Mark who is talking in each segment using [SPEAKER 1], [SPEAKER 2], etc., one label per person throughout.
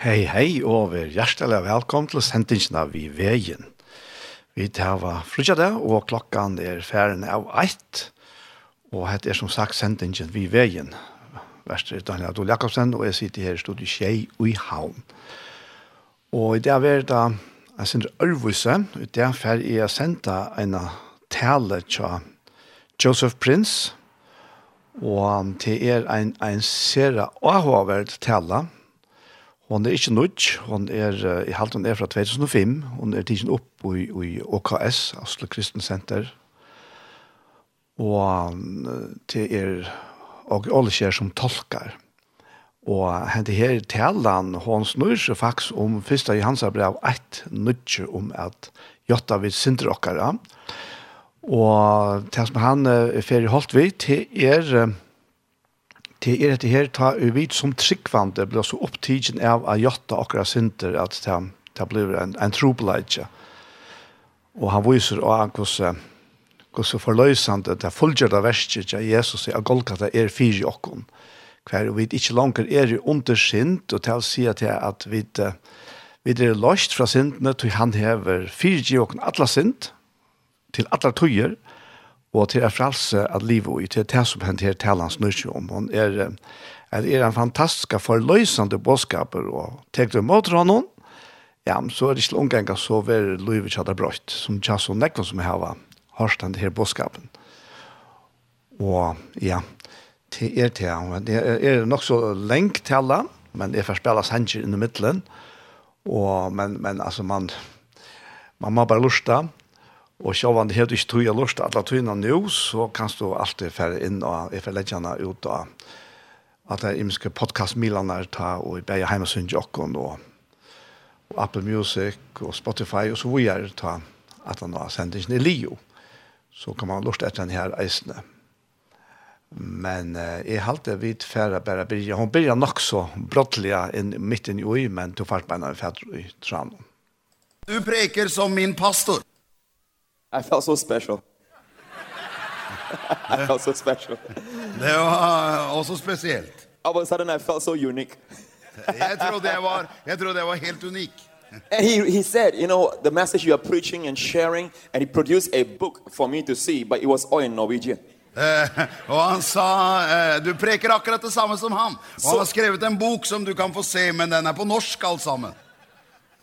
[SPEAKER 1] Hei, hei, og vær hjertelig velkommen til sendingen av Vi Veien. Vi tar frutja det, og klokkan er ferden av eit. Og hette er som sagt sendingen Vi Veien. Værst er Daniel Adol Jakobsen, og jeg sitter her i studiet Kjei og i Havn. Og i det er det jeg sender Ørvuse, og det er ferdig jeg sendte en tale til Joseph Prince, og det er en, en sere avhåverd tale, Hon er ikke nødt, hon er, eh, i halvt hon er fra 2005, hon er tidsen opp i, i OKS, Oslo Kristen Center, og eh, det er og alle skjer som tolkar. Og hente her i talen, hon snur seg faktisk om 1. Johansa brev 1, nødt om at jotta vi synder okkara. Og det som han eh, er ferdig holdt vi, det er eh, Det er dette her, ta vi som tryggvande blir så opptidgen av å gjøre akkurat synder at det, det blir en, en trobeleidje. Og han viser også hvordan, hvordan forløsende det fullgjørte verset til Jesus er Golgata er fire i okken. Hver vi ikke langer er i undersynd, og til å si at, at vi, eh, vi er løst fra syndene til han hever fire i okken alle synd, til alle tøyer, og til er fralse at livet og til det som hent her taler han snurr om. Hon er, eh, er, er en fantastisk forløsende bådskaper, og tek du mot honom, ja, men så er det ikke omganger så ver livet kjadar brøtt, som tja så nekva som hava hørst den her bådskapen. Og ja, til er til han, det er, er nok så lengt til alle, men det er for spela sanger inn i middelen, og, men, men altså man, man må bare lusta, Og så var det helt ikke tog jeg lyst til alle togene nå, så kan du alltid fære inn og jeg får legge henne ut av at det er imenske podcastmilene er ta og i begge hjemme synes jokken og, og Apple Music og Spotify og så videre ta at han har sendt ikke i Lio. Så kan man lyst etter den her eisene. Men eh, jeg halte vidt færre bare byrja. Hun byrja nok så brottliga inn, midt inn i ui, men tog fart beina i fædre i tranen.
[SPEAKER 2] Du preker som min pastor.
[SPEAKER 3] I felt so special. I felt so special.
[SPEAKER 2] Det var også spesielt.
[SPEAKER 3] All of a sudden, I felt so unique.
[SPEAKER 2] Jeg trodde jeg var, jeg trodde jeg var helt unik.
[SPEAKER 3] And he, he said, You know, the message you are preaching and sharing, and he produced a book for me to see, but it was all in Norwegian.
[SPEAKER 2] Eh, og han sa, eh, du preker akkurat det samme som han. Og han har skrevet en bok som du kan få se, men den er på norsk alt sammen.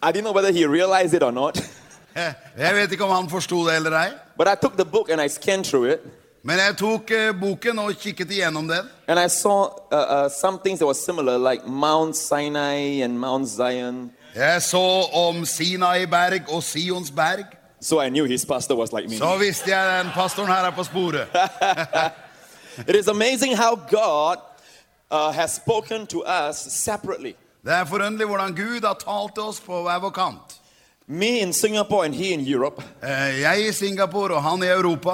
[SPEAKER 3] I didn't know whether he realized it or not,
[SPEAKER 2] Eh, jeg vet ikke om han forstod det eller ei.
[SPEAKER 3] but I took the book and I scanned through it,
[SPEAKER 2] Men jeg tok eh, boken og kikket igjennom den.
[SPEAKER 3] and I saw uh, uh, some things that were similar, like Mount Sinai and Mount Zion.
[SPEAKER 2] Jeg så om Sinai-berg og Sionsberg.
[SPEAKER 3] So I knew his pastor was like me.
[SPEAKER 2] Så visste jeg den pastoren her er på sporet.
[SPEAKER 3] It is amazing how God uh, has spoken to us separately.
[SPEAKER 2] Det er forundelig hvordan Gud har talt til oss på hver vår kant.
[SPEAKER 3] Me in Singapore and he in Europe.
[SPEAKER 2] Eh, Jeg i Singapore og han er i Europa.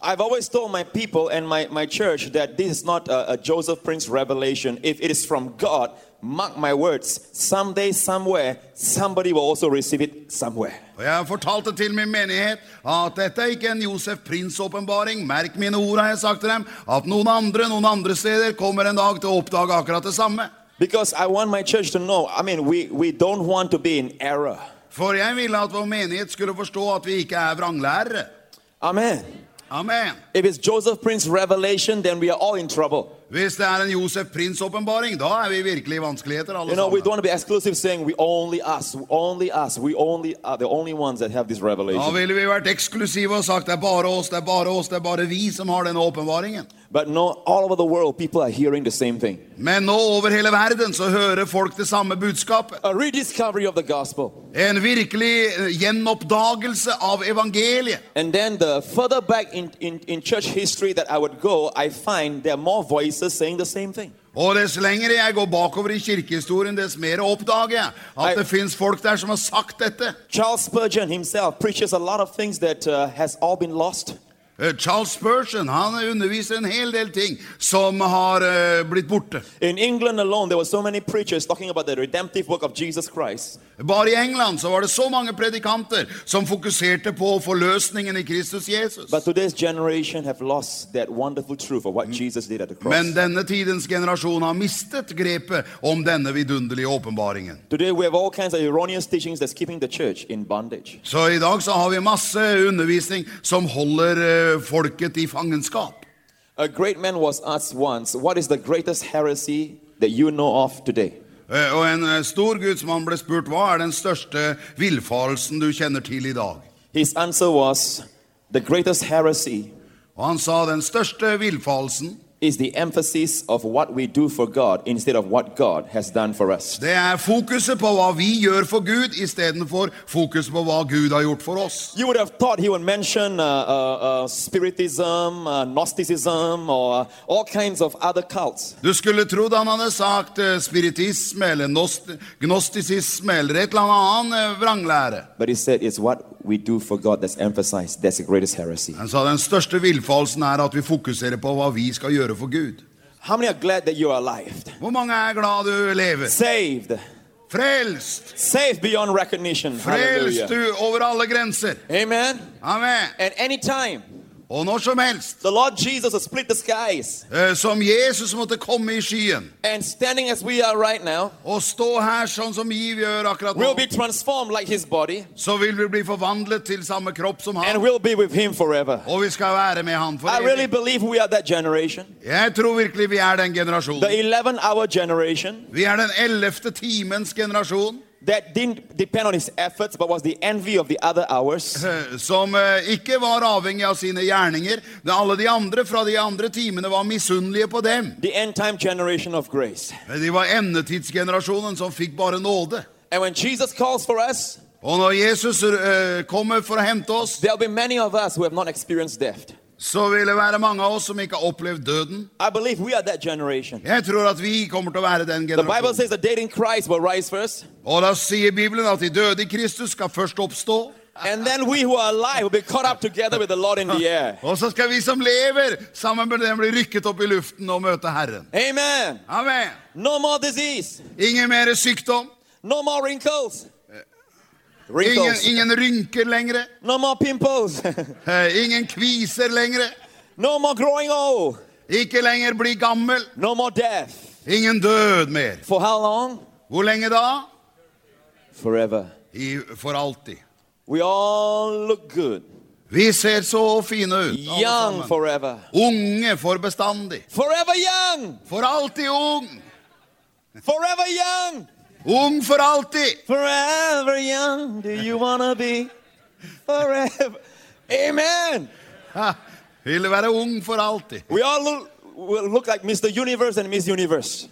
[SPEAKER 3] I've always told my people and my, my church that this is not a, a Joseph Prince revelation. If it is from God, mark my words, someday, somewhere, somebody will also receive it somewhere.
[SPEAKER 2] Og jeg har fortalt det til min menighet at dette er ikke en Josef Prins-åpenbaring. Merk mine ord, har jeg sagt til dem, at noen andre, noen andre steder kommer en dag til å oppdage akkurat det samme.
[SPEAKER 3] Because I want my church to know, I mean, we, we don't want to be in error.
[SPEAKER 2] For jeg ville at vår menighet skulle forstå at vi ikke er vranglærere.
[SPEAKER 3] Amen.
[SPEAKER 2] Amen.
[SPEAKER 3] If it's Joseph Prince revelation, then we are all in trouble.
[SPEAKER 2] Hvis det er en Josef Prins-åpenbaring, da er vi virkelig i vanskeligheter alle
[SPEAKER 3] You know, we don't
[SPEAKER 2] sammen.
[SPEAKER 3] want to be exclusive saying we only us, only us, we only are the only ones that have this
[SPEAKER 2] Da
[SPEAKER 3] revelation.
[SPEAKER 2] ville vi vært eksklusive og sagt det er bare oss, det er bare oss, det er bare vi som har denne åpenbaringen.
[SPEAKER 3] But no, all over the world, people are hearing the same thing.
[SPEAKER 2] Men nå over hele verden så hører folk det samme budskapet.
[SPEAKER 3] A rediscovery of the gospel.
[SPEAKER 2] En virkelig eh, gjenoppdagelse av evangeliet.
[SPEAKER 3] And then the further back in, in, in church history that I would go, I find there are more voices saying the same thing.
[SPEAKER 2] Og dess lengre jeg går bakover i kirkehistorien, dess mer oppdager jeg at
[SPEAKER 3] Nei.
[SPEAKER 2] det finnes folk der som har sagt dette.
[SPEAKER 3] Charles Spurgeon himself preaches a lot of things that uh, has all been lost.
[SPEAKER 2] Eh, Charles Spurgeon, han underviser en hel del ting som har eh, blitt borte.
[SPEAKER 3] In England alone, there were so many preachers talking about the redemptive work of Jesus Christ.
[SPEAKER 2] Bare i England så var det så mange predikanter som fokuserte på forløsningen i Kristus Jesus.
[SPEAKER 3] But today's generation have lost that wonderful truth of what Jesus did at the cross.
[SPEAKER 2] Men denne tidens generasjon har mistet grepet om denne vidunderlige åpenbaringen.
[SPEAKER 3] Today we have all kinds of erroneous teachings that's keeping the church in bondage.
[SPEAKER 2] Så i dag så har vi masse undervisning som holder eh, folket i fangenskap.
[SPEAKER 3] A great man was asked once, What is the greatest heresy that you know of today?
[SPEAKER 2] Eh, Og en eh, stor gudsmann ble spurt, hva er den største villfarelsen du kjenner til i dag?
[SPEAKER 3] His answer was, The greatest heresy
[SPEAKER 2] Og han sa, den største villfarelsen,
[SPEAKER 3] is the emphasis of what we do for God instead of what God has done for us.
[SPEAKER 2] det er fokuset på hva vi gjør for Gud, i stedet for fokus på hva Gud har gjort for oss.
[SPEAKER 3] You would have thought he would mention uh, uh, uh, Spiritism, uh, Gnosticism, or uh, all kinds of other cults.
[SPEAKER 2] Du skulle trodd han hadde sagt eh, spiritisme, eller nost- gnostisisme, eller et eller annet annen eh, vranglære.
[SPEAKER 3] But he said it's what we do for God that's emphasized. That's the greatest heresy.
[SPEAKER 2] Han sa, den største villfarelsen er at vi fokuserer på hva vi skal gjøre for Gud.
[SPEAKER 3] How many are glad that you are alive?
[SPEAKER 2] Hvor mange er glad du lever?
[SPEAKER 3] Saved.
[SPEAKER 2] Frelst!
[SPEAKER 3] Saved beyond recognition.
[SPEAKER 2] Frelst
[SPEAKER 3] Hallelujah.
[SPEAKER 2] du over alle grenser.
[SPEAKER 3] Amen.
[SPEAKER 2] Amen.
[SPEAKER 3] At any time,
[SPEAKER 2] Og når som helst,
[SPEAKER 3] the Lord Jesus will split the skies.
[SPEAKER 2] eh, som Jesus måtte komme i skyen,
[SPEAKER 3] And standing as we are right now,
[SPEAKER 2] og stå her sånn som vi gjør akkurat
[SPEAKER 3] we'll
[SPEAKER 2] nå,
[SPEAKER 3] be transformed like his body
[SPEAKER 2] så vil vi bli forvandlet til samme kropp som
[SPEAKER 3] and
[SPEAKER 2] han,
[SPEAKER 3] we'll be with him forever.
[SPEAKER 2] og vi skal være med han for
[SPEAKER 3] I really
[SPEAKER 2] evig.
[SPEAKER 3] believe we are that generation.
[SPEAKER 2] Jeg tror virkelig vi er den
[SPEAKER 3] The
[SPEAKER 2] generasjonen.
[SPEAKER 3] 11 hour generation
[SPEAKER 2] Vi er den 11. timens generasjon,
[SPEAKER 3] that didn't depend on his efforts but was the envy of the other hours.
[SPEAKER 2] eh, som eh, ikke var avhengig av sine gjerninger. Da Alle de andre fra de andre timene var misunnelige på dem.
[SPEAKER 3] The end time generation of grace.
[SPEAKER 2] Men De var endetidsgenerasjonen som fikk bare nåde.
[SPEAKER 3] And when Jesus calls for us,
[SPEAKER 2] Og når Jesus eh, kommer for å hente oss,
[SPEAKER 3] there'll be many of us who have not experienced death.
[SPEAKER 2] så vil det være mange av oss som ikke har opplevd døden.
[SPEAKER 3] I believe we are that generation.
[SPEAKER 2] Jeg tror at vi kommer til å være den
[SPEAKER 3] The Bible
[SPEAKER 2] generasjonen.
[SPEAKER 3] says the dead in Christ will rise first,
[SPEAKER 2] Og da sier Bibelen at de døde i Kristus skal først oppstå.
[SPEAKER 3] and then we who are alive will be caught up together with the Lord in the air.
[SPEAKER 2] Og så skal vi som lever, sammen med dem bli rykket opp i luften og møte Herren.
[SPEAKER 3] Amen.
[SPEAKER 2] Amen.
[SPEAKER 3] No more disease,
[SPEAKER 2] Ingen mer sykdom.
[SPEAKER 3] no more wrinkles.
[SPEAKER 2] Ingen,
[SPEAKER 3] Wrinkles.
[SPEAKER 2] ingen rynker lengre.
[SPEAKER 3] No more pimples.
[SPEAKER 2] Eh, Ingen kviser lengre.
[SPEAKER 3] no more growing old.
[SPEAKER 2] Ikke lenger bli gammel.
[SPEAKER 3] No more death.
[SPEAKER 2] Ingen død mer.
[SPEAKER 3] For how long?
[SPEAKER 2] Hvor lenge da?
[SPEAKER 3] Forever.
[SPEAKER 2] I, for alltid.
[SPEAKER 3] We all look good.
[SPEAKER 2] Vi ser så fine ut. alle
[SPEAKER 3] Young
[SPEAKER 2] sammen.
[SPEAKER 3] forever.
[SPEAKER 2] Unge for bestandig.
[SPEAKER 3] Forever young.
[SPEAKER 2] For alltid ung.
[SPEAKER 3] Forever young.
[SPEAKER 2] Ung for alltid.
[SPEAKER 3] Forever young. Do you want to be forever? Amen.
[SPEAKER 2] Ha, Ville være ung for alltid.
[SPEAKER 3] We all look, we look like Mr. Universe and Miss Universe.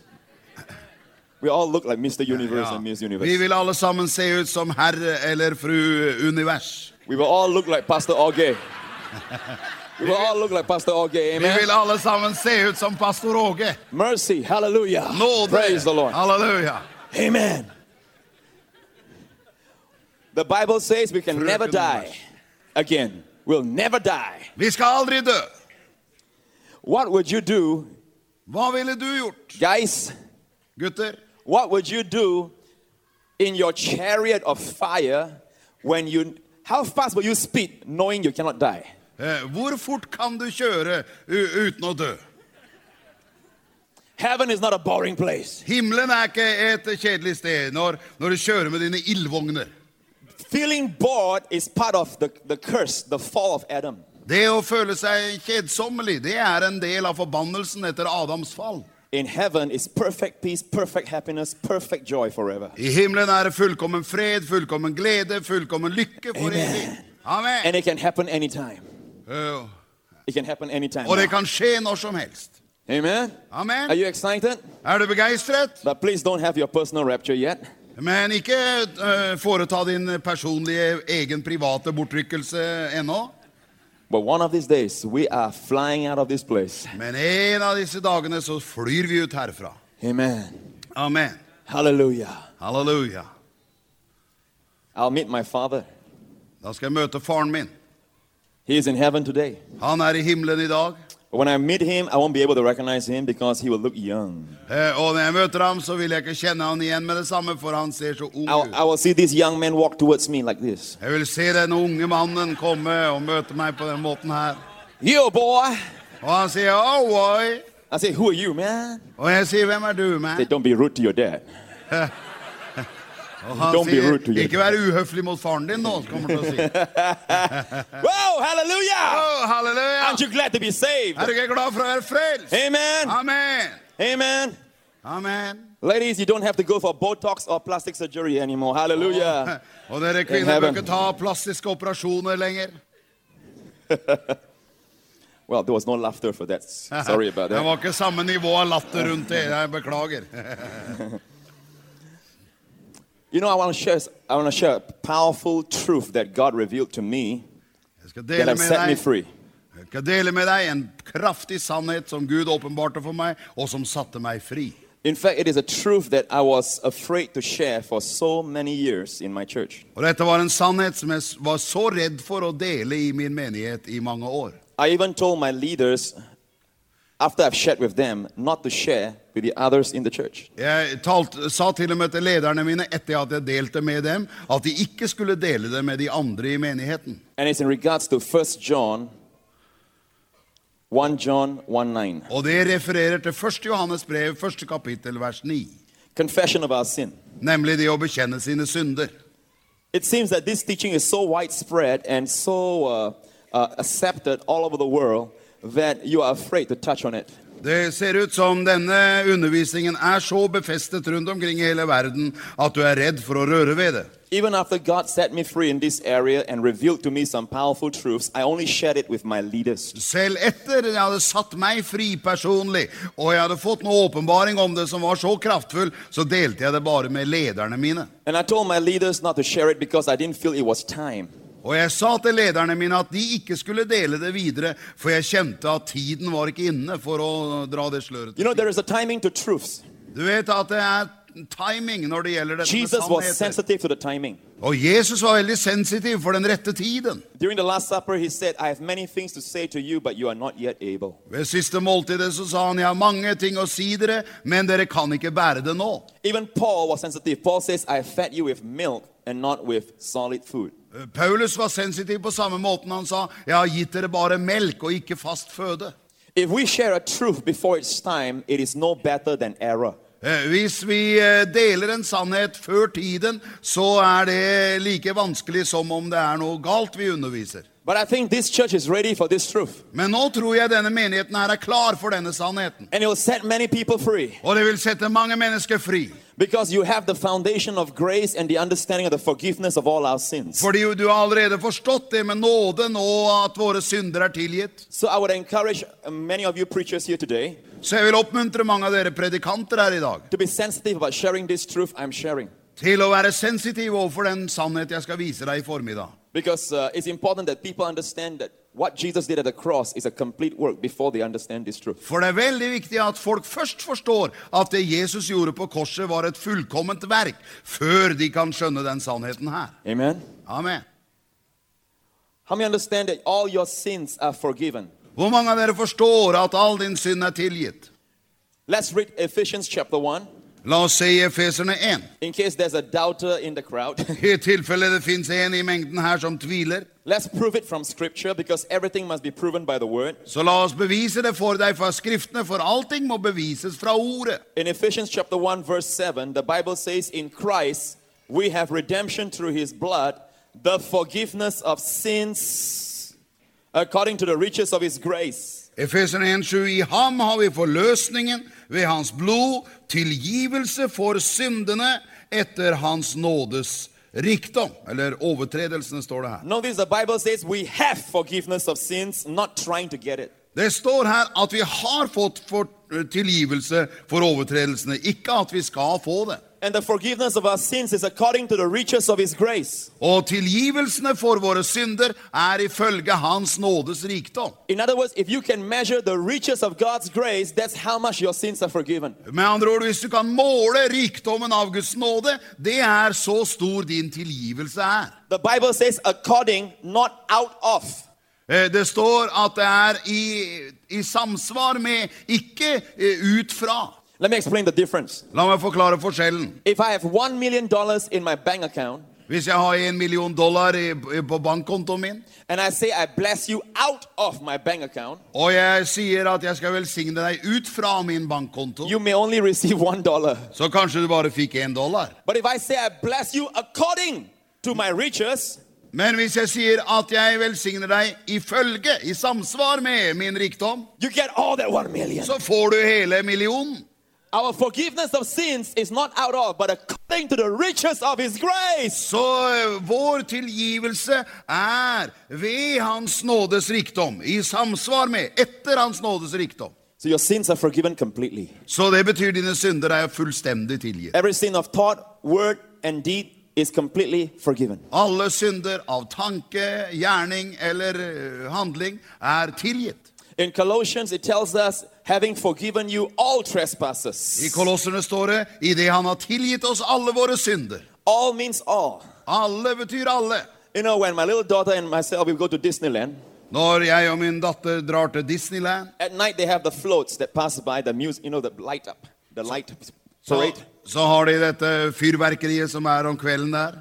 [SPEAKER 3] We all look like Mr. Universe
[SPEAKER 2] Ja.
[SPEAKER 3] and Miss
[SPEAKER 2] Vi
[SPEAKER 3] Universe.
[SPEAKER 2] vil alle sammen se ut som herre eller fru univers.
[SPEAKER 3] We will all look like Pastor Auge. we will all look like Pastor Auge.
[SPEAKER 2] Vi
[SPEAKER 3] Amen.
[SPEAKER 2] vil alle sammen se ut som pastor Åge.
[SPEAKER 3] Mercy. Hallelujah.
[SPEAKER 2] Nåde.
[SPEAKER 3] Praise the Lord.
[SPEAKER 2] Halleluja.
[SPEAKER 3] Amen. The Bible says we can
[SPEAKER 2] Fröken
[SPEAKER 3] never die
[SPEAKER 2] Mars.
[SPEAKER 3] again. We'll never die.
[SPEAKER 2] Vi skal aldri dø.
[SPEAKER 3] What would you do,
[SPEAKER 2] Hva ville du gjort,
[SPEAKER 3] guys?
[SPEAKER 2] gutter?
[SPEAKER 3] What would you do in your chariot of fire when you how fast will you speed knowing you cannot die?
[SPEAKER 2] Eh, Hvor fort kan du kjøre u- uten å dø?
[SPEAKER 3] Heaven is not a boring place.
[SPEAKER 2] Himmelen er ikke et kjedelig sted når, når du kjører med dine ildvogner.
[SPEAKER 3] Feeling bored is part of the, the curse, the fall of Adam.
[SPEAKER 2] Det å føle seg kjedsommelig, det er en del av forbannelsen etter Adams fall.
[SPEAKER 3] In heaven is perfect peace, perfect happiness, perfect joy forever.
[SPEAKER 2] I himmelen er det fullkommen fred, fullkommen glede, fullkommen lykke for
[SPEAKER 3] Amen.
[SPEAKER 2] evig. Amen.
[SPEAKER 3] And it can happen anytime.
[SPEAKER 2] Eh,
[SPEAKER 3] It can happen anytime.
[SPEAKER 2] Og det
[SPEAKER 3] now.
[SPEAKER 2] kan skje når som helst.
[SPEAKER 3] Amen. Are
[SPEAKER 2] Oh, Amen.
[SPEAKER 3] you excited?
[SPEAKER 2] Er du begeistret?
[SPEAKER 3] But please don't have your personal rapture yet.
[SPEAKER 2] Men ikke eh, foreta din personlige, egen private bortrykkelse ennå.
[SPEAKER 3] But one of these days, we are flying out of this place.
[SPEAKER 2] Men en av disse dagene så flyr vi ut herfra.
[SPEAKER 3] Amen.
[SPEAKER 2] Amen.
[SPEAKER 3] Hallelujah.
[SPEAKER 2] Halleluja.
[SPEAKER 3] I'll meet my father.
[SPEAKER 2] Da skal jeg møte faren min.
[SPEAKER 3] He is in heaven today.
[SPEAKER 2] Han er i himmelen i dag.
[SPEAKER 3] But when I meet him, I won't be able to recognize him because he will look young.
[SPEAKER 2] Eh, Og når jeg møter ham, så vil jeg ikke kjenne han igjen med det samme, for han ser så ung
[SPEAKER 3] I,
[SPEAKER 2] ut.
[SPEAKER 3] I will see this young man walk towards me like this.
[SPEAKER 2] Jeg vil se den unge mannen komme og møte meg på den måten her.
[SPEAKER 3] Yo, boy.
[SPEAKER 2] Og han sier, oh boy.
[SPEAKER 3] I say, who are you, man?
[SPEAKER 2] Og jeg sier, hvem er du,
[SPEAKER 3] They
[SPEAKER 2] man?
[SPEAKER 3] don't be rude to your dad.
[SPEAKER 2] Og han
[SPEAKER 3] Don't be
[SPEAKER 2] sier,
[SPEAKER 3] rude to your
[SPEAKER 2] ikke vær uhøflig mot faren din nå, kommer han til å si.
[SPEAKER 3] Whoa, hallelujah.
[SPEAKER 2] Oh, halleluja!
[SPEAKER 3] Aren't you glad to be saved?
[SPEAKER 2] Er du ikke glad for å være frelst?
[SPEAKER 3] Amen.
[SPEAKER 2] Amen!
[SPEAKER 3] Amen.
[SPEAKER 2] Amen!
[SPEAKER 3] Ladies, you don't have to go for Botox or plastic surgery anymore. Hallelujah.
[SPEAKER 2] Og dere kvinner bør
[SPEAKER 3] heaven.
[SPEAKER 2] ikke ta plastiske operasjoner lenger.
[SPEAKER 3] Well, there was no laughter for that. Sorry about
[SPEAKER 2] Det
[SPEAKER 3] that.
[SPEAKER 2] var ikke samme nivå av latter rundt det. Jeg beklager.
[SPEAKER 3] You know, I want to share I want to share a powerful truth that God revealed to me
[SPEAKER 2] Jeg skal
[SPEAKER 3] that
[SPEAKER 2] dele
[SPEAKER 3] has
[SPEAKER 2] med
[SPEAKER 3] set me
[SPEAKER 2] deg,
[SPEAKER 3] free.
[SPEAKER 2] jeg skal dele med deg en kraftig sannhet som Gud åpenbarte for meg, og som satte meg fri.
[SPEAKER 3] In fact, it is a truth that I was afraid to share for so many years in my church.
[SPEAKER 2] Og dette var en sannhet som jeg s- var så redd for å dele i min menighet i mange år.
[SPEAKER 3] I even told my leaders after I've shared with them not to share with the others in the church.
[SPEAKER 2] Jeg talte, sa til og med til lederne mine etter at jeg delte med dem, at de ikke skulle dele det med de andre i menigheten.
[SPEAKER 3] And it's in regards to 1 John 1 John 1 9.
[SPEAKER 2] Og det refererer til 1. Johannes brev, 1. kapittel, vers 9.
[SPEAKER 3] Confession of our sin.
[SPEAKER 2] Nemlig det å bekjenne sine synder.
[SPEAKER 3] It seems that this teaching is so widespread and so uh, uh, accepted all over the world that you are afraid to touch on it.
[SPEAKER 2] Det ser ut som denne undervisningen er så befestet rundt omkring i hele verden at du er redd for å røre ved det.
[SPEAKER 3] Even after God set me free in this area and revealed to me some powerful truths, I only shared it with my leaders.
[SPEAKER 2] Selv etter jeg hadde satt meg fri personlig, og jeg hadde fått noe åpenbaring om det som var så kraftfull, så delte jeg det bare med lederne mine.
[SPEAKER 3] And I told my leaders not to share it because I didn't feel it was time.
[SPEAKER 2] Og jeg sa til lederne mine at de ikke skulle dele det videre, for jeg kjente at tiden var ikke inne for å dra det sløret.
[SPEAKER 3] You know, there is a timing to truths.
[SPEAKER 2] Du vet at det er timing når det gjelder dette med
[SPEAKER 3] Jesus was
[SPEAKER 2] sannheter.
[SPEAKER 3] sensitive to the timing.
[SPEAKER 2] Og Jesus var veldig sensitiv for den rette tiden.
[SPEAKER 3] During the Last Supper, he said, I have many things to say to you, but you are not yet able.
[SPEAKER 2] Ved siste måltidet så sa han, jeg har mange ting å si dere, men dere kan ikke bære det nå.
[SPEAKER 3] Even Paul was sensitive. Paul says, I fed you with milk and not with solid food.
[SPEAKER 2] Eh, Paulus var sensitiv på samme måten han sa, jeg har gitt dere bare melk og ikke fast føde.
[SPEAKER 3] If we share a truth before its time, it is no better than error.
[SPEAKER 2] Eh, Hvis vi eh, deler en sannhet før tiden, så er det like vanskelig som om det er noe galt vi underviser.
[SPEAKER 3] But I think this church is ready for this truth.
[SPEAKER 2] Men nå tror jeg denne menigheten her er klar for denne sannheten.
[SPEAKER 3] And it will set many people free
[SPEAKER 2] Og det vil sette mange mennesker fri.
[SPEAKER 3] because you have the foundation of grace and the understanding of the forgiveness of all our sins.
[SPEAKER 2] Fordi jo, du har allerede forstått det med nåden og at våre synder er tilgitt.
[SPEAKER 3] So I would encourage uh, many of you preachers here today
[SPEAKER 2] Så jeg vil oppmuntre mange av dere predikanter her i dag.
[SPEAKER 3] to be sensitive about sharing this truth I'm sharing
[SPEAKER 2] til å være sensitiv overfor den sannhet jeg skal vise deg i formiddag.
[SPEAKER 3] because uh, it's important that people understand that what Jesus did at the cross is a complete work before they understand this truth.
[SPEAKER 2] For det er veldig viktig at folk først forstår at det Jesus gjorde på korset var et fullkomment verk, før de kan skjønne den sannheten her.
[SPEAKER 3] Amen.
[SPEAKER 2] Amen.
[SPEAKER 3] How many understand that all your sins are forgiven?
[SPEAKER 2] Hvor mange av dere forstår at all din synd er tilgitt?
[SPEAKER 3] Let's read Ephesians chapter 1
[SPEAKER 2] La oss se i Efeserne 1.
[SPEAKER 3] in case there's a doubter in the crowd.
[SPEAKER 2] I tilfelle det finnes en i mengden her som tviler,
[SPEAKER 3] Let's prove it from scripture because everything must be proven by the word.
[SPEAKER 2] så la oss bevise det for deg fra skriftene, for allting må bevises fra ordet.
[SPEAKER 3] In Ephesians chapter 1 verse 7, the Bible says in Christ we have redemption through his blood, the forgiveness of sins according to the riches of his grace.
[SPEAKER 2] Efeserne 1,7 I ham har vi forløsningen ved hans blod, tilgivelse for syndene etter hans nådes rikdom. Eller overtredelsene, står det her.
[SPEAKER 3] Notice the Bible says we have forgiveness of sins, not trying to get it.
[SPEAKER 2] Det står her at vi har fått for, eh, tilgivelse for overtredelsene, ikke at vi skal få det.
[SPEAKER 3] And the forgiveness of our sins is according to the riches of his grace.
[SPEAKER 2] Og tilgivelsene for våre synder er ifølge hans nådes rikdom.
[SPEAKER 3] In other words, if you can measure the riches of God's grace, that's how much your sins are forgiven.
[SPEAKER 2] Med andre ord, hvis du kan måle rikdommen av Guds nåde, det er så stor din tilgivelse er.
[SPEAKER 3] The Bible says according, not out of.
[SPEAKER 2] Eh, Det står at det er i, i samsvar med ikke eh, ut fra.
[SPEAKER 3] Let me explain the difference.
[SPEAKER 2] La meg forklare forskjellen.
[SPEAKER 3] If I have $1 million in my bank account
[SPEAKER 2] Hvis jeg har en million dollar i, i, på bankkontoen min,
[SPEAKER 3] and I say, I bless you out of my bank account,
[SPEAKER 2] og jeg sier at jeg skal velsigne deg ut fra min bankkonto,
[SPEAKER 3] you may only receive $1.
[SPEAKER 2] så kanskje du bare fikk en dollar.
[SPEAKER 3] But if I say, I bless you according to my riches,
[SPEAKER 2] Men hvis jeg sier at jeg velsigner deg ifølge, i samsvar med min rikdom,
[SPEAKER 3] you get all that 1 million.
[SPEAKER 2] så får du hele millionen.
[SPEAKER 3] Our forgiveness of sins is not out of, but according to the riches of His grace.
[SPEAKER 2] Så eh, vår tilgivelse er ved Hans nådes rikdom, i samsvar med, etter Hans nådes rikdom.
[SPEAKER 3] So your sins are forgiven completely.
[SPEAKER 2] Så det betyr dine synder er fullstendig tilgitt.
[SPEAKER 3] Every sin of thought, word, and deed is completely forgiven.
[SPEAKER 2] Alle synder av tanke, gjerning eller eh, handling er tilgitt.
[SPEAKER 3] In Colossians, it tells us, having forgiven you all
[SPEAKER 2] I
[SPEAKER 3] trespasses.
[SPEAKER 2] Kolosserne står det, i det han har tilgitt oss alle våre synder.
[SPEAKER 3] All means all.
[SPEAKER 2] Alle betyr alle.
[SPEAKER 3] You know, when my little daughter and myself, we go to Disneyland,
[SPEAKER 2] Når jeg og min datter drar til Disneyland,
[SPEAKER 3] at night they have the floats that pass by, the music, you know, the light up, the light
[SPEAKER 2] så,
[SPEAKER 3] parade.
[SPEAKER 2] så har de dette fyrverkeriet som er om kvelden der.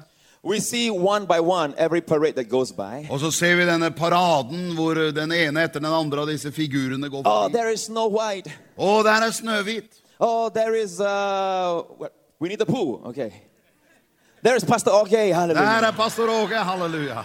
[SPEAKER 3] We see one by one every parade that goes by.
[SPEAKER 2] Og så ser vi denne paraden hvor den ene etter den andre av disse figurene går
[SPEAKER 3] Oh,
[SPEAKER 2] forbi.
[SPEAKER 3] there is Snow White.
[SPEAKER 2] Og der er Snøhvit.
[SPEAKER 3] Oh, there is, uh, what- we need the pool. Okay. There is Pastor Okay.
[SPEAKER 2] Der
[SPEAKER 3] Hallelujah.
[SPEAKER 2] er pastor Åge. Halleluja.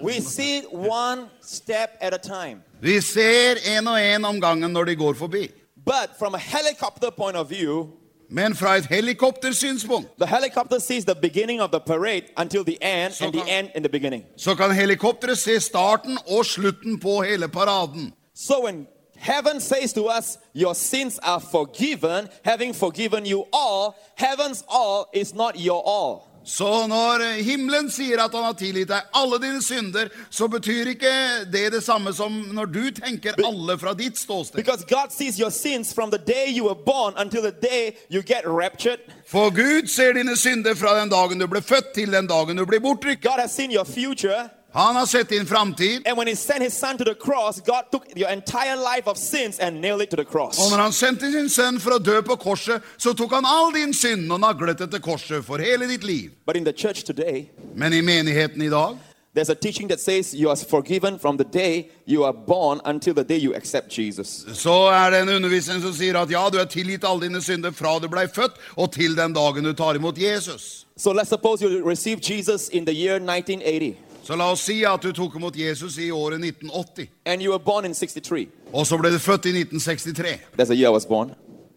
[SPEAKER 3] We see it one step at a time.
[SPEAKER 2] Vi ser en og en om gangen når de går forbi.
[SPEAKER 3] But from a helicopter point of view,
[SPEAKER 2] Men fra et helikoptersynspunkt
[SPEAKER 3] the helicopter sees the beginning of the parade until the end,
[SPEAKER 2] So
[SPEAKER 3] and the
[SPEAKER 2] come-
[SPEAKER 3] end in the beginning.
[SPEAKER 2] så kan helikopteret se starten og slutten på hele paraden.
[SPEAKER 3] So when heaven says to us, Your sins are forgiven, having forgiven you all, heaven's all is not your all.
[SPEAKER 2] Så når himmelen sier at han har tilgitt deg alle dine synder, så betyr ikke det det samme som når du tenker alle fra ditt ståsted.
[SPEAKER 3] Because God sees your sins from the day you were born until the day you get raptured.
[SPEAKER 2] For Gud ser dine synder fra den dagen du ble født til den dagen du blir bortrykket.
[SPEAKER 3] God has seen your future.
[SPEAKER 2] Han har sett din framtid,
[SPEAKER 3] And when He sent His Son to the cross, God took your entire life of sins and nailed it to the
[SPEAKER 2] og
[SPEAKER 3] cross.
[SPEAKER 2] når han sendte sin sønn for å dø på korset, så tok han all din synd og naglet det til korset for hele ditt liv.
[SPEAKER 3] But in the church today,
[SPEAKER 2] Men i menigheten i dag,
[SPEAKER 3] there's a teaching that says you are forgiven from the day you are born until the day you accept Jesus.
[SPEAKER 2] så er det en undervisning som sier at ja, du er tilgitt alle dine synder fra du ble født og til den dagen du tar imot Jesus.
[SPEAKER 3] So let's suppose you received Jesus in the year 1980.
[SPEAKER 2] Så la oss si at du tok imot Jesus i året 1980.
[SPEAKER 3] and you were born in 63.
[SPEAKER 2] Og så ble du født i 1963.
[SPEAKER 3] That's the year I was born.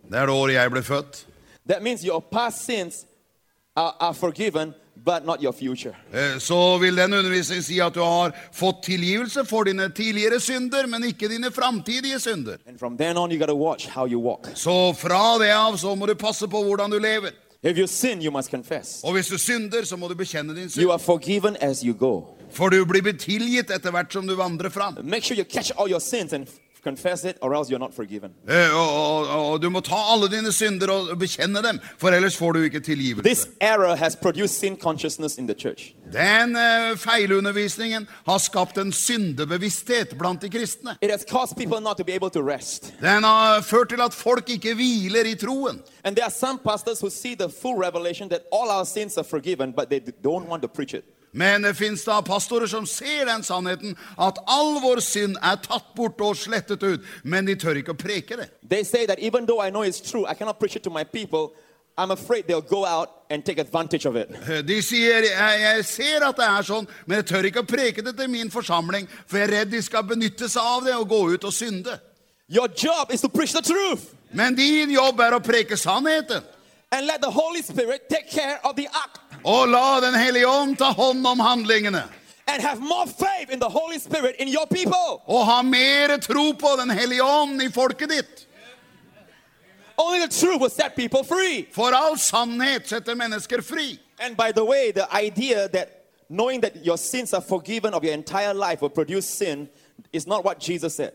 [SPEAKER 2] Det er det året jeg ble født.
[SPEAKER 3] That means your past sins are, are forgiven, but not your future.
[SPEAKER 2] Eh, Så vil den undervisningen si at du har fått tilgivelse for dine tidligere synder, men ikke dine framtidige synder.
[SPEAKER 3] And from then on, you got to watch how you walk.
[SPEAKER 2] Så fra det av så må du passe på hvordan du lever.
[SPEAKER 3] If you sin, you must confess.
[SPEAKER 2] Og hvis du synder, så må du bekjenne din
[SPEAKER 3] You
[SPEAKER 2] synd.
[SPEAKER 3] are forgiven as you go.
[SPEAKER 2] For du blir betilgitt etter hvert som du vandrer fram.
[SPEAKER 3] Make sure you catch all your sins and f- confess it, or else you're not forgiven.
[SPEAKER 2] Eh, Og, og, og du må ta alle dine synder og bekjenne dem, for ellers får du ikke tilgivelse.
[SPEAKER 3] This error has produced sin consciousness in the church.
[SPEAKER 2] Den eh, feilundervisningen har skapt en syndebevissthet blant de kristne.
[SPEAKER 3] It has caused people not to be able to rest.
[SPEAKER 2] Den har ført til at folk ikke hviler i troen.
[SPEAKER 3] And there are some pastors who see the full revelation that all our sins are forgiven, but they d- don't want to preach it.
[SPEAKER 2] Men det fins da pastorer som ser den sannheten, at all vår synd er tatt bort og slettet ut, men de tør ikke å preke det.
[SPEAKER 3] They say that even though I know it's true, I cannot preach it to my people. I'm afraid they'll go out and take advantage of it.
[SPEAKER 2] Eh, De sier jeg, 'jeg ser at det er sånn, men jeg tør ikke å preke det til min forsamling', for jeg er redd de skal benytte seg av det og gå ut og synde.
[SPEAKER 3] Your job is to preach the truth
[SPEAKER 2] Men din jobb er å preke sannheten.
[SPEAKER 3] and let the Holy Spirit take care of the act
[SPEAKER 2] Og la Den hellige ånd ta hånd om handlingene.
[SPEAKER 3] and have more faith in the Holy Spirit in your people.
[SPEAKER 2] Og ha mer tro på Den hellige ånd i folket ditt.
[SPEAKER 3] Only the truth will set people free.
[SPEAKER 2] For all sannhet setter mennesker fri.
[SPEAKER 3] And by the way, the idea that knowing that your sins are forgiven of your entire life will produce sin is not what Jesus said.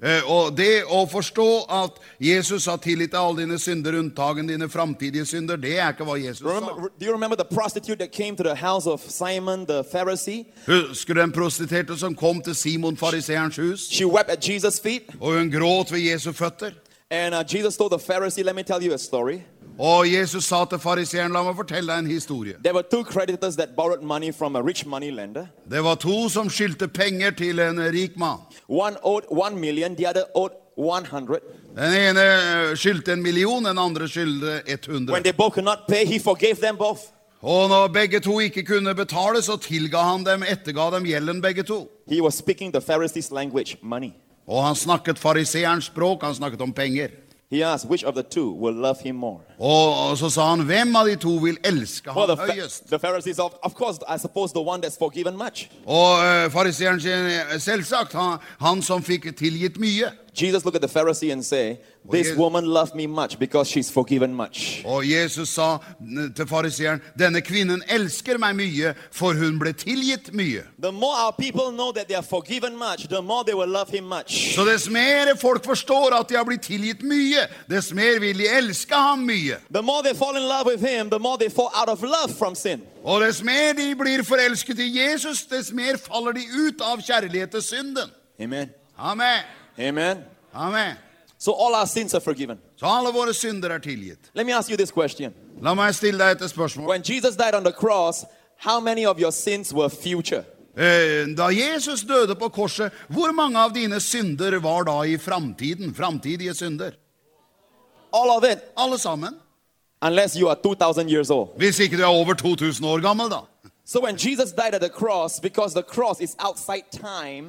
[SPEAKER 2] Eh, Og det å forstå at Jesus har tillit til alle dine synder, unntagen dine framtidige synder, det er ikke hva Jesus sa.
[SPEAKER 3] Remember, do you remember the prostitute that came to the house of Simon the Pharisee?
[SPEAKER 2] Husker du den prostituerte som kom til Simon fariseerens hus,
[SPEAKER 3] She wept at Jesus' feet,
[SPEAKER 2] og hun gråt ved Jesu føtter?
[SPEAKER 3] and uh, Jesus told the Pharisee, Let me tell you a story.
[SPEAKER 2] Og Jesus sa til fariseeren, la meg fortelle deg en historie.
[SPEAKER 3] There were two creditors that borrowed money from a rich money lender.
[SPEAKER 2] Det var to som skyldte penger til en rik mann.
[SPEAKER 3] One owed one million, the other owed 100.
[SPEAKER 2] Den ene eh, skyldte en million, den andre skyldte
[SPEAKER 3] When
[SPEAKER 2] 100.
[SPEAKER 3] they both could not pay, he forgave them both.
[SPEAKER 2] Og når begge to ikke kunne betale, så tilga han dem, etterga dem gjelden begge to.
[SPEAKER 3] He was speaking the Pharisees' language, money.
[SPEAKER 2] Og han snakket fariseerens språk, han snakket om penger.
[SPEAKER 3] He asked, Which of the two will love him more?
[SPEAKER 2] Og, og så sa han, hvem av de to vil elske
[SPEAKER 3] Well,
[SPEAKER 2] han
[SPEAKER 3] the, Pha-
[SPEAKER 2] høyest?
[SPEAKER 3] the Pharisees, of, of course, I suppose the one that's forgiven much.
[SPEAKER 2] Og uh, fariseeren sier, selvsagt, han, han som fikk tilgitt mye.
[SPEAKER 3] Jesus looked at the Pharisee and say,
[SPEAKER 2] Well,
[SPEAKER 3] This
[SPEAKER 2] yes.
[SPEAKER 3] woman loved me much because she's forgiven much.
[SPEAKER 2] Og Jesus sa eh, til fariseeren, denne kvinnen elsker meg mye, for hun ble tilgitt mye.
[SPEAKER 3] The more our people know that they are forgiven much, the more they will love him much.
[SPEAKER 2] Så dess mer folk forstår at de har blitt tilgitt mye, dess mer vil de elske ham mye.
[SPEAKER 3] The more they fall in love with him, the more they fall out of love from sin.
[SPEAKER 2] Og dess mer de blir forelsket i Jesus, dess mer faller de ut av kjærlighet til synden.
[SPEAKER 3] Amen.
[SPEAKER 2] Amen.
[SPEAKER 3] Amen.
[SPEAKER 2] Amen.
[SPEAKER 3] So all our sins are forgiven.
[SPEAKER 2] Så alle våre synder er tilgitt.
[SPEAKER 3] Let me ask you this question.
[SPEAKER 2] La meg stille deg et spørsmål.
[SPEAKER 3] When Jesus died on the cross, how many of your sins were future?
[SPEAKER 2] Eh, Da Jesus døde på korset, hvor mange av dine synder var da i framtiden? Framtidige synder?
[SPEAKER 3] All of it,
[SPEAKER 2] Alle sammen?
[SPEAKER 3] unless you are 2,000 years old.
[SPEAKER 2] Hvis ikke du er over 2000 år gammel, da.
[SPEAKER 3] So when Jesus died at the cross, because the cross is outside time,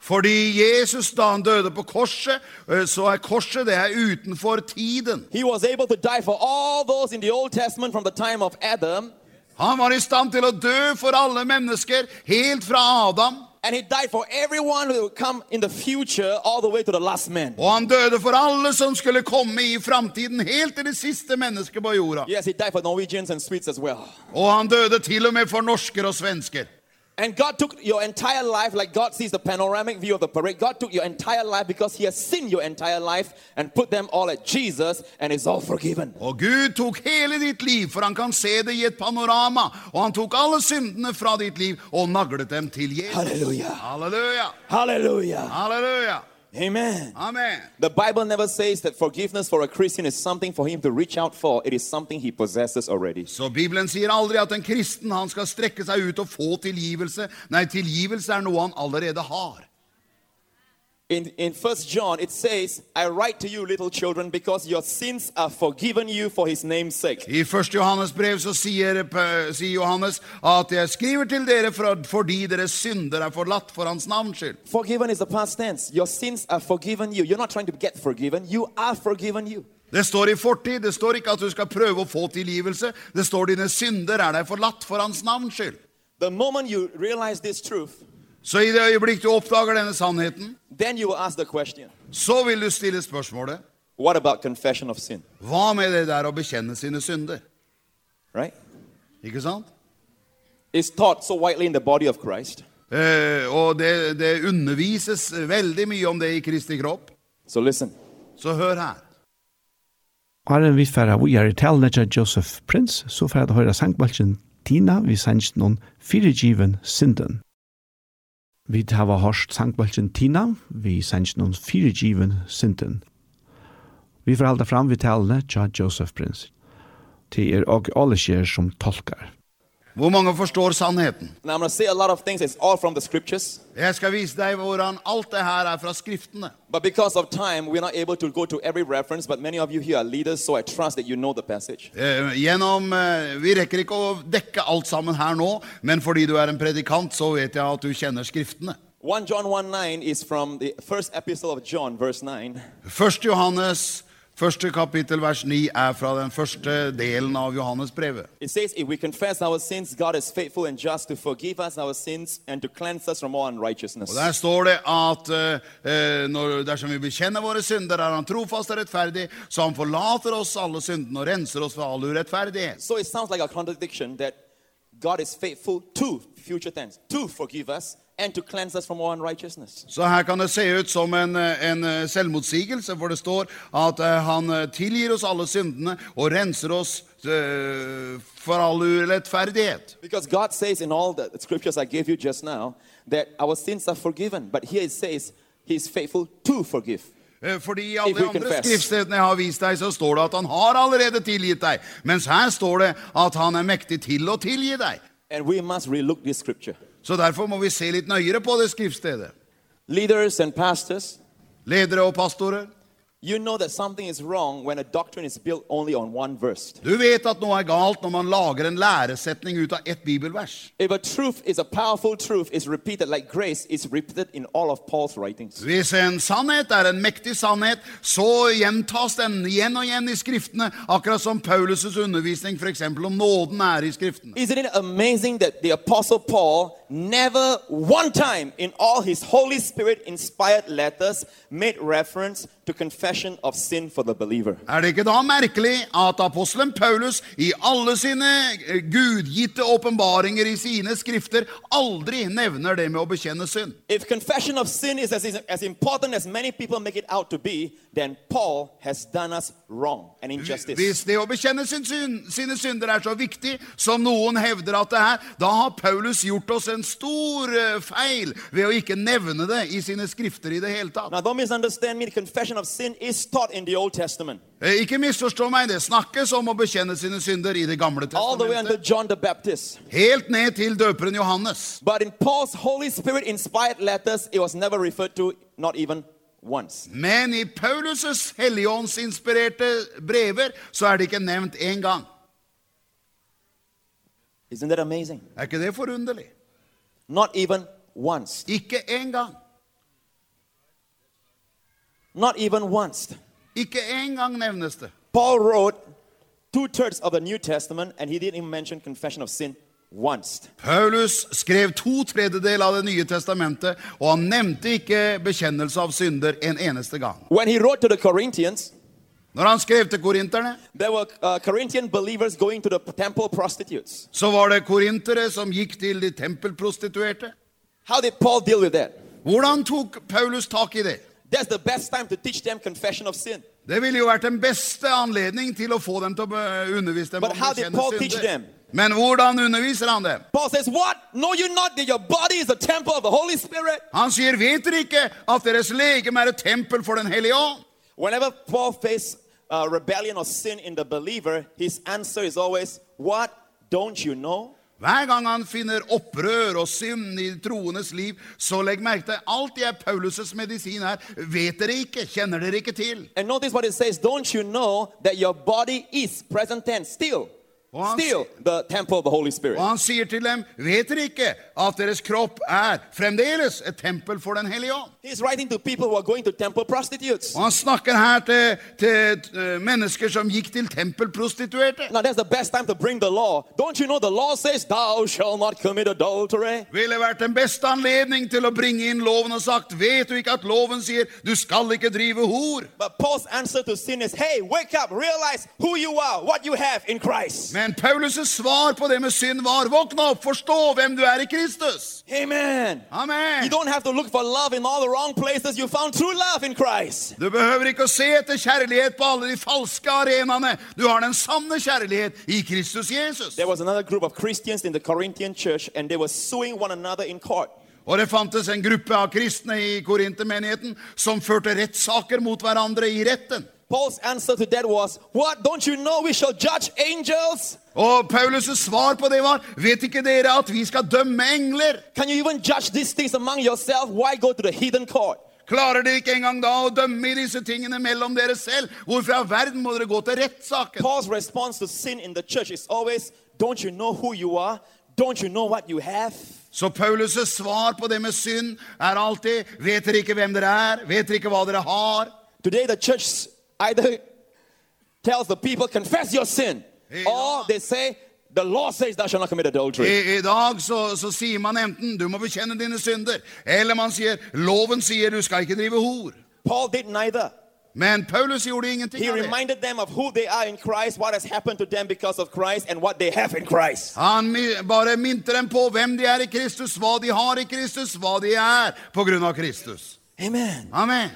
[SPEAKER 2] Fordi Jesus, da han døde på korset, eh, så er korset det er utenfor tiden.
[SPEAKER 3] he was able to die for all those in the Old Testament from the time of Adam,
[SPEAKER 2] Han var i stand til å dø for alle mennesker, helt fra Adam.
[SPEAKER 3] and he died for everyone who would come in the future, all the way to the last man.
[SPEAKER 2] Og han døde for alle som skulle komme i framtiden, helt til det siste mennesket på jorda.
[SPEAKER 3] Yes, he died for Norwegians and Swedes as well.
[SPEAKER 2] Og han døde til og med for norsker og svensker.
[SPEAKER 3] And God took your entire life, like God sees the panoramic view of the parade. God took your entire life because He has seen your entire life and put them all at Jesus, and it's all forgiven.
[SPEAKER 2] Og Gud tok hele ditt liv, for han kan se det i et panorama. Og han tok alle syndene fra ditt liv og naglet dem til Jesus.
[SPEAKER 3] Hallelujah.
[SPEAKER 2] Halleluja!
[SPEAKER 3] Hallelujah.
[SPEAKER 2] Halleluja!
[SPEAKER 3] Amen.
[SPEAKER 2] Amen.
[SPEAKER 3] The Bible never says that forgiveness for a Christian is something for him to reach out for, it is something he possesses already.
[SPEAKER 2] Så Bibelen sier aldri at en kristen han skal strekke seg ut og få tilgivelse. Nei, tilgivelse er noe han allerede har.
[SPEAKER 3] In, in 1 John, it says, I write to you, little children, because your sins are forgiven you for His name's sake.
[SPEAKER 2] I 1. Johannes brev så sier, eh, sier Johannes at jeg skriver til dere for, fordi deres synder er forlatt for hans navns skyld.
[SPEAKER 3] Forgiven is the past tense. Your sins are forgiven you. You're not trying to get forgiven, you are forgiven you.
[SPEAKER 2] Det står i fortid, det står ikke at du skal prøve å få tilgivelse. Det står dine synder er deg forlatt for hans navns skyld.
[SPEAKER 3] The moment you realize this truth,
[SPEAKER 2] Så i det øyeblikk du oppdager denne sannheten,
[SPEAKER 3] then you will ask the question
[SPEAKER 2] så vil du stille spørsmålet,
[SPEAKER 3] what about confession of sin?
[SPEAKER 2] hva med det der å bekjenne sine synder?
[SPEAKER 3] Right?
[SPEAKER 2] Ikke sant?
[SPEAKER 3] It's taught so widely in the body of Christ.
[SPEAKER 2] Eh, og det, det undervises veldig mye om det i Kristi kropp.
[SPEAKER 3] So listen.
[SPEAKER 2] Så hør her.
[SPEAKER 1] Arren vi færa vi er i talen etter Joseph Prince, så færa du høyra sangbalsen Tina vi sanns noen firegiven synden. Vi hava hørst sangbalsen Tina vi sanns noen firegiven synden. Vi får halda fram vi talene etter Joseph Prince. Til er og alle skjer som tolkar.
[SPEAKER 2] Hvor mange forstår sannheten?
[SPEAKER 3] Now I'm going to say a lot of things. It's all from the scriptures.
[SPEAKER 2] Jeg skal vise deg hvordan alt det her er fra skriftene.
[SPEAKER 3] But because of time, we're not able to go to every reference. But many of you here are leaders, so I trust that you know the passage.
[SPEAKER 2] Eh, gjennom, eh, vi rekker ikke å dekke alt sammen her nå, men fordi du er en predikant, så vet jeg at du kjenner skriftene.
[SPEAKER 3] 1 John 1 9 is from the first epistle of John, verse 9.
[SPEAKER 2] 1. Johannes, første kapittel, vers 9, er fra den første delen av Johannes brevet.
[SPEAKER 3] It says, If we confess our sins, God is faithful and just to forgive us our sins and to cleanse us from all unrighteousness.
[SPEAKER 2] Og der står det at eh, eh, når, dersom vi bekjenner våre synder, er han trofast og rettferdig, så han forlater oss alle syndene og renser oss fra all urettferdighet.
[SPEAKER 3] So it sounds like a contradiction that God is faithful to future tense, to forgive us and to cleanse us from all unrighteousness.
[SPEAKER 2] Så her kan det se ut som en, eh, en eh, selvmotsigelse, for det står at eh, han eh, tilgir oss alle syndene og renser oss eh, for all urettferdighet.
[SPEAKER 3] Because God says in all the scriptures I gave you just now that our sins are forgiven, but here it says he is faithful to forgive.
[SPEAKER 2] Eh, Fordi i alle
[SPEAKER 3] If we
[SPEAKER 2] de andre
[SPEAKER 3] confess.
[SPEAKER 2] skriftstedene jeg har vist deg, så står det at han har allerede tilgitt deg. Mens her står det at han er mektig til å tilgi deg.
[SPEAKER 3] And we must relook this scripture.
[SPEAKER 2] Så derfor må vi se litt nøyere på det skriftstedet.
[SPEAKER 3] Leaders and pastors,
[SPEAKER 2] Ledere og pastorer,
[SPEAKER 3] you know that something is wrong when a doctrine is built only on one verse.
[SPEAKER 2] du vet at noe er galt når man lager en læresetning ut av ett bibelvers.
[SPEAKER 3] If a truth is a powerful truth, is repeated like grace, it's repeated in all of Paul's writings.
[SPEAKER 2] Hvis en sannhet er en mektig sannhet, så gjentas den igjen og igjen i skriftene, akkurat som Paulus' undervisning for eksempel om nåden er i skriftene.
[SPEAKER 3] Isn't it amazing that the Apostle Paul never one time in all his Holy Spirit inspired letters made reference to confession of sin for the believer?
[SPEAKER 2] Er det ikke da merkelig at apostelen Paulus i alle sine eh, gudgitte åpenbaringer i sine skrifter aldri nevner det med å bekjenne synd?
[SPEAKER 3] If confession of sin is as, as important as many people make it out to be, then Paul has done us wrong and injustice.
[SPEAKER 2] Hvis det er å bekjenne sin synd, sine synder er så viktig som noen hevder at det er, da har Paulus gjort oss en stor eh, feil ved å ikke nevne det i sine skrifter i det hele tatt.
[SPEAKER 3] Now, don't misunderstand me. The confession of sin is taught in the Old Testament,
[SPEAKER 2] Eh, Ikke misforstå meg, det snakkes om å bekjenne sine synder i det gamle
[SPEAKER 3] all the way until
[SPEAKER 2] testamentet.
[SPEAKER 3] John the Baptist.
[SPEAKER 2] Helt ned til døperen Johannes.
[SPEAKER 3] But in Paul's Holy Spirit inspired letters, it was never referred to, not even once.
[SPEAKER 2] Men i Paulus' helligåndsinspirerte brever så er det ikke nevnt en gang.
[SPEAKER 3] Isn't that amazing?
[SPEAKER 2] Er ikke det forunderlig?
[SPEAKER 3] Not even once.
[SPEAKER 2] Ikke en gang.
[SPEAKER 3] Not even once.
[SPEAKER 2] Ikke en gang nevnes det.
[SPEAKER 3] Paul wrote two thirds of the New Testament and he didn't even mention confession of sin once.
[SPEAKER 2] Paulus skrev to tredjedel av det nye testamentet, og han nevnte ikke bekjennelse av synder en eneste gang.
[SPEAKER 3] When he wrote to the Corinthians,
[SPEAKER 2] Når han skrev til korinterne,
[SPEAKER 3] there were uh, Corinthian believers going to the temple prostitutes.
[SPEAKER 2] så var det korintere som gikk til de tempelprostituerte.
[SPEAKER 3] How did Paul deal with that?
[SPEAKER 2] Hvordan tok Paulus tak i det?
[SPEAKER 3] That's the best time to teach them confession of sin.
[SPEAKER 2] Det ville jo vært den beste anledning til å få dem til å be- undervise dem
[SPEAKER 3] But how did Paul teach them?
[SPEAKER 2] Men hvordan underviser han dem?
[SPEAKER 3] Paul says, What? Know you not that your body is a temple of the Holy Spirit?
[SPEAKER 2] Han sier, vet dere ikke at deres legem er et tempel for den hellige ånd?
[SPEAKER 3] Whenever Paul faced uh, rebellion or sin in the believer, his answer is always, What? Don't you know?
[SPEAKER 2] Hver gang han finner opprør og synd i troendes liv, så legg merke til alt det er Paulus' medisin her. Vet dere ikke? Kjenner dere ikke til?
[SPEAKER 3] And notice what it says Don't you know that your body is present tense, still,
[SPEAKER 2] Well, I'm
[SPEAKER 3] still the temple of the Holy Spirit?
[SPEAKER 2] Og han sier til dem, vet dere ikke at deres kropp er fremdeles et tempel for den hellige ånd?
[SPEAKER 3] He's writing to people who are going to temple prostitutes.
[SPEAKER 2] Og han snakker her til, til eh, mennesker som gikk til tempelprostituerte.
[SPEAKER 3] Now, that's the best time to bring the law. Don't you know the law says, Thou shalt not commit adultery?
[SPEAKER 2] ville vært den beste anledning til å bringe inn loven og sagt, vet du ikke at loven sier, du skal ikke drive hor?
[SPEAKER 3] But Paul's answer to sin is, Hey, wake up, realize who you are, what you have in Christ.
[SPEAKER 2] Men Paulus' svar på det med synd var, våkne opp, forstå hvem du er i Kristus.
[SPEAKER 3] Amen. You
[SPEAKER 2] Amen.
[SPEAKER 3] don't have to look for love in all the wrong places. You found true love in Christ.
[SPEAKER 2] Du behøver ikke å se etter kjærlighet på alle de falske arenaene. Du har den sanne kjærlighet i Kristus Jesus.
[SPEAKER 3] There was another group of Christians in the Corinthian church, and they were suing one another in court.
[SPEAKER 2] Og det fantes en gruppe av kristne i Korintermenigheten som førte rettssaker mot hverandre i retten.
[SPEAKER 3] Paul's answer to that was, What? Don't you know we shall judge angels?
[SPEAKER 2] Og Paulus' svar på det var, vet ikke dere at vi skal dømme engler?
[SPEAKER 3] Can you even judge these things among yourself? Why go to the hidden court?
[SPEAKER 2] Klarer dere ikke engang da å dømme i disse tingene mellom dere selv? Hvorfor i all verden må dere gå til rettssaken?
[SPEAKER 3] Paul's response to sin in the church is always, Don't you know who you are? Don't you know what you have?
[SPEAKER 2] Så Paulus' svar på det med synd er alltid Vet dere ikke hvem dere er? Vet dere ikke hva dere har?
[SPEAKER 3] Today, the church either tells the people, Confess your sin,
[SPEAKER 2] Hey,
[SPEAKER 3] or
[SPEAKER 2] no.
[SPEAKER 3] they say, The law says thou shalt not commit adultery.
[SPEAKER 2] I, i dag så, så sier man enten du må bekjenne dine synder, eller man sier loven sier du skal ikke drive hor.
[SPEAKER 3] Paul did neither.
[SPEAKER 2] Men Paulus gjorde ingenting
[SPEAKER 3] He
[SPEAKER 2] av det.
[SPEAKER 3] reminded them of who they are in Christ, what has happened to them because of Christ, and what they have in Christ.
[SPEAKER 2] Han mi- bare minte dem på hvem de er i Kristus, hva de har i Kristus, hva de er på grunn av Kristus.
[SPEAKER 3] Amen.
[SPEAKER 2] Amen.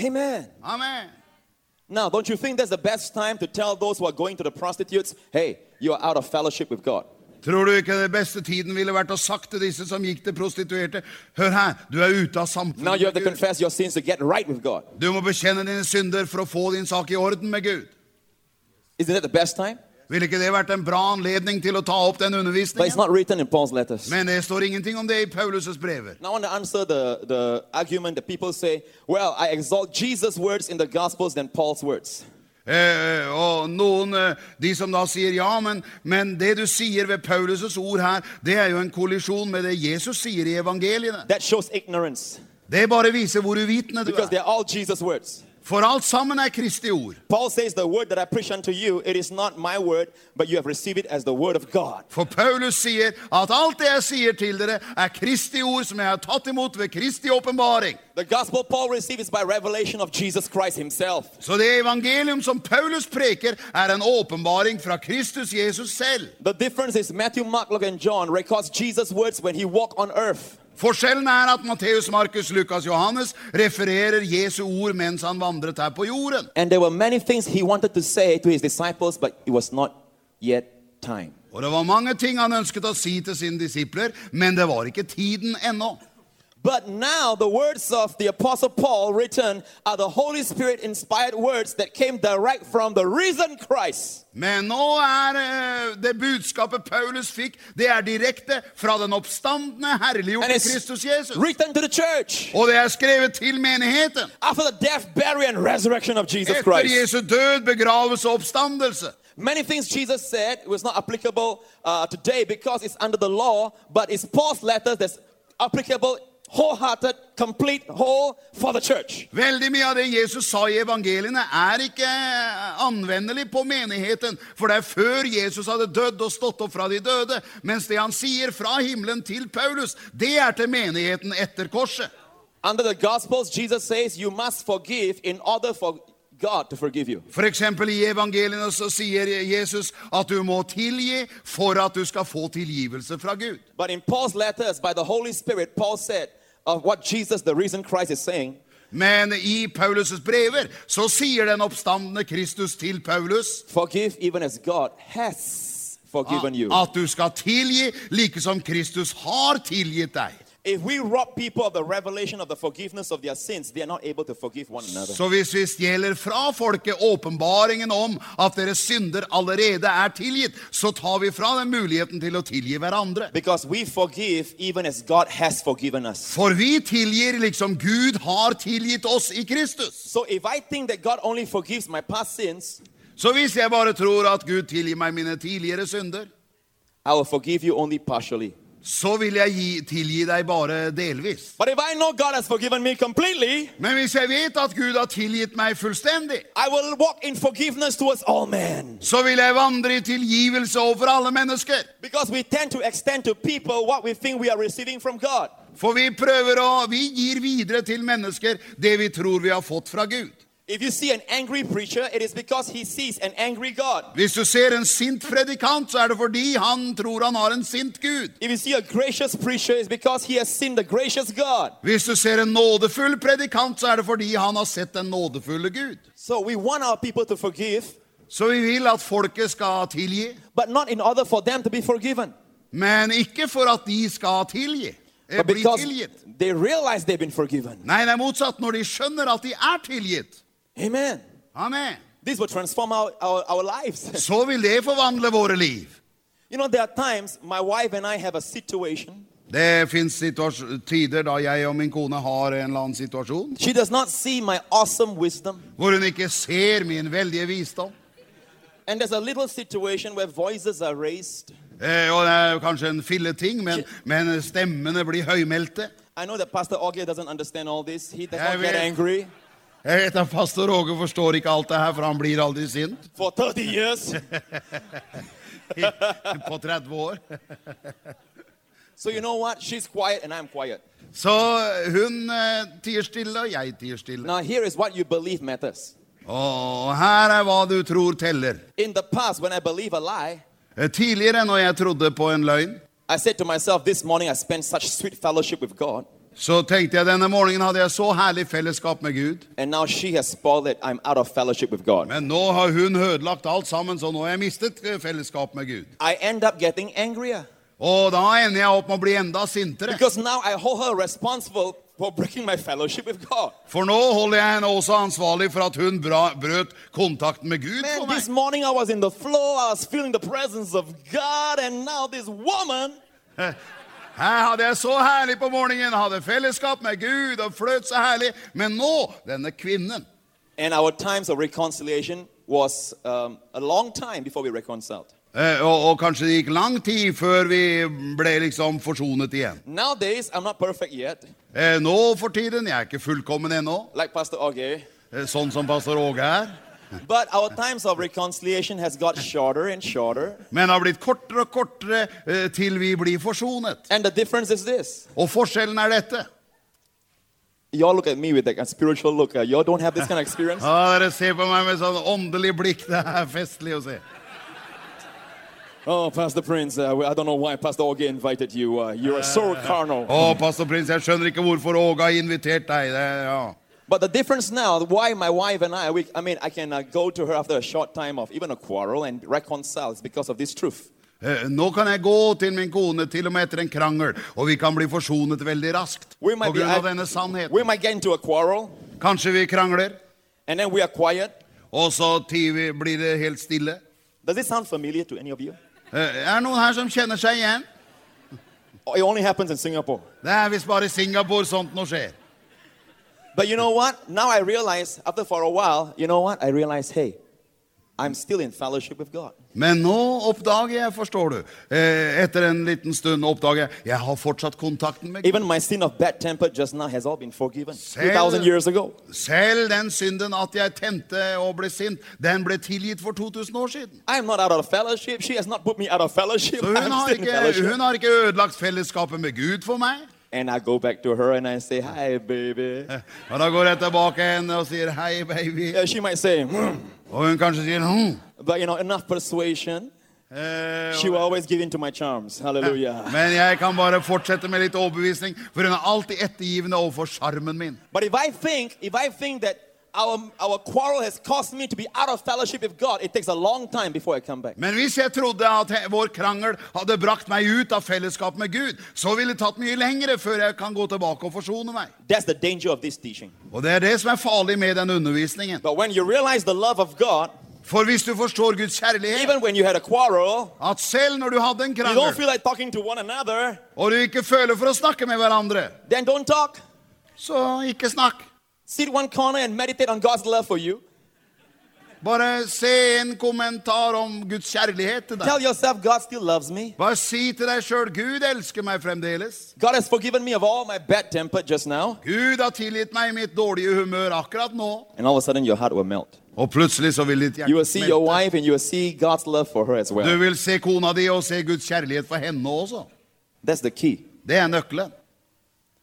[SPEAKER 3] Amen.
[SPEAKER 2] Amen.
[SPEAKER 3] Now, don't you think that's the best time to tell those who are going to the prostitutes, hey, you are out of fellowship with God?
[SPEAKER 2] Tror du ikke den beste tiden ville vært å sagt til disse som gikk til prostituerte? Hør her, du er ute av
[SPEAKER 3] Now you
[SPEAKER 2] samfunnet med
[SPEAKER 3] have to
[SPEAKER 2] Gud.
[SPEAKER 3] confess your sins to get right with God.
[SPEAKER 2] Du må bekjenne dine synder for å få din sak i orden med Gud.
[SPEAKER 3] Isn't that the best time?
[SPEAKER 2] Ville ikke det vært en bra anledning til å ta opp den
[SPEAKER 3] But it's
[SPEAKER 2] undervisningen?
[SPEAKER 3] not written in Paul's letters.
[SPEAKER 2] Men det står ingenting om det i Paulus' brever.
[SPEAKER 3] Now I want to answer the, the argument that people say, well, I exalt Jesus' words in the Gospels than Paul's words.
[SPEAKER 2] Eh, og noen, eh, de som da sier ja, men, men det du sier ved Paulus' ord her, det er jo en kollisjon med det Jesus sier i evangeliene.
[SPEAKER 3] That shows ignorance
[SPEAKER 2] Det er bare viser hvor uvitende du
[SPEAKER 3] because
[SPEAKER 2] er.
[SPEAKER 3] they're all Jesus' words.
[SPEAKER 2] For alt sammen er Kristi ord.
[SPEAKER 3] Paul says, The word that I preach unto you, it is not my word, but you have received it as the word of God.
[SPEAKER 2] For Paulus sier at alt det jeg sier til dere, er Kristi ord som jeg har tatt imot ved Kristi åpenbaring.
[SPEAKER 3] The gospel Paul received is by revelation of Jesus Christ himself.
[SPEAKER 2] Så det evangelium som Paulus preker, er en åpenbaring fra Kristus Jesus selv.
[SPEAKER 3] The difference is Matthew, Mark, Luke, and John records Jesus' words when he walked on earth.
[SPEAKER 2] Forskjellen er at Matteus, Markus, Lukas, Johannes refererer Jesu ord mens han vandret her på jorden.
[SPEAKER 3] And there were many things he wanted to say to his disciples, but it was not yet time.
[SPEAKER 2] Og det var mange ting han ønsket å si til sine disipler, men det var ikke tiden ennå.
[SPEAKER 3] But now the words of the apostle Paul written are the Holy Spirit inspired words that came direct from the risen Christ.
[SPEAKER 2] Men nå er eh, det budskapet Paulus fikk, det er direkte fra den oppstandende,
[SPEAKER 3] And
[SPEAKER 2] herliggjorte
[SPEAKER 3] it's
[SPEAKER 2] Kristus Jesus.
[SPEAKER 3] written to the church
[SPEAKER 2] Og det er skrevet til menigheten.
[SPEAKER 3] after the death, burial, and resurrection of Jesus
[SPEAKER 2] Etter
[SPEAKER 3] Christ.
[SPEAKER 2] Jesu død, begravelse og oppstandelse.
[SPEAKER 3] Many things Jesus said was not applicable uh, today because it's under the law, but it's Paul's letters that's applicable, wholehearted, complete, whole for the church.
[SPEAKER 2] Veldig mye av det Jesus sa i evangeliene, er ikke anvendelig på menigheten. For det er før Jesus hadde dødd og stått opp fra de døde. Mens det han sier fra himmelen til Paulus, det er til menigheten etter korset.
[SPEAKER 3] Under the Gospels, Jesus says you must forgive in order for God to forgive you.
[SPEAKER 2] For eksempel i evangeliene så sier Jesus at du må tilgi for at du skal få tilgivelse fra Gud.
[SPEAKER 3] But in Paul's letters, by the Holy Spirit, Paul said of what Jesus, the risen Christ, is saying,
[SPEAKER 2] Men i Paulus' brever så sier den oppstandende Kristus til Paulus
[SPEAKER 3] forgive even as God has forgiven you.
[SPEAKER 2] At du skal tilgi, like som Kristus har tilgitt deg.
[SPEAKER 3] If we rob people of the revelation of the forgiveness of their sins, they are not able to forgive one another.
[SPEAKER 2] Så hvis vi stjeler fra folket åpenbaringen om at deres synder allerede er tilgitt, så tar vi fra dem muligheten til å tilgi hverandre.
[SPEAKER 3] Because we forgive even as God has forgiven us.
[SPEAKER 2] For vi tilgir liksom Gud har tilgitt oss i Kristus.
[SPEAKER 3] So if I think that God only forgives my past sins,
[SPEAKER 2] Så hvis jeg bare tror at Gud tilgir meg mine tidligere synder,
[SPEAKER 3] I will forgive you only partially.
[SPEAKER 2] så vil jeg gi, tilgi deg bare delvis.
[SPEAKER 3] But if I know God has forgiven me completely,
[SPEAKER 2] Men hvis jeg vet at Gud har tilgitt meg fullstendig,
[SPEAKER 3] I will walk in forgiveness towards all men.
[SPEAKER 2] så vil jeg vandre i tilgivelse overfor alle mennesker.
[SPEAKER 3] Because we tend to extend to people what we think we are receiving from God.
[SPEAKER 2] For vi prøver å Vi gir videre til mennesker det vi tror vi har fått fra Gud.
[SPEAKER 3] If you see an angry preacher, it is because he sees an angry God.
[SPEAKER 2] Hvis du ser en sint predikant, så er det fordi han tror han har en sint Gud.
[SPEAKER 3] If you see a gracious preacher, it's because he has seen the gracious God.
[SPEAKER 2] Hvis du ser en nådefull predikant, så er det fordi han har sett den nådefulle Gud.
[SPEAKER 3] So we want our people to forgive,
[SPEAKER 2] Så vi vil at folket skal tilgi,
[SPEAKER 3] but not in order for them to be forgiven.
[SPEAKER 2] men ikke for at de skal tilgi. eh,
[SPEAKER 3] But
[SPEAKER 2] Bli
[SPEAKER 3] because
[SPEAKER 2] tilgitt.
[SPEAKER 3] they realize they've been forgiven.
[SPEAKER 2] Nei, det er motsatt når de skjønner at de er tilgitt.
[SPEAKER 3] Amen.
[SPEAKER 2] Amen.
[SPEAKER 3] This will transform our, our, our lives.
[SPEAKER 2] Så vil det forvandle våre liv.
[SPEAKER 3] You know, there are times my wife and I have a situation.
[SPEAKER 2] Det fins tider da jeg og min kone har en eller annen situasjon.
[SPEAKER 3] She does not see my awesome wisdom.
[SPEAKER 2] hvor hun ikke ser min veldige visdom.
[SPEAKER 3] And there's a little situation where voices are raised.
[SPEAKER 2] Eh, og det er jo kanskje en filleting, men, men stemmene blir høymelte.
[SPEAKER 3] I know that Pastor Augie doesn't understand all this. He does
[SPEAKER 2] Yeah,
[SPEAKER 3] not get
[SPEAKER 2] we-
[SPEAKER 3] angry.
[SPEAKER 2] Jeg vet at pastor Åge forstår ikke alt det her, for han blir aldri sint
[SPEAKER 3] For 30 years,
[SPEAKER 2] på 30 år.
[SPEAKER 3] So you know what? She's quiet and I'm quiet.
[SPEAKER 2] Så hun eh, tier stille, og jeg tier stille.
[SPEAKER 3] Now here is what you believe matters.
[SPEAKER 2] Og her er hva du tror teller.
[SPEAKER 3] In the past, when I believe a lie,
[SPEAKER 2] Eh, Tidligere, når jeg trodde på en løgn,
[SPEAKER 3] I said to myself, this morning I spent such sweet fellowship with God,
[SPEAKER 2] så tenkte jeg denne morgenen hadde jeg så herlig fellesskap med Gud.
[SPEAKER 3] and now she has spoiled it. I'm out of fellowship with God.
[SPEAKER 2] Men nå har hun ødelagt alt sammen, så nå har jeg mistet eh, fellesskap med Gud.
[SPEAKER 3] I end up getting angrier
[SPEAKER 2] Og da ender jeg opp med å bli enda sintere.
[SPEAKER 3] because now I hold her responsible for breaking my fellowship with God.
[SPEAKER 2] For nå holder jeg henne også ansvarlig for at hun bra, brøt kontakten med Gud
[SPEAKER 3] Man,
[SPEAKER 2] for
[SPEAKER 3] this
[SPEAKER 2] meg.
[SPEAKER 3] morning I was in the floor, I was feeling the presence of God, and now this woman,
[SPEAKER 2] Her hadde jeg så herlig på morgenen, hadde fellesskap med Gud og fløt så herlig. Men nå, denne kvinnen
[SPEAKER 3] and our times of reconciliation was um, a long time before we reconciled.
[SPEAKER 2] eh, og, og kanskje det gikk lang tid før vi ble liksom forsonet igjen.
[SPEAKER 3] Nowadays, I'm not perfect yet,
[SPEAKER 2] Eh, nå for tiden, jeg er ikke fullkommen ennå,
[SPEAKER 3] like Pastor Augie,
[SPEAKER 2] eh, sånn som pastor Åge er.
[SPEAKER 3] but our times of reconciliation has got shorter and shorter.
[SPEAKER 2] Men det har blitt kortere og kortere eh, til vi blir forsonet.
[SPEAKER 3] And the difference is this.
[SPEAKER 2] Og forskjellen er dette.
[SPEAKER 3] Y'all look at me with like a spiritual look. Uh, y'all don't have this kind of experience.
[SPEAKER 2] Ja, dere ser på meg med sånn åndelig blikk. Det er festlig å se.
[SPEAKER 3] Oh, Pastor Prince, uh, I don't know why Pastor Augie invited you. Uh, you're so carnal.
[SPEAKER 2] Å, pastor Prins, jeg skjønner ikke hvorfor Åge har invitert deg. Det, er- ja.
[SPEAKER 3] But the difference now, why my wife and I, we, I mean, I can uh, go to her after a short time of even a quarrel and reconcile is because of this truth.
[SPEAKER 2] Eh, Nå kan jeg gå til min kone til og med etter en krangel, og vi kan bli forsonet veldig raskt på
[SPEAKER 3] We might, be,
[SPEAKER 2] grunn av
[SPEAKER 3] I-
[SPEAKER 2] denne
[SPEAKER 3] we
[SPEAKER 2] sannheten.
[SPEAKER 3] might get into a quarrel
[SPEAKER 2] Kanskje vi krangler,
[SPEAKER 3] and then we are quiet.
[SPEAKER 2] og så tier vi, blir det helt stille.
[SPEAKER 3] Does it sound familiar to any of you?
[SPEAKER 2] Eh, Er det noen her som kjenner seg igjen?
[SPEAKER 3] Oh, It only happens in Singapore.
[SPEAKER 2] Det er visst bare i Singapore sånt nå skjer.
[SPEAKER 3] But you know what? Now I realize, after for a while, you know what? I realize, hey, I'm still in fellowship with God.
[SPEAKER 2] Men nå oppdager jeg, forstår du, eh, etter en liten stund oppdager jeg, jeg har fortsatt kontakten med Gud.
[SPEAKER 3] Even my sin of bad temper just now has all been forgiven.
[SPEAKER 2] Sell-
[SPEAKER 3] 2,000 years ago.
[SPEAKER 2] Selv den synden at jeg tente og ble sint, den ble tilgitt for 2000 år siden.
[SPEAKER 3] I am not out of fellowship. She has not put me out of fellowship.
[SPEAKER 2] Så hun
[SPEAKER 3] I'm
[SPEAKER 2] har,
[SPEAKER 3] still in
[SPEAKER 2] ikke,
[SPEAKER 3] fellowship.
[SPEAKER 2] hun har ikke ødelagt fellesskapet med Gud for meg.
[SPEAKER 3] And I go back to her and I say, hi, baby.
[SPEAKER 2] Og da går jeg tilbake henne og sier hei, baby.
[SPEAKER 3] Yeah, she might say, "Mm,"
[SPEAKER 2] Og hun kanskje sier hm.
[SPEAKER 3] but you know, enough persuasion.
[SPEAKER 2] Eh,
[SPEAKER 3] She will always give in to my charms. Hallelujah.
[SPEAKER 2] men jeg kan bare fortsette med litt overbevisning, for hun er alltid ettergivende overfor sjarmen min.
[SPEAKER 3] But if I think, if I think that our, our quarrel has caused me to be out of fellowship with God, it takes a long time before I come back.
[SPEAKER 2] Men hvis jeg trodde at he- vår krangel hadde brakt meg ut av fellesskap med Gud, så ville det tatt mye lengre før jeg kan gå tilbake og forsone meg.
[SPEAKER 3] That's the danger of this teaching.
[SPEAKER 2] Og det er det som er farlig med den undervisningen.
[SPEAKER 3] But when you realize the love of God,
[SPEAKER 2] For hvis du forstår Guds kjærlighet,
[SPEAKER 3] even when you had a quarrel,
[SPEAKER 2] at selv når du hadde en
[SPEAKER 3] you don't
[SPEAKER 2] krangel,
[SPEAKER 3] feel like talking to one another,
[SPEAKER 2] og du ikke føler for å snakke med hverandre,
[SPEAKER 3] then don't talk.
[SPEAKER 2] så ikke snakk.
[SPEAKER 3] Sit one corner and meditate on God's love for you.
[SPEAKER 2] Bare se en kommentar om Guds kjærlighet til deg.
[SPEAKER 3] Tell yourself, God still loves me.
[SPEAKER 2] Bare si til deg sjøl Gud elsker meg fremdeles.
[SPEAKER 3] God has forgiven me of all my bad temper just now.
[SPEAKER 2] Gud har tilgitt meg mitt dårlige humør akkurat nå.
[SPEAKER 3] And all of a sudden, your heart will melt.
[SPEAKER 2] Og plutselig så vil ditt
[SPEAKER 3] You will
[SPEAKER 2] hjerte
[SPEAKER 3] see your wife and you will see God's love for her as
[SPEAKER 2] Du
[SPEAKER 3] well.
[SPEAKER 2] vil se kona di og se Guds kjærlighet for henne også.
[SPEAKER 3] That's the key.
[SPEAKER 2] Det er nøkkelen.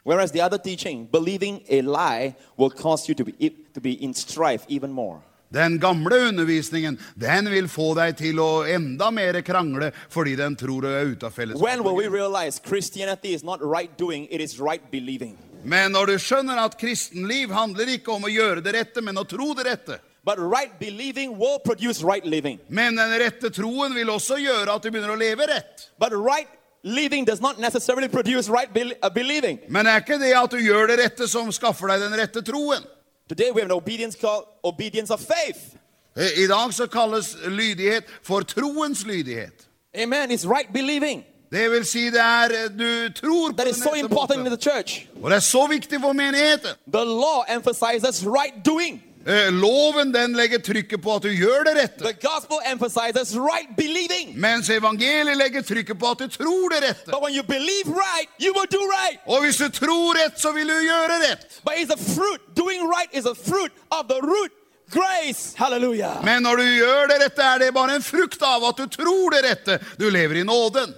[SPEAKER 3] Whereas the other teaching, believing a lie will cause you to be, to be in strife even more.
[SPEAKER 2] Den gamle undervisningen den vil få deg til å enda mer krangle fordi den tror du er ute av
[SPEAKER 3] When
[SPEAKER 2] fellesskapet.
[SPEAKER 3] will we realize Christianity is not right doing, it is right believing?
[SPEAKER 2] Men når du skjønner at kristenliv handler ikke om å gjøre det rette, men å tro det rette.
[SPEAKER 3] But right believing will produce right living.
[SPEAKER 2] Men den rette troen vil også gjøre at du begynner å leve rett.
[SPEAKER 3] But right living does not necessarily produce right bel uh, believing.
[SPEAKER 2] Men det er ikke det at du gjør det rette som skaffer deg den rette troen.
[SPEAKER 3] Today we have an obedience called obedience of faith.
[SPEAKER 2] Eh, I dag så kalles lydighet for troens lydighet.
[SPEAKER 3] Amen. It's right believing
[SPEAKER 2] Det vil si det er eh, du tror på
[SPEAKER 3] that is
[SPEAKER 2] den
[SPEAKER 3] so
[SPEAKER 2] rette
[SPEAKER 3] important in
[SPEAKER 2] måten.
[SPEAKER 3] the church.
[SPEAKER 2] Og det er så viktig for menigheten.
[SPEAKER 3] The law emphasizes right doing.
[SPEAKER 2] Eh, Loven den legger trykket på at du gjør det rette.
[SPEAKER 3] The gospel emphasizes right believing.
[SPEAKER 2] Mens evangeliet legger trykket på at du tror det rette.
[SPEAKER 3] But when you believe right, you will do right.
[SPEAKER 2] Og hvis du tror rett, så vil du gjøre rett.
[SPEAKER 3] But it's a fruit. Doing right is a fruit of the root grace. Hallelujah.
[SPEAKER 2] Men når du gjør det rette, er det bare en frukt av at du tror det rette. Du lever i nåden.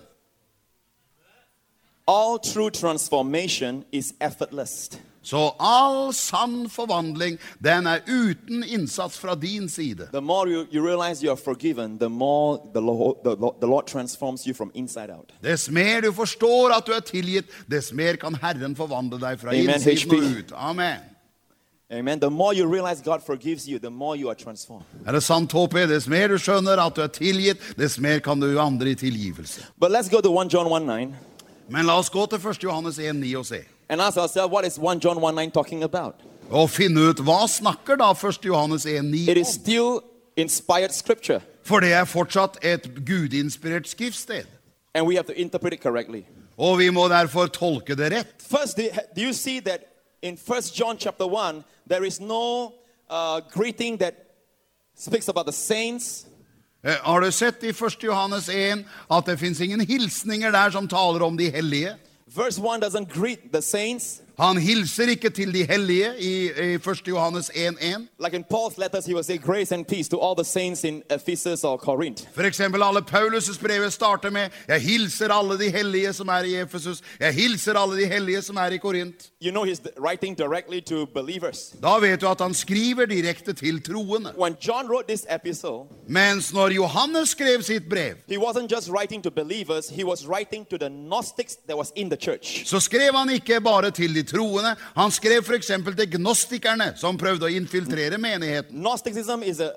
[SPEAKER 3] All true transformation is effortless.
[SPEAKER 2] Så all sann forvandling, den er uten innsats fra din side.
[SPEAKER 3] The more you, you realize you are forgiven, the more the Lord, the, Lord, the Lord transforms you from inside out.
[SPEAKER 2] Dess mer du forstår at du er tilgitt, dess mer kan Herren forvandle deg fra
[SPEAKER 3] Amen,
[SPEAKER 2] innsiden og
[SPEAKER 3] HP.
[SPEAKER 2] ut. Amen.
[SPEAKER 3] Amen. The more you realize God forgives you, the more you are transformed.
[SPEAKER 2] Er det sant, HP? Dess mer du skjønner at du er tilgitt, dess mer kan du andre i tilgivelse.
[SPEAKER 3] But let's go to 1 John 1 9
[SPEAKER 2] Men la oss gå til 1. Johannes 1, 9 og se.
[SPEAKER 3] and ask ourselves what is 1 John 1 9 talking about?
[SPEAKER 2] Og finne ut hva snakker da 1. Johannes 1, 9
[SPEAKER 3] It is
[SPEAKER 2] om.
[SPEAKER 3] still inspired scripture,
[SPEAKER 2] For det er fortsatt et gudinspirert skriftsted.
[SPEAKER 3] and we have to interpret it correctly.
[SPEAKER 2] Og vi må derfor tolke det rett.
[SPEAKER 3] First, do do you see that in 1 John chapter 1, there is no uh, greeting that speaks about the saints,
[SPEAKER 2] Eh, Har du sett i 1. Johannes 1 at det finnes ingen hilsninger der som taler om de hellige?
[SPEAKER 3] Verse 1 doesn't greet the saints.
[SPEAKER 2] Han hilser ikke til de hellige i, i 1. Johannes 1.1.
[SPEAKER 3] Like in Paul's letters, he will say grace and peace to all the saints in Ephesus or Corinth.
[SPEAKER 2] For eksempel alle Paulus' brevet starter med «Jeg hilser alle de hellige som er i Efesus. Jeg hilser alle de hellige som er i Korint».
[SPEAKER 3] You know, he's d- writing directly to believers.
[SPEAKER 2] Da vet du at han skriver direkte til troende.
[SPEAKER 3] When John wrote this epistle,
[SPEAKER 2] Mens når Johannes skrev sitt brev,
[SPEAKER 3] he wasn't just writing to believers, he was writing to the Gnostics that was in the church.
[SPEAKER 2] så skrev han ikke bare til de troende. Han skrev for eksempel til gnostikerne som prøvde å infiltrere menigheten.
[SPEAKER 3] Gnosticism is a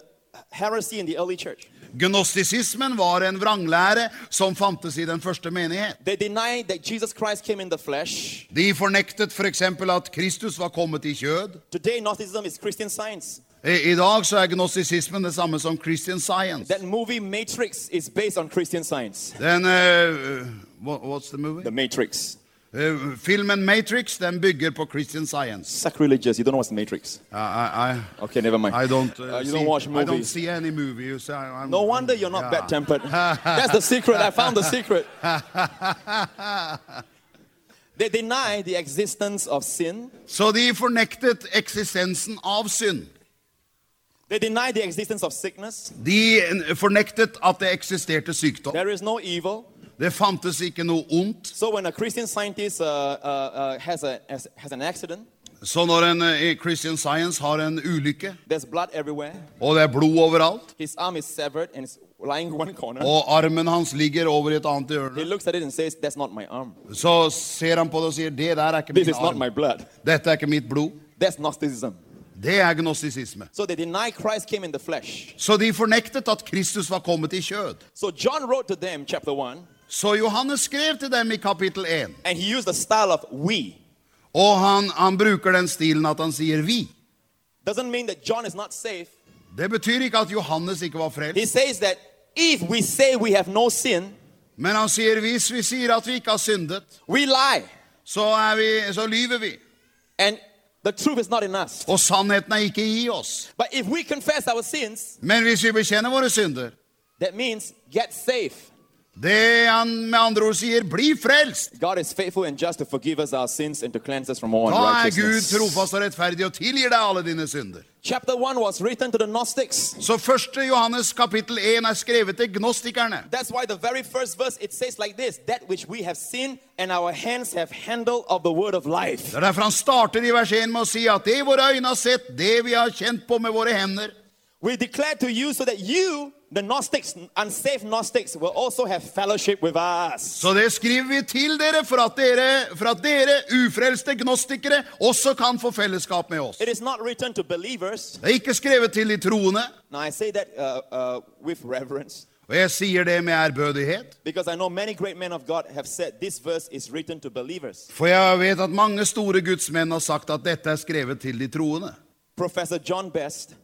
[SPEAKER 3] heresy in the early church.
[SPEAKER 2] Gnostisismen var en vranglære som fantes i den første menighet.
[SPEAKER 3] They denied that Jesus Christ came in the flesh.
[SPEAKER 2] De fornektet for eksempel at Kristus var kommet i kjød.
[SPEAKER 3] Today, Gnosticism is Christian science.
[SPEAKER 2] I, I dag så er gnostisismen det samme som Christian Science.
[SPEAKER 3] That movie Matrix is based on Christian science.
[SPEAKER 2] Den eh, what, What's the movie?
[SPEAKER 3] The Matrix.
[SPEAKER 2] Eh, filmen Matrix, den bygger på Christian Science.
[SPEAKER 3] Sacrilegious. You don't know what's Matrix.
[SPEAKER 2] I, I, I,
[SPEAKER 3] Okay, never mind.
[SPEAKER 2] I don't,
[SPEAKER 3] Uh,
[SPEAKER 2] uh,
[SPEAKER 3] you
[SPEAKER 2] see,
[SPEAKER 3] don't watch
[SPEAKER 2] I don't
[SPEAKER 3] movies.
[SPEAKER 2] see any movie. You say, I'm,
[SPEAKER 3] No wonder you're not
[SPEAKER 2] Yeah.
[SPEAKER 3] bad tempered. That's the secret. I found the secret. They deny the existence of sin.
[SPEAKER 2] Så de fornektet eksistensen av synd.
[SPEAKER 3] They deny the existence of sickness.
[SPEAKER 2] De fornektet at det eksisterte sykdom.
[SPEAKER 3] There is no evil.
[SPEAKER 2] Det fantes ikke noe ondt.
[SPEAKER 3] So when a Christian scientist uh, uh, uh, has, a, has, has an accident,
[SPEAKER 2] Så når en eh, i Christian Science har en ulykke,
[SPEAKER 3] there's blood everywhere.
[SPEAKER 2] og det er blod overalt,
[SPEAKER 3] His arm is severed and it's lying in one corner.
[SPEAKER 2] og armen hans ligger over i et annet
[SPEAKER 3] He
[SPEAKER 2] hjørne,
[SPEAKER 3] looks at it and says, "That's not my arm.
[SPEAKER 2] så ser han på det og sier, det der er ikke
[SPEAKER 3] This
[SPEAKER 2] min
[SPEAKER 3] is not my
[SPEAKER 2] arm.
[SPEAKER 3] blood.
[SPEAKER 2] Dette er ikke mitt blod.
[SPEAKER 3] That's Gnosticism."
[SPEAKER 2] Det er gnostisisme.
[SPEAKER 3] So they deny Christ came in the flesh.
[SPEAKER 2] Så de fornektet at Kristus var kommet i kjød.
[SPEAKER 3] So John wrote to them, chapter one,
[SPEAKER 2] Så Johannes skrev til dem i kapittel 1,
[SPEAKER 3] and he used the style of "we."
[SPEAKER 2] og han, han bruker den stilen at han sier vi.
[SPEAKER 3] Doesn't mean that John is not safe.
[SPEAKER 2] Det betyr ikke at Johannes ikke var
[SPEAKER 3] He
[SPEAKER 2] frelst,
[SPEAKER 3] says that if we say we have no sin,
[SPEAKER 2] men han sier hvis vi sier at vi ikke har syndet,
[SPEAKER 3] we lie,
[SPEAKER 2] så, er vi, så lyver vi.
[SPEAKER 3] and the truth is not in us.
[SPEAKER 2] Og sannheten er ikke i oss.
[SPEAKER 3] But if we confess our sins,
[SPEAKER 2] Men hvis vi bekjenner våre synder,
[SPEAKER 3] that means get safe.
[SPEAKER 2] det han med andre ord sier, bli frelst.
[SPEAKER 3] God is faithful and just to forgive us our sins and to cleanse us from all
[SPEAKER 2] Da er Gud
[SPEAKER 3] unrighteousness.
[SPEAKER 2] trofast og rettferdig og tilgir deg alle dine synder.
[SPEAKER 3] Chapter 1 was written to the Gnostics.
[SPEAKER 2] Så 1. Johannes kapittel 1 er skrevet til gnostikerne.
[SPEAKER 3] That's why the very first verse it says like this that which we have seen and our hands have handled of the word of life.
[SPEAKER 2] Det er derfor han starter i vers 1 med å si at det våre øyne har sett, det vi har kjent på med våre hender,
[SPEAKER 3] We declare to you so that you, the Gnostics, unsafe Gnostics, will also have fellowship with us.
[SPEAKER 2] Så det skriver vi til dere for at dere, for at dere ufrelste gnostikere, også kan få fellesskap med oss.
[SPEAKER 3] It is not written to believers.
[SPEAKER 2] Det er ikke skrevet til de troende,
[SPEAKER 3] Now I say that uh, uh, with reverence
[SPEAKER 2] og jeg sier det med ærbødighet.
[SPEAKER 3] because I know many great men of God have said this verse is written to believers.
[SPEAKER 2] For jeg vet at mange store gudsmenn har sagt at dette er skrevet til de troende.
[SPEAKER 3] Professor John Best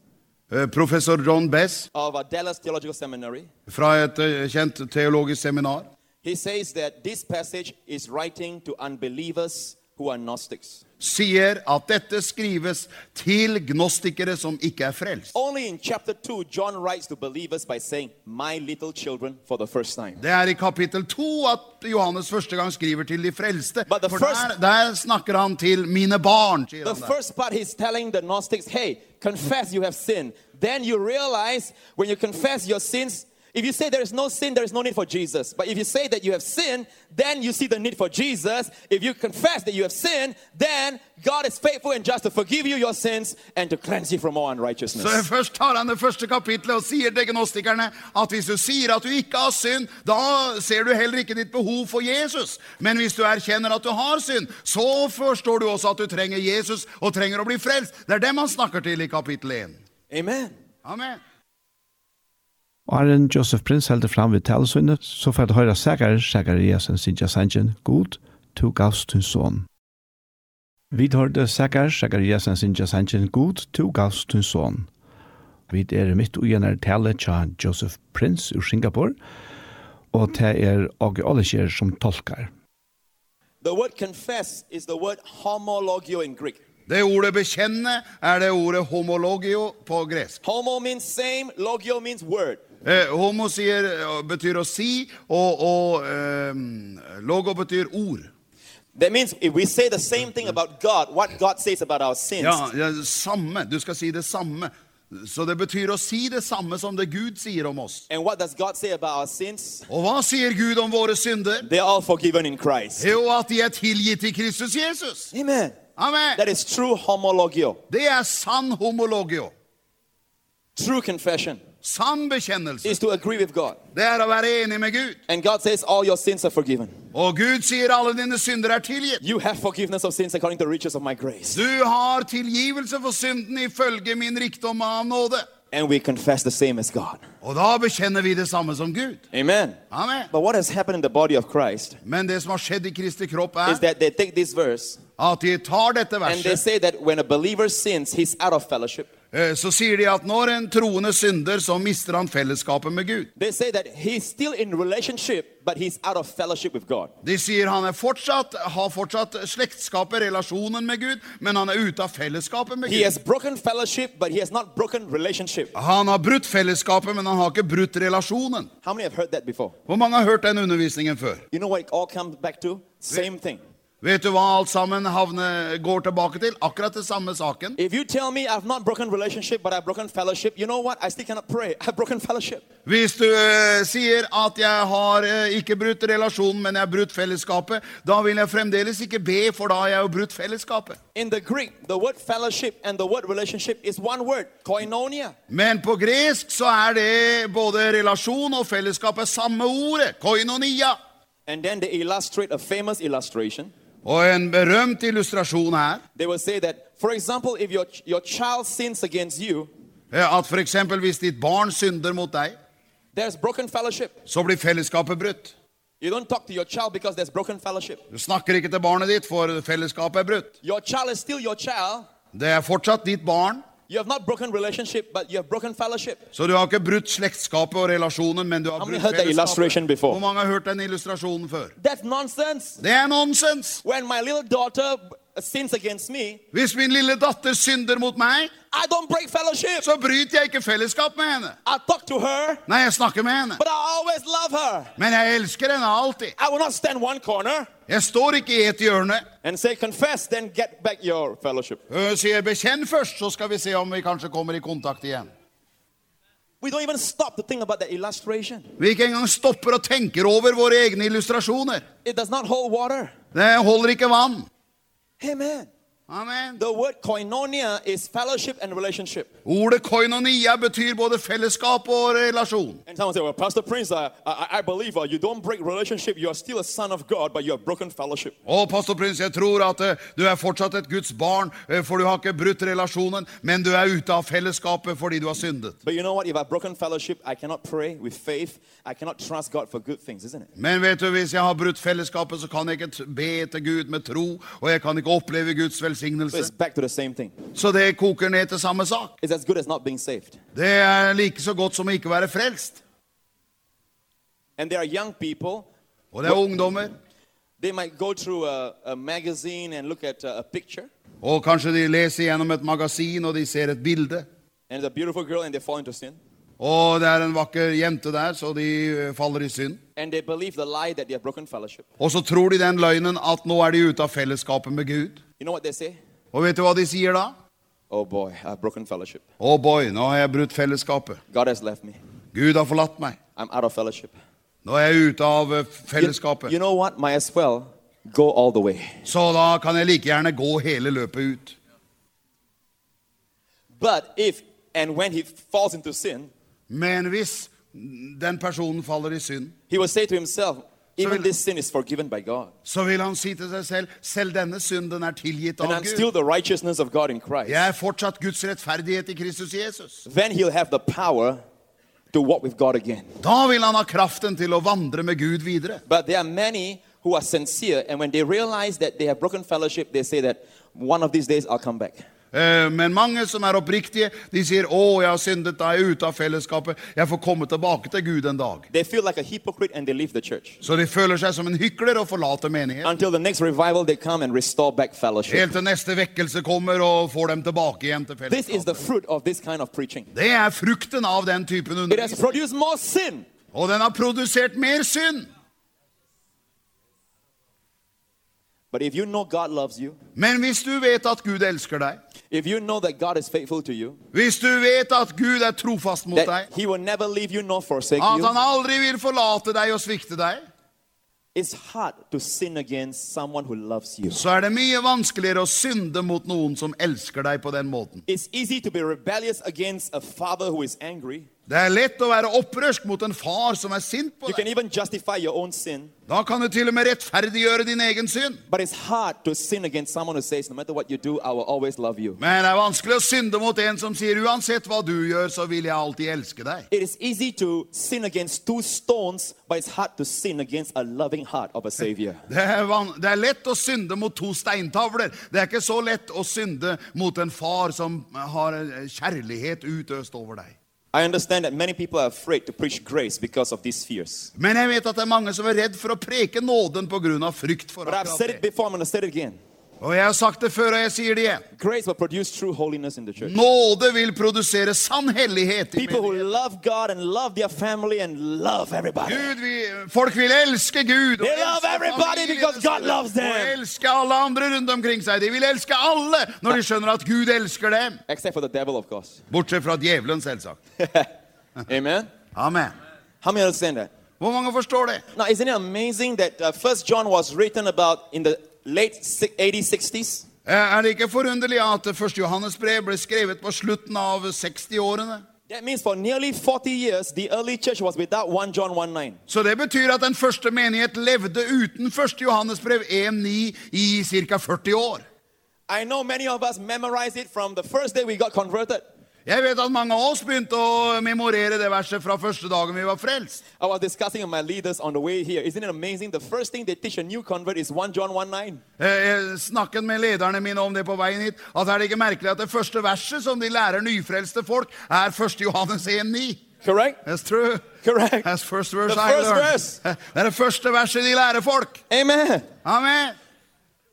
[SPEAKER 2] Eh, Professor John Bess
[SPEAKER 3] of uh, Dallas Theological Seminary,
[SPEAKER 2] fra et eh, kjent teologisk seminar,
[SPEAKER 3] he says that this passage is writing to unbelievers who are Gnostics.
[SPEAKER 2] sier at dette skrives til gnostikere som ikke er frelst.
[SPEAKER 3] Only in chapter 2, John writes to believers by saying, My little children, for the first time.
[SPEAKER 2] Det er i kapittel 2 at Johannes første gang skriver til de frelste.
[SPEAKER 3] But the
[SPEAKER 2] For der,
[SPEAKER 3] first-
[SPEAKER 2] der snakker han til mine barn, sier
[SPEAKER 3] The
[SPEAKER 2] han der.
[SPEAKER 3] first part, he's telling the Gnostics, Hey, confess you have sinned. Then you realize when you confess your sins, If you say there is no sin, there is no need for Jesus. But if you say that you have sinned, then you see the need for Jesus. If you confess that you have sinned, then God is faithful and just to forgive you your sins and to cleanse you from all unrighteousness.
[SPEAKER 2] Så først tar han det første kapitlet og sier til gnostikerne at hvis du sier at du ikke har synd, da ser du heller ikke ditt behov for Jesus. Men hvis du erkjenner at du har synd, så forstår du også at du trenger Jesus og trenger å bli frelst. Det er dem han snakker til i kapittel 1.
[SPEAKER 3] Amen.
[SPEAKER 2] Amen.
[SPEAKER 1] Arjen Joseph Prins heldur fram við talsvinnet, så fært høyra Sagar, Sagariasen Sinja Sanjen, god, tu gavst tun son. Vid hørte Sagar, Sagariasen Sinja Sanjen, god, tu gavst tun son. Vid er mitt ugenar tale tja Joseph Prins ur Singapore, og det er Åge Olesjer som tolkar.
[SPEAKER 3] The word confess is the word homologio in Greek.
[SPEAKER 2] Det ordet bekjenne er det ordet homologio på gresk.
[SPEAKER 3] Homo means same, logio means word.
[SPEAKER 2] Eh, homo sier, eh, betyr å si, og, og eh, logo betyr ord.
[SPEAKER 3] That means if we say the same thing about God, what God says about our sins,
[SPEAKER 2] Ja, ja, samme. Du skal si det samme. Så det betyr å si det samme som det Gud sier om oss.
[SPEAKER 3] and what does God say about our sins,
[SPEAKER 2] Og hva sier Gud om våre synder?
[SPEAKER 3] they are all forgiven in Christ.
[SPEAKER 2] Jo, at de er tilgitt i Kristus Jesus.
[SPEAKER 3] Amen.
[SPEAKER 2] Amen.
[SPEAKER 3] That is true homologio,
[SPEAKER 2] Det er sann homologio.
[SPEAKER 3] true confession,
[SPEAKER 2] Sann bekjennelse.
[SPEAKER 3] is to agree with God.
[SPEAKER 2] Det er å være enig med Gud.
[SPEAKER 3] And God says all your sins are forgiven.
[SPEAKER 2] Og Gud sier alle dine synder er tilgitt.
[SPEAKER 3] You have forgiveness of sins according to the riches of my grace.
[SPEAKER 2] Du har tilgivelse for synden ifølge min rikdom av nåde.
[SPEAKER 3] And we confess the same as God.
[SPEAKER 2] Og da bekjenner vi det samme som Gud.
[SPEAKER 3] Amen.
[SPEAKER 2] Amen.
[SPEAKER 3] But what has happened in the body of Christ
[SPEAKER 2] Men det som har skjedd i Kristi kropp,
[SPEAKER 3] is
[SPEAKER 2] er
[SPEAKER 3] that they take this verse
[SPEAKER 2] at de tar dette
[SPEAKER 3] and they
[SPEAKER 2] verset
[SPEAKER 3] say that when a believer sins, he's out of fellowship.
[SPEAKER 2] Eh, så sier de at når en troende synder, så mister han fellesskapet med Gud.
[SPEAKER 3] They say that he's still in relationship, but he's out of fellowship with God.
[SPEAKER 2] De sier han er fortsatt, har fortsatt slektskapet, relasjonen med Gud, men han er ute av fellesskapet med
[SPEAKER 3] He
[SPEAKER 2] Gud.
[SPEAKER 3] has broken fellowship, but he has not broken relationship.
[SPEAKER 2] Han har brutt fellesskapet, men han har ikke brutt relasjonen.
[SPEAKER 3] How many have heard that before?
[SPEAKER 2] Hvor mange har hørt den undervisningen før?
[SPEAKER 3] You know what it all comes back to? Same thing.
[SPEAKER 2] Vet du hva alt sammen havne, går tilbake til? Akkurat det samme saken.
[SPEAKER 3] If you tell me I've not broken relationship, but I've broken fellowship, you know what? I still cannot pray. I've broken fellowship.
[SPEAKER 2] Hvis du eh, sier at jeg har eh, ikke brutt relasjonen, men jeg har brutt fellesskapet, da vil jeg fremdeles ikke be, for da har jeg jo brutt fellesskapet.
[SPEAKER 3] In the Greek, the word fellowship and the word relationship is one word, koinonia.
[SPEAKER 2] Men på gresk så er det både relasjon og fellesskap er samme ordet, koinonia.
[SPEAKER 3] And then they illustrate a famous illustration.
[SPEAKER 2] Og en berømt illustrasjon er, her,
[SPEAKER 3] They will say that, for example, if your, your child sins against you,
[SPEAKER 2] eh, at for eksempel hvis ditt barn synder mot deg,
[SPEAKER 3] there's broken fellowship.
[SPEAKER 2] så blir fellesskapet brutt.
[SPEAKER 3] You don't talk to your child because there's broken fellowship.
[SPEAKER 2] Du snakker ikke til barnet ditt, for fellesskapet er brutt.
[SPEAKER 3] Your child is still your child.
[SPEAKER 2] Det er fortsatt ditt barn,
[SPEAKER 3] You have not broken relationship, but you have broken fellowship.
[SPEAKER 2] så du har ikke brutt slektskapet og relasjonen, men du har
[SPEAKER 3] How many
[SPEAKER 2] brutt
[SPEAKER 3] heard that illustration
[SPEAKER 2] fellesskapet.
[SPEAKER 3] before?
[SPEAKER 2] Hvor mange har hørt den illustrasjonen før?
[SPEAKER 3] That's nonsense.
[SPEAKER 2] Det er nonsens.
[SPEAKER 3] When my little daughter sins against me,
[SPEAKER 2] Hvis min lille datter synder mot meg,
[SPEAKER 3] I don't break fellowship.
[SPEAKER 2] så bryter jeg ikke fellesskap med henne.
[SPEAKER 3] I talk to her,
[SPEAKER 2] Nei, jeg snakker med henne.
[SPEAKER 3] but I always love her.
[SPEAKER 2] Men jeg elsker henne alltid.
[SPEAKER 3] I will not stand one corner
[SPEAKER 2] Jeg står ikke i et hjørne.
[SPEAKER 3] and say, confess, then get back your fellowship.
[SPEAKER 2] Hun sier 'bekjenn først', så skal vi se om vi kanskje kommer i kontakt igjen.
[SPEAKER 3] We don't even stop to think about that illustration.
[SPEAKER 2] Vi ikke engang stopper og tenker over våre egne illustrasjoner.
[SPEAKER 3] It does not hold water.
[SPEAKER 2] Det holder ikke vann.
[SPEAKER 3] Amen.
[SPEAKER 2] Amen.
[SPEAKER 3] The word koinonia is fellowship and relationship.
[SPEAKER 2] Ordet koinonia betyr både fellesskap og relasjon.
[SPEAKER 3] And someone say, well, Pastor Prince, I, I, I believe uh, you don't break relationship. You are still a son of God, but you have broken fellowship.
[SPEAKER 2] Å, pastor Prins, jeg tror at eh, du er fortsatt et Guds barn, eh, for du har ikke brutt relasjonen, men du er ute av fellesskapet fordi du har syndet.
[SPEAKER 3] But you know what? If I've broken fellowship, I cannot pray with faith. I cannot trust God for good things, isn't it?
[SPEAKER 2] Men vet du, hvis jeg har brutt fellesskapet, så kan jeg ikke t- be til Gud med tro, og jeg kan ikke oppleve Guds
[SPEAKER 3] So it's
[SPEAKER 2] velsignelse.
[SPEAKER 3] back to the same thing.
[SPEAKER 2] Så det koker ned til samme sak.
[SPEAKER 3] It's as good as not being saved.
[SPEAKER 2] Det er like så godt som å ikke være frelst.
[SPEAKER 3] And there are young people.
[SPEAKER 2] Og det er ungdommer.
[SPEAKER 3] They might go through a, a magazine and look at a, a picture.
[SPEAKER 2] Og kanskje de leser gjennom et magasin, og de ser et bilde.
[SPEAKER 3] And it's a beautiful girl and they fall into sin.
[SPEAKER 2] Og det er en vakker jente der, så de eh, faller i synd.
[SPEAKER 3] And they believe the lie that they have broken fellowship.
[SPEAKER 2] Og så tror de den løgnen at nå er de ute av fellesskapet med Gud.
[SPEAKER 3] You know what they say?
[SPEAKER 2] Og vet du hva de sier da?
[SPEAKER 3] Oh boy, I've broken fellowship.
[SPEAKER 2] Å boy, nå har jeg brutt fellesskapet.
[SPEAKER 3] God has left me.
[SPEAKER 2] Gud har forlatt meg.
[SPEAKER 3] I'm out of fellowship.
[SPEAKER 2] Nå er jeg ute av eh,
[SPEAKER 3] You,
[SPEAKER 2] fellesskapet.
[SPEAKER 3] you know what? Might as well go all the way.
[SPEAKER 2] Så da kan jeg like gjerne gå hele løpet ut.
[SPEAKER 3] But if and when he falls into sin,
[SPEAKER 2] Men hvis den personen faller i synd,
[SPEAKER 3] he will say to himself, even
[SPEAKER 2] will-
[SPEAKER 3] this sin is forgiven by God.
[SPEAKER 2] så vil han si til seg selv, selv denne synden er tilgitt
[SPEAKER 3] And
[SPEAKER 2] av
[SPEAKER 3] I'm still
[SPEAKER 2] Gud.
[SPEAKER 3] the righteousness of God in Christ.
[SPEAKER 2] Jeg er fortsatt Guds rettferdighet i Kristus Jesus.
[SPEAKER 3] Then he'll have the power to walk with God again.
[SPEAKER 2] Da vil han ha kraften til å vandre med Gud videre.
[SPEAKER 3] But there are many who are sincere, and when they realize that they have broken fellowship, they say that one of these days I'll come back.
[SPEAKER 2] Eh, Men mange som er oppriktige, de sier, å, jeg har syndet, da er jeg ute av fellesskapet. Jeg får komme tilbake til Gud en dag.
[SPEAKER 3] They feel like a hypocrite and they leave the church.
[SPEAKER 2] Så de føler seg som en hykler og forlater menigheten.
[SPEAKER 3] Until the next revival, they come and restore back fellowship.
[SPEAKER 2] Helt til neste vekkelse kommer og får dem tilbake igjen til
[SPEAKER 3] This is the
[SPEAKER 2] fellesskapet.
[SPEAKER 3] fruit of this kind of preaching.
[SPEAKER 2] Det er frukten av den typen
[SPEAKER 3] It has
[SPEAKER 2] undervisning.
[SPEAKER 3] produced more sin.
[SPEAKER 2] Og den har produsert mer synd.
[SPEAKER 3] But if you know God loves you,
[SPEAKER 2] Men hvis du vet at Gud elsker deg,
[SPEAKER 3] if you know that God is faithful to you,
[SPEAKER 2] hvis du vet at Gud er trofast mot
[SPEAKER 3] that
[SPEAKER 2] deg,
[SPEAKER 3] He will never leave you nor forsake
[SPEAKER 2] at han
[SPEAKER 3] you,
[SPEAKER 2] aldri vil forlate deg og svikte deg,
[SPEAKER 3] it's hard to sin against someone who loves you.
[SPEAKER 2] så er det mye vanskeligere å synde mot noen som elsker deg på den måten.
[SPEAKER 3] It's easy to be rebellious against a father who is angry.
[SPEAKER 2] Det er lett å være opprørsk mot en far som er sint på
[SPEAKER 3] You can
[SPEAKER 2] deg.
[SPEAKER 3] even justify your own sin,
[SPEAKER 2] Da kan du til og med rettferdiggjøre din egen synd.
[SPEAKER 3] but it's hard to sin against someone who says, No matter what you do, I will always love you.
[SPEAKER 2] Men det er vanskelig å synde mot en som sier uansett hva du gjør, så vil jeg alltid elske deg.
[SPEAKER 3] It is easy to sin against two stones, but it's hard to sin against a loving heart of a Savior.
[SPEAKER 2] Det er, van det er lett å synde mot to steintavler. Det er ikke så lett å synde mot en far som har eh, kjærlighet utøst over deg.
[SPEAKER 3] I understand that many people are afraid to preach grace because of these fears.
[SPEAKER 2] Men jeg vet at det er mange som er redd for å preke nåden på grunn av frykt for
[SPEAKER 3] But I've said it
[SPEAKER 2] akkurat det.
[SPEAKER 3] before, I'm going to say it again.
[SPEAKER 2] Og jeg har sagt det før, og jeg sier det igjen.
[SPEAKER 3] Grace will produce true holiness in the
[SPEAKER 2] Mm.
[SPEAKER 3] church.
[SPEAKER 2] Nåde vil produsere sann hellighet i
[SPEAKER 3] People who
[SPEAKER 2] menigheten.
[SPEAKER 3] love God and love their family and love everybody.
[SPEAKER 2] Gud, vi, folk vil elske Gud. og
[SPEAKER 3] They love
[SPEAKER 2] elske
[SPEAKER 3] everybody
[SPEAKER 2] familien
[SPEAKER 3] because God
[SPEAKER 2] sin,
[SPEAKER 3] loves them.
[SPEAKER 2] Og elske alle andre rundt omkring seg. De vil elske alle når de skjønner at Gud elsker dem.
[SPEAKER 3] Except for the devil, of course.
[SPEAKER 2] Bortsett fra djevelen, selvsagt.
[SPEAKER 3] Amen.
[SPEAKER 2] Amen.
[SPEAKER 3] How many understand that?
[SPEAKER 2] Hvor mange forstår det?
[SPEAKER 3] Now, isn't it amazing that uh, First John was written about in the late si- 80s, 60s?
[SPEAKER 2] Eh, Er det ikke forunderlig at 1. Johannes brev ble skrevet på slutten av 60-årene?
[SPEAKER 3] That means for nearly 40 years, the early church was without 1 John 1 9.
[SPEAKER 2] Så det betyr at den første menighet levde uten 1. Johannes brev 1.9 i ca. 40 år.
[SPEAKER 3] I know many of us memorized it from the first day we got converted.
[SPEAKER 2] Jeg vet at mange av oss begynte å memorere det verset fra første dagen vi var frelst.
[SPEAKER 3] I was discussing with my leaders on the way here. Isn't it amazing? The first thing they teach a new convert is 1 John 1 9.
[SPEAKER 2] Eh, Jeg snakket med lederne mine om det på veien hit, at er det ikke merkelig at det første verset som de lærer nyfrelste folk, er 1. Johannes 1.9.
[SPEAKER 3] Correct?
[SPEAKER 2] That's true.
[SPEAKER 3] Correct.
[SPEAKER 2] That's first verse
[SPEAKER 3] The
[SPEAKER 2] I
[SPEAKER 3] first
[SPEAKER 2] learned.
[SPEAKER 3] verse.
[SPEAKER 2] Det er det første verset de lærer folk.
[SPEAKER 3] Amen.
[SPEAKER 2] Amen.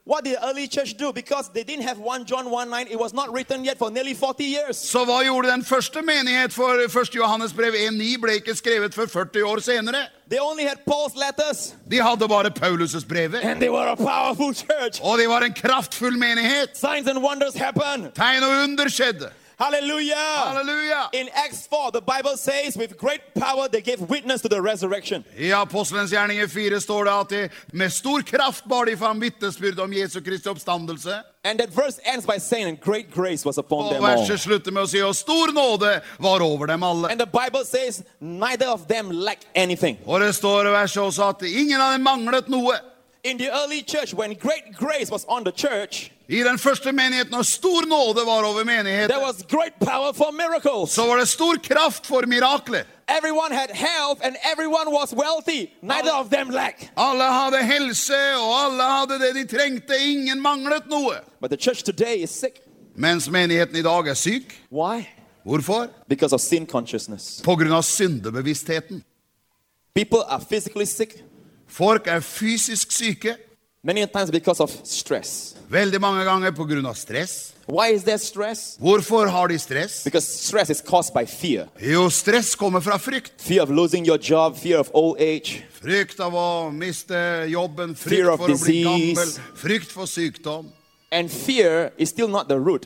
[SPEAKER 3] What did the early church do? Because they didn't have 1 John 1 9, it was not written yet for nearly 40 years.
[SPEAKER 2] Så hva gjorde den første menighet for 1. Johannes brev 1.9 ble ikke skrevet før 40 år senere.
[SPEAKER 3] They only had Paul's letters,
[SPEAKER 2] De hadde bare Paulus' brevet.
[SPEAKER 3] and they were a powerful church.
[SPEAKER 2] Og de var en kraftfull menighet.
[SPEAKER 3] Signs and wonders happen.
[SPEAKER 2] Tegn og under skjedde.
[SPEAKER 3] Hallelujah.
[SPEAKER 2] Halleluja!
[SPEAKER 3] In Acts 4, the Bible says, with great power they gave witness to the resurrection.
[SPEAKER 2] I Apostelens gjerninger 4 står det at de med stor kraft bar de fram vitnesbyrd om Jesu Kristi oppstandelse.
[SPEAKER 3] And that verse ends by saying, and great grace was upon
[SPEAKER 2] Og
[SPEAKER 3] them all.
[SPEAKER 2] verset slutter med å si, og stor nåde var over dem alle.
[SPEAKER 3] And the Bible says, neither of them lacked anything.
[SPEAKER 2] Og det står i verset også at ingen av dem manglet noe.
[SPEAKER 3] In the early church, when great grace was on the church,
[SPEAKER 2] I den første menigheten, og stor nåde var over
[SPEAKER 3] there
[SPEAKER 2] menigheten,
[SPEAKER 3] was great power for miracles.
[SPEAKER 2] så var det stor kraft for mirakler.
[SPEAKER 3] Everyone had health and everyone was wealthy. Neither of them lacked.
[SPEAKER 2] Alle hadde helse, og alle hadde det de trengte. Ingen manglet noe.
[SPEAKER 3] But the church today is sick.
[SPEAKER 2] Mens menigheten i dag er syk.
[SPEAKER 3] Why?
[SPEAKER 2] Hvorfor?
[SPEAKER 3] Because of sin consciousness.
[SPEAKER 2] På grunn av syndebevisstheten.
[SPEAKER 3] People are physically sick,
[SPEAKER 2] Folk er fysisk syke.
[SPEAKER 3] many times because of stress.
[SPEAKER 2] Veldig mange ganger på grunn av stress.
[SPEAKER 3] Why is there stress?
[SPEAKER 2] Hvorfor har de stress?
[SPEAKER 3] Because stress is caused by fear.
[SPEAKER 2] Jo, stress kommer fra frykt.
[SPEAKER 3] Fear of losing your job, fear of old age.
[SPEAKER 2] Frykt av å miste jobben,
[SPEAKER 3] Fear
[SPEAKER 2] frykt
[SPEAKER 3] of
[SPEAKER 2] for å bli gammel,
[SPEAKER 3] disease.
[SPEAKER 2] frykt for sykdom.
[SPEAKER 3] And fear is still not the root.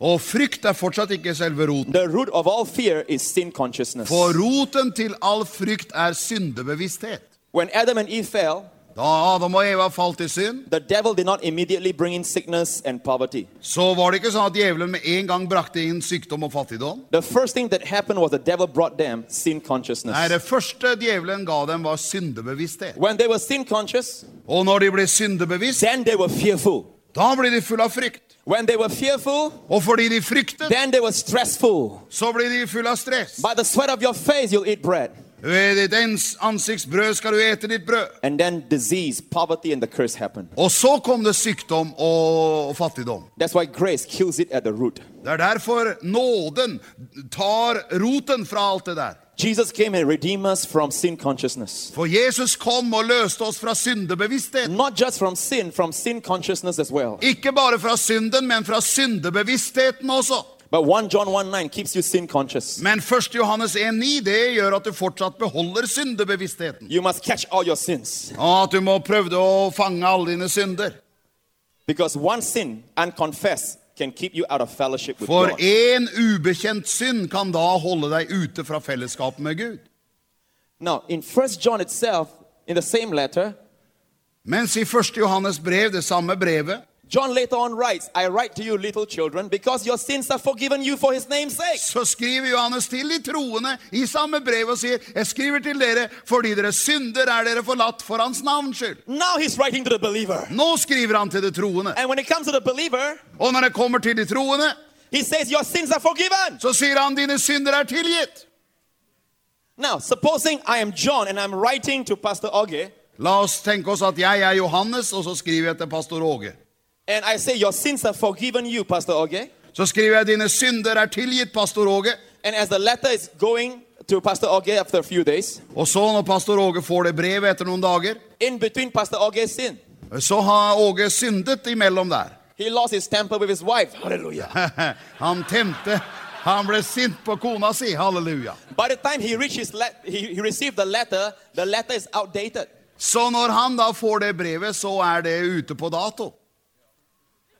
[SPEAKER 2] Og frykt er fortsatt ikke selve roten.
[SPEAKER 3] The root of all fear is sin consciousness.
[SPEAKER 2] For roten til all frykt er syndebevissthet.
[SPEAKER 3] When Adam and Eve fell,
[SPEAKER 2] Da Adam og Eva falt i synd,
[SPEAKER 3] the devil did not immediately bring in sickness and poverty.
[SPEAKER 2] så var det ikke sånn at djevelen med en gang brakte inn sykdom og fattigdom.
[SPEAKER 3] The first thing that happened was the devil brought them sin
[SPEAKER 2] Nei,
[SPEAKER 3] consciousness.
[SPEAKER 2] det første djevelen ga dem, var syndebevissthet.
[SPEAKER 3] When they were sin conscious,
[SPEAKER 2] Og når de ble syndebevisst,
[SPEAKER 3] then they were fearful.
[SPEAKER 2] da ble de full av frykt.
[SPEAKER 3] When they were fearful,
[SPEAKER 2] Og fordi de fryktet,
[SPEAKER 3] then they were stressful.
[SPEAKER 2] så ble de full av stress.
[SPEAKER 3] By the sweat of your face, you'll eat bread.
[SPEAKER 2] Ved ditt ens- ansiktsbrød skal du ete ditt brød.
[SPEAKER 3] And then disease, poverty, and the curse happened.
[SPEAKER 2] Og så kom det sykdom og og fattigdom.
[SPEAKER 3] That's why grace kills it at the root.
[SPEAKER 2] Det er derfor nåden tar roten fra alt det der.
[SPEAKER 3] Jesus came and redeemed us from sin consciousness.
[SPEAKER 2] For Jesus kom og løste oss fra syndebevissthet.
[SPEAKER 3] Not just from sin, from sin consciousness as well.
[SPEAKER 2] Ikke bare fra synden, men fra syndebevisstheten også.
[SPEAKER 3] But 1 John 1 9 keeps you sin conscious.
[SPEAKER 2] Men 1. Johannes 1,9 det gjør at du fortsatt beholder syndebevisstheten.
[SPEAKER 3] You must catch all your sins.
[SPEAKER 2] Og at du må prøve å fange alle dine synder.
[SPEAKER 3] Because one sin unconfessed can keep you out of fellowship with
[SPEAKER 2] For
[SPEAKER 3] God.
[SPEAKER 2] én ubekjent synd kan da holde deg ute fra fellesskapet med Gud.
[SPEAKER 3] Now, in 1 John itself, in the same letter,
[SPEAKER 2] Mens i 1. Johannes brev, det samme brevet,
[SPEAKER 3] John later on writes, I write to you, little children, because your sins are forgiven you for his name's sake.
[SPEAKER 2] så skriver Johannes til de troende i samme brev og sier, jeg skriver til dere, fordi dere synder er dere forlatt for hans navns skyld.
[SPEAKER 3] Now he's writing to the believer.
[SPEAKER 2] Nå skriver han til de troende.
[SPEAKER 3] And when it comes to the believer,
[SPEAKER 2] Og når det kommer til de troende,
[SPEAKER 3] he says, Your sins are forgiven.
[SPEAKER 2] så sier han, dine synder er tilgitt.
[SPEAKER 3] Now, supposing I am John and I'm writing to Pastor Augie,
[SPEAKER 2] La oss tenke oss at jeg er Johannes, og så skriver jeg til pastor Åge.
[SPEAKER 3] and I say, Your sins are forgiven you, Pastor Augie.
[SPEAKER 2] Så skriver jeg, dine synder er tilgitt, pastor Åge.
[SPEAKER 3] And as the letter is going to Pastor Augie after a few days,
[SPEAKER 2] Og så når pastor Åge får det brevet etter noen dager,
[SPEAKER 3] in between Pastor Augie's sin,
[SPEAKER 2] så har Åge syndet imellom der.
[SPEAKER 3] he lost his temper with his wife. Hallelujah.
[SPEAKER 2] Han temte, han ble sint på kona si, halleluja.
[SPEAKER 3] By the time he reached his let he, he received the letter, the letter is outdated.
[SPEAKER 2] Så når han da får det brevet, så er det ute på dato.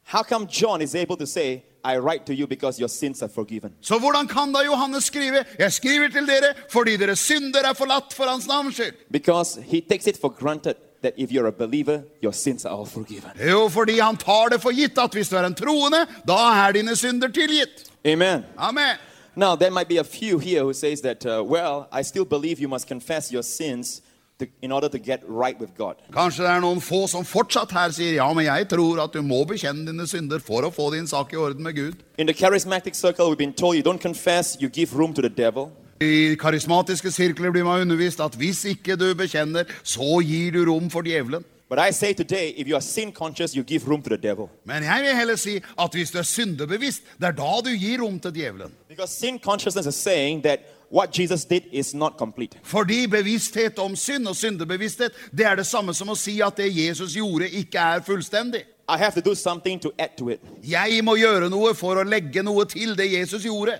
[SPEAKER 3] How come John is able to say, I write to you because your sins are forgiven?
[SPEAKER 2] Så hvordan kan da Johannes skrive? Jeg skriver til dere fordi dere synder er forlatt for hans navns skyld.
[SPEAKER 3] Because he takes it for granted that if you're a believer, your sins are all forgiven.
[SPEAKER 2] Jo, fordi han tar det for gitt at hvis du er en troende, da er dine synder tilgitt.
[SPEAKER 3] Amen.
[SPEAKER 2] Amen.
[SPEAKER 3] Now, there might be a few here who says that, uh, well, I still believe you must confess your sins to, in order to get right with God.
[SPEAKER 2] Kanskje det er noen få som fortsatt her sier ja, men jeg tror at du må bekjenne dine synder for å få din sak i orden med Gud.
[SPEAKER 3] In the charismatic circle, we've been told you don't confess, you give room to the devil.
[SPEAKER 2] I karismatiske sirkler blir man undervist at hvis ikke du bekjenner, så gir du rom for djevelen.
[SPEAKER 3] But I say today, if you are sin conscious, you give room to the devil.
[SPEAKER 2] Men jeg vil heller si at hvis du er syndebevisst, det er da du gir rom til djevelen.
[SPEAKER 3] Because sin consciousness is saying that what Jesus did is not complete.
[SPEAKER 2] Fordi bevissthet om synd og syndebevissthet, det er det samme som å si at det Jesus gjorde ikke er fullstendig.
[SPEAKER 3] I have to do something to add to it.
[SPEAKER 2] Jeg må gjøre noe for å legge noe til det Jesus gjorde.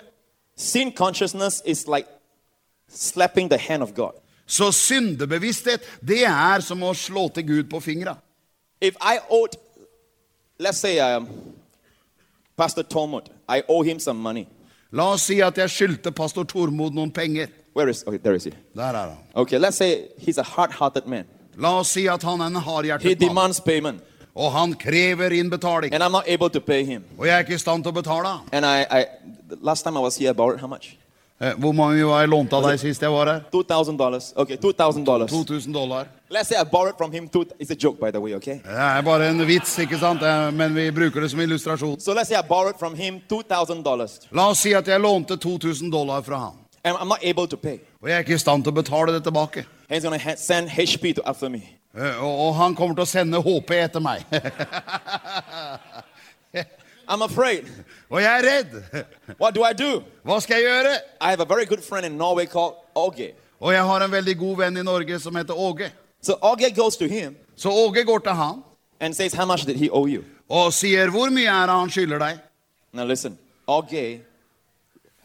[SPEAKER 3] Sin consciousness is like slapping the hand of God.
[SPEAKER 2] Så syndebevissthet, det er som å slå til Gud på fingra.
[SPEAKER 3] If I owed, let's say, um, Pastor Talmud, I owe him some money.
[SPEAKER 2] La oss si at jeg skyldte pastor Tormod noen penger.
[SPEAKER 3] Where is, okay, there is he.
[SPEAKER 2] Der er han.
[SPEAKER 3] Okay, let's say he's a hard-hearted man.
[SPEAKER 2] La oss si at han er en
[SPEAKER 3] He
[SPEAKER 2] hardhjertet mann,
[SPEAKER 3] demands payment,
[SPEAKER 2] og han krever inn betaling.
[SPEAKER 3] and I'm not able to pay him.
[SPEAKER 2] Og jeg er ikke i stand til å betale. han.
[SPEAKER 3] And I, I the last time I was here, I borrowed how much?
[SPEAKER 2] Eh, Hvor mange var jeg lånt av deg sist jeg var her?
[SPEAKER 3] Two thousand dollars. Okay, two thousand dollars.
[SPEAKER 2] 2000 dollar.
[SPEAKER 3] Let's say I borrowed from him two. It's a joke, by the way. Okay.
[SPEAKER 2] Det er bare en vits, ikke sant? Eh, Men vi bruker det som illustrasjon.
[SPEAKER 3] So let's say I borrowed from him two thousand dollars,
[SPEAKER 2] La oss si at jeg lånte 2000 dollar fra han.
[SPEAKER 3] and I'm not able to pay.
[SPEAKER 2] Og jeg er ikke i stand til å betale det tilbake.
[SPEAKER 3] And he's gonna ha- send HP to after me.
[SPEAKER 2] Eh, Og, og han kommer til å sende HP etter meg.
[SPEAKER 3] I'm afraid.
[SPEAKER 2] Og jeg er redd.
[SPEAKER 3] What do I do?
[SPEAKER 2] Hva skal jeg gjøre?
[SPEAKER 3] I have a very good friend in Norway called Åge.
[SPEAKER 2] Og jeg har en veldig god venn i Norge som heter Åge.
[SPEAKER 3] So Åge goes to him
[SPEAKER 2] Så Åge går til han
[SPEAKER 3] and says, "How much did he owe you?"
[SPEAKER 2] og sier hvor mye er det han skylder deg?
[SPEAKER 3] Now listen, Augie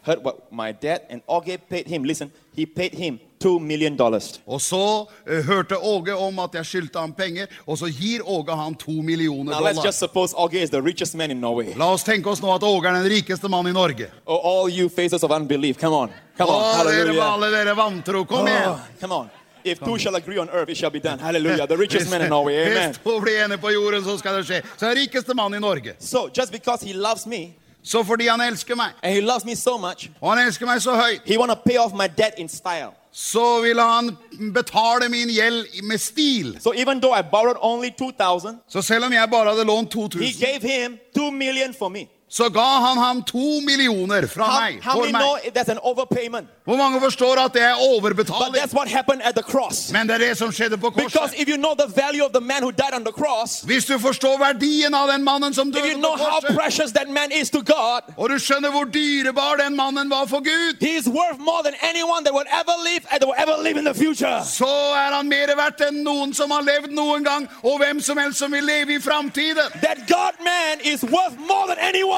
[SPEAKER 3] heard what my dad and Augie paid him. Listen, he paid him $2 million.
[SPEAKER 2] Og så eh, hørte Åge om at jeg skyldte ham penger, og så gir Åge han to millioner
[SPEAKER 3] Now let's
[SPEAKER 2] dollar.
[SPEAKER 3] just suppose Auge is the richest man in Norway.
[SPEAKER 2] La oss tenke oss nå at Åge er den rikeste mannen i Norge.
[SPEAKER 3] Oh, all you faces of unbelief, come on. Come
[SPEAKER 2] Å,
[SPEAKER 3] on.
[SPEAKER 2] dere
[SPEAKER 3] Hallelujah.
[SPEAKER 2] med alle dere vantro, kom igjen!
[SPEAKER 3] Oh, come on. If two shall agree on earth, it shall be done. Hallelujah. The richest man in Norway. Amen.
[SPEAKER 2] Hvis to blir enige på jorden, så skal det skje. Så er rikeste mann i Norge.
[SPEAKER 3] So just because he loves me
[SPEAKER 2] Så fordi han elsker meg,
[SPEAKER 3] and he loves me so much,
[SPEAKER 2] og han elsker meg så høyt,
[SPEAKER 3] he want to pay off my debt in style.
[SPEAKER 2] så vil han betale min gjeld med stil.
[SPEAKER 3] So even though I borrowed only 2000,
[SPEAKER 2] Så selv om jeg bare hadde lånt
[SPEAKER 3] he
[SPEAKER 2] 2000,
[SPEAKER 3] gave him 2 million for me.
[SPEAKER 2] så ga han ham to millioner fra
[SPEAKER 3] How,
[SPEAKER 2] meg.
[SPEAKER 3] how
[SPEAKER 2] For
[SPEAKER 3] many know
[SPEAKER 2] meg.
[SPEAKER 3] that's an overpayment?
[SPEAKER 2] Hvor mange forstår at det er
[SPEAKER 3] But
[SPEAKER 2] overbetaling?
[SPEAKER 3] that's what happened at the cross.
[SPEAKER 2] Men det er det som skjedde på
[SPEAKER 3] Because
[SPEAKER 2] korset.
[SPEAKER 3] if you know the value of the man who died on the cross,
[SPEAKER 2] Hvis du forstår verdien av den mannen som
[SPEAKER 3] if
[SPEAKER 2] døde
[SPEAKER 3] you
[SPEAKER 2] på
[SPEAKER 3] know how
[SPEAKER 2] korset,
[SPEAKER 3] precious that man is to God,
[SPEAKER 2] og du skjønner hvor dyrebar den mannen var for Gud,
[SPEAKER 3] he is worth more than anyone that would ever live and that will ever live in the future.
[SPEAKER 2] så er han mer verdt enn noen som har levd noen gang, og hvem som helst som vil leve i framtiden.
[SPEAKER 3] That God man is worth more than anyone.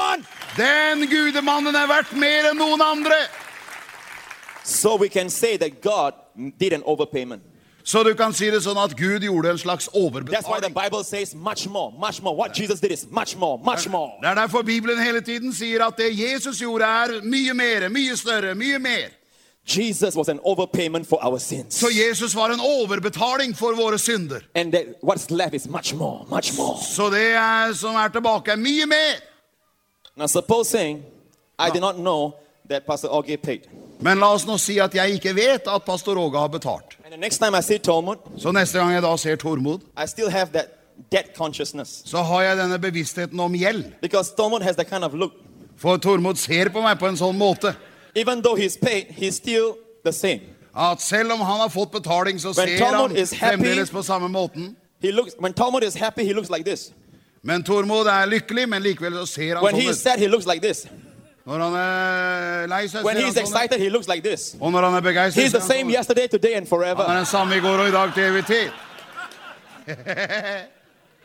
[SPEAKER 2] Den gudemannen er verdt mer enn noen andre.
[SPEAKER 3] So we can say that God did an overpayment.
[SPEAKER 2] Så du kan si det sånn at Gud gjorde en slags
[SPEAKER 3] That's why the
[SPEAKER 2] overbetaling.
[SPEAKER 3] Bible says much more, much more. What Jesus did is much more, much more.
[SPEAKER 2] Det er derfor Bibelen hele tiden sier at det Jesus gjorde er mye mer, mye større, mye mer.
[SPEAKER 3] Jesus was an overpayment for our sins.
[SPEAKER 2] Så Jesus var en overbetaling for våre synder.
[SPEAKER 3] And that what's left is much more, much more.
[SPEAKER 2] Så det er, som er tilbake er mye mer.
[SPEAKER 3] Now, supposing I did not know that Pastor Augie paid.
[SPEAKER 2] Men la oss nå si at jeg ikke vet at pastor Åge har betalt.
[SPEAKER 3] And the next time I see Talmud,
[SPEAKER 2] Så neste gang jeg da ser Tormod,
[SPEAKER 3] I still have that debt consciousness.
[SPEAKER 2] så har jeg denne bevisstheten om gjeld.
[SPEAKER 3] Because Talmud has that kind of look.
[SPEAKER 2] For Tormod ser på meg på en sånn måte
[SPEAKER 3] Even though he's paid, he's still the same.
[SPEAKER 2] at selv om han har fått betaling, så
[SPEAKER 3] When
[SPEAKER 2] ser
[SPEAKER 3] Tormod
[SPEAKER 2] han
[SPEAKER 3] is happy-
[SPEAKER 2] fremdeles på samme måten.
[SPEAKER 3] He looks when Talmud is happy, he looks like this.
[SPEAKER 2] Men Tormod er lykkelig, men likevel så ser han
[SPEAKER 3] When he
[SPEAKER 2] sånn
[SPEAKER 3] is
[SPEAKER 2] ut.
[SPEAKER 3] sad, he looks like this.
[SPEAKER 2] Når han er lei seg,
[SPEAKER 3] When
[SPEAKER 2] ser
[SPEAKER 3] he
[SPEAKER 2] han
[SPEAKER 3] is
[SPEAKER 2] sånn ut.
[SPEAKER 3] excited, he looks like this.
[SPEAKER 2] Og når han er begeistret,
[SPEAKER 3] He's the
[SPEAKER 2] ser
[SPEAKER 3] same
[SPEAKER 2] han sånn ut.
[SPEAKER 3] yesterday, today,
[SPEAKER 2] Han
[SPEAKER 3] and forever.
[SPEAKER 2] er den samme i går og i dag til evig tid.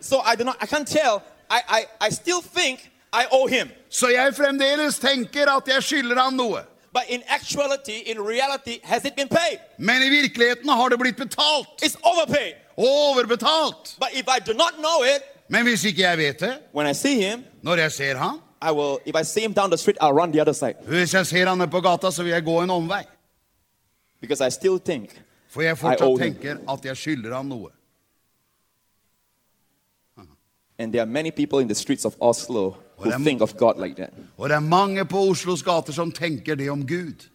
[SPEAKER 3] So I do not I can't tell. I, I, I still think I owe him.
[SPEAKER 2] Så jeg fremdeles tenker at jeg skylder han noe.
[SPEAKER 3] But in actuality, in reality, has it been paid?
[SPEAKER 2] Men i virkeligheten har det blitt betalt.
[SPEAKER 3] It's overpaid.
[SPEAKER 2] Og overbetalt.
[SPEAKER 3] But if I do not know it,
[SPEAKER 2] Men hvis ikke jeg vet det,
[SPEAKER 3] when I see him,
[SPEAKER 2] når jeg ser han,
[SPEAKER 3] I will if I see him down the street, I'll run the other side.
[SPEAKER 2] hvis jeg ser han nede på gata, så vil jeg gå en omvei.
[SPEAKER 3] Because I still think
[SPEAKER 2] For jeg
[SPEAKER 3] I owe
[SPEAKER 2] fortsatt
[SPEAKER 3] him.
[SPEAKER 2] tenker at jeg skylder han noe.
[SPEAKER 3] and there are many people in the streets of Oslo who
[SPEAKER 2] Well, I'm-
[SPEAKER 3] think of God like that.
[SPEAKER 2] Og det er mange på Oslos gater som tenker det om Gud.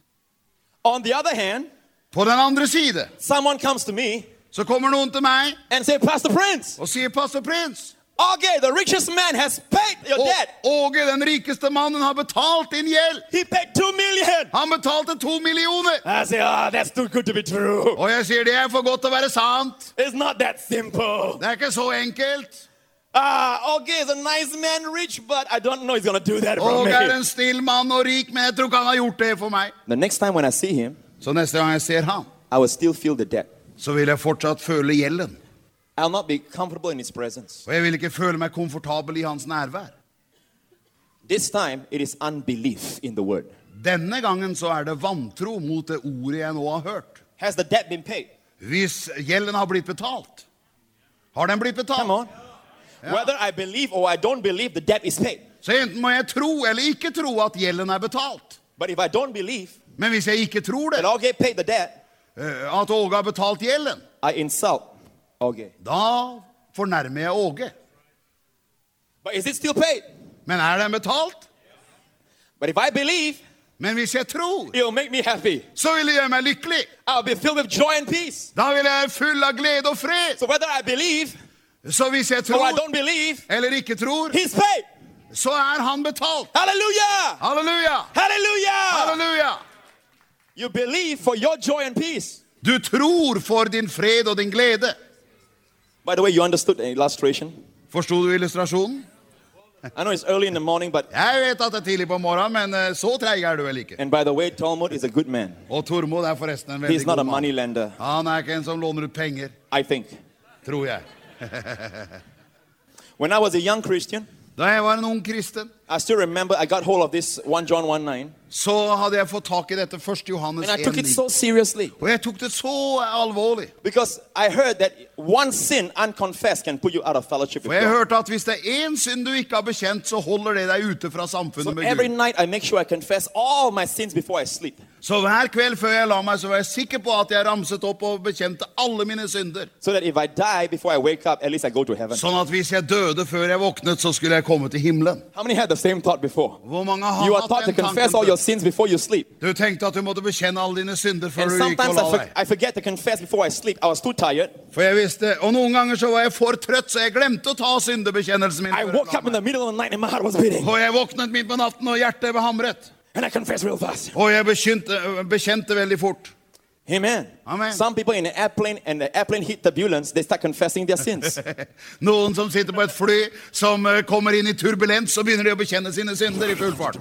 [SPEAKER 3] On the other hand,
[SPEAKER 2] På den andre side
[SPEAKER 3] someone comes to me
[SPEAKER 2] så kommer noen til meg
[SPEAKER 3] and say, Pastor Prince,
[SPEAKER 2] og sier, Pastor Prins,
[SPEAKER 3] okay, the richest man has paid your
[SPEAKER 2] Å-
[SPEAKER 3] debt.
[SPEAKER 2] Åge, den rikeste mannen, har betalt din gjeld.
[SPEAKER 3] He paid two million.
[SPEAKER 2] Han betalte to millioner.
[SPEAKER 3] I say, ah, that's too good to be true.
[SPEAKER 2] Og jeg sier, det er for godt til å være sant.
[SPEAKER 3] It's not that simple.
[SPEAKER 2] Det er ikke så enkelt.
[SPEAKER 3] Ah, okay, he's a nice man, rich, but I don't know he's gonna do that for
[SPEAKER 2] Åge er
[SPEAKER 3] me.
[SPEAKER 2] en snill mann og rik, men jeg tror ikke han har gjort det for meg.
[SPEAKER 3] The next time when I see him,
[SPEAKER 2] Så neste gang jeg ser han,
[SPEAKER 3] I will still feel the debt.
[SPEAKER 2] så vil jeg fortsatt føle gjelden.
[SPEAKER 3] I'll not be comfortable in his presence.
[SPEAKER 2] Og jeg vil ikke føle meg komfortabel i hans nærvær.
[SPEAKER 3] This time, it is unbelief in the word.
[SPEAKER 2] Denne gangen så er det vantro mot det ordet jeg nå har hørt.
[SPEAKER 3] Has the debt been paid?
[SPEAKER 2] Hvis gjelden har blitt betalt, har den blitt
[SPEAKER 3] Come
[SPEAKER 2] betalt?
[SPEAKER 3] on. Whether I believe or I don't believe, the debt is paid.
[SPEAKER 2] Så enten må jeg tro eller ikke tro at gjelden er betalt.
[SPEAKER 3] But if I don't believe
[SPEAKER 2] Men hvis jeg ikke tror det,
[SPEAKER 3] that Augie paid the debt,
[SPEAKER 2] eh, at Åge har betalt gjelden,
[SPEAKER 3] I insult Augie.
[SPEAKER 2] da fornærmer jeg Åge.
[SPEAKER 3] But is it still paid?
[SPEAKER 2] Men er den betalt?
[SPEAKER 3] But if I believe,
[SPEAKER 2] Men hvis jeg tror,
[SPEAKER 3] it will make me happy.
[SPEAKER 2] så vil det gjøre meg lykkelig.
[SPEAKER 3] I'll be filled with joy and peace.
[SPEAKER 2] Da vil jeg være full av glede og fred.
[SPEAKER 3] So whether I believe
[SPEAKER 2] Så hvis jeg
[SPEAKER 3] or
[SPEAKER 2] tror
[SPEAKER 3] I don't believe,
[SPEAKER 2] eller ikke tror,
[SPEAKER 3] he's paid.
[SPEAKER 2] så er han betalt.
[SPEAKER 3] Hallelujah!
[SPEAKER 2] Halleluja!
[SPEAKER 3] Hallelujah!
[SPEAKER 2] Halleluja!
[SPEAKER 3] You believe for your joy and peace.
[SPEAKER 2] Du tror for din fred og din glede.
[SPEAKER 3] By the way, you understood the illustration.
[SPEAKER 2] Forstod du illustrasjonen?
[SPEAKER 3] I know it's early in the morning, but
[SPEAKER 2] Jeg vet at det er tidlig på morgenen, men eh, så treig er du vel ikke.
[SPEAKER 3] and by the way, Talmud is a good man.
[SPEAKER 2] Og Tormod er forresten en
[SPEAKER 3] He's
[SPEAKER 2] veldig
[SPEAKER 3] not a
[SPEAKER 2] god mann.
[SPEAKER 3] money lender,
[SPEAKER 2] Han er ikke en som låner ut penger,
[SPEAKER 3] I think.
[SPEAKER 2] tror jeg.
[SPEAKER 3] When I was a young Christian,
[SPEAKER 2] Da jeg var en ung kristen,
[SPEAKER 3] I still remember I got hold of this 1 John 1 9,
[SPEAKER 2] så hadde jeg fått tak i dette 1. Johannes
[SPEAKER 3] and I took it
[SPEAKER 2] 1.
[SPEAKER 3] so seriously
[SPEAKER 2] Og jeg tok det så alvorlig.
[SPEAKER 3] because I heard that one sin unconfessed can put you out of fellowship
[SPEAKER 2] Og
[SPEAKER 3] with
[SPEAKER 2] jeg
[SPEAKER 3] God.
[SPEAKER 2] hørte at hvis det er én synd du ikke har bekjent, så holder det deg ute fra
[SPEAKER 3] So
[SPEAKER 2] samfunnet med
[SPEAKER 3] every
[SPEAKER 2] Gud.
[SPEAKER 3] night I make sure I confess all my sins before I sleep.
[SPEAKER 2] Så hver kveld før jeg la meg, så var jeg sikker på at jeg ramset opp og bekjente alle mine synder.
[SPEAKER 3] So that if I die before I wake up, at least I go to heaven.
[SPEAKER 2] Sånn at hvis jeg døde før jeg våknet, så skulle jeg komme til himmelen.
[SPEAKER 3] How many had the same thought before?
[SPEAKER 2] Hvor mange har
[SPEAKER 3] You are taught
[SPEAKER 2] hatt
[SPEAKER 3] to
[SPEAKER 2] den
[SPEAKER 3] confess all
[SPEAKER 2] tanken?
[SPEAKER 3] your sins before you sleep.
[SPEAKER 2] Du tenkte at du måtte bekjenne alle dine synder før
[SPEAKER 3] And
[SPEAKER 2] du gikk og
[SPEAKER 3] sometimes
[SPEAKER 2] la
[SPEAKER 3] I, for,
[SPEAKER 2] deg.
[SPEAKER 3] I forget to confess before I sleep. I was too tired.
[SPEAKER 2] For jeg visste, og noen ganger så var jeg for trøtt, så jeg glemte å ta syndebekjennelsen min.
[SPEAKER 3] I
[SPEAKER 2] før jeg
[SPEAKER 3] woke
[SPEAKER 2] la
[SPEAKER 3] up in
[SPEAKER 2] meg.
[SPEAKER 3] the middle of the night and my heart was beating.
[SPEAKER 2] Og jeg våknet midt på natten, og hjertet behamret.
[SPEAKER 3] And I confessed real fast.
[SPEAKER 2] Og jeg bekjente, bekjente veldig fort.
[SPEAKER 3] Amen.
[SPEAKER 2] Amen.
[SPEAKER 3] Some people in an airplane and the airplane hit turbulence, they start confessing their sins.
[SPEAKER 2] Noen som sitter på et fly, som eh, kommer inn i turbulens, så begynner de å bekjenne sine synder i full fart.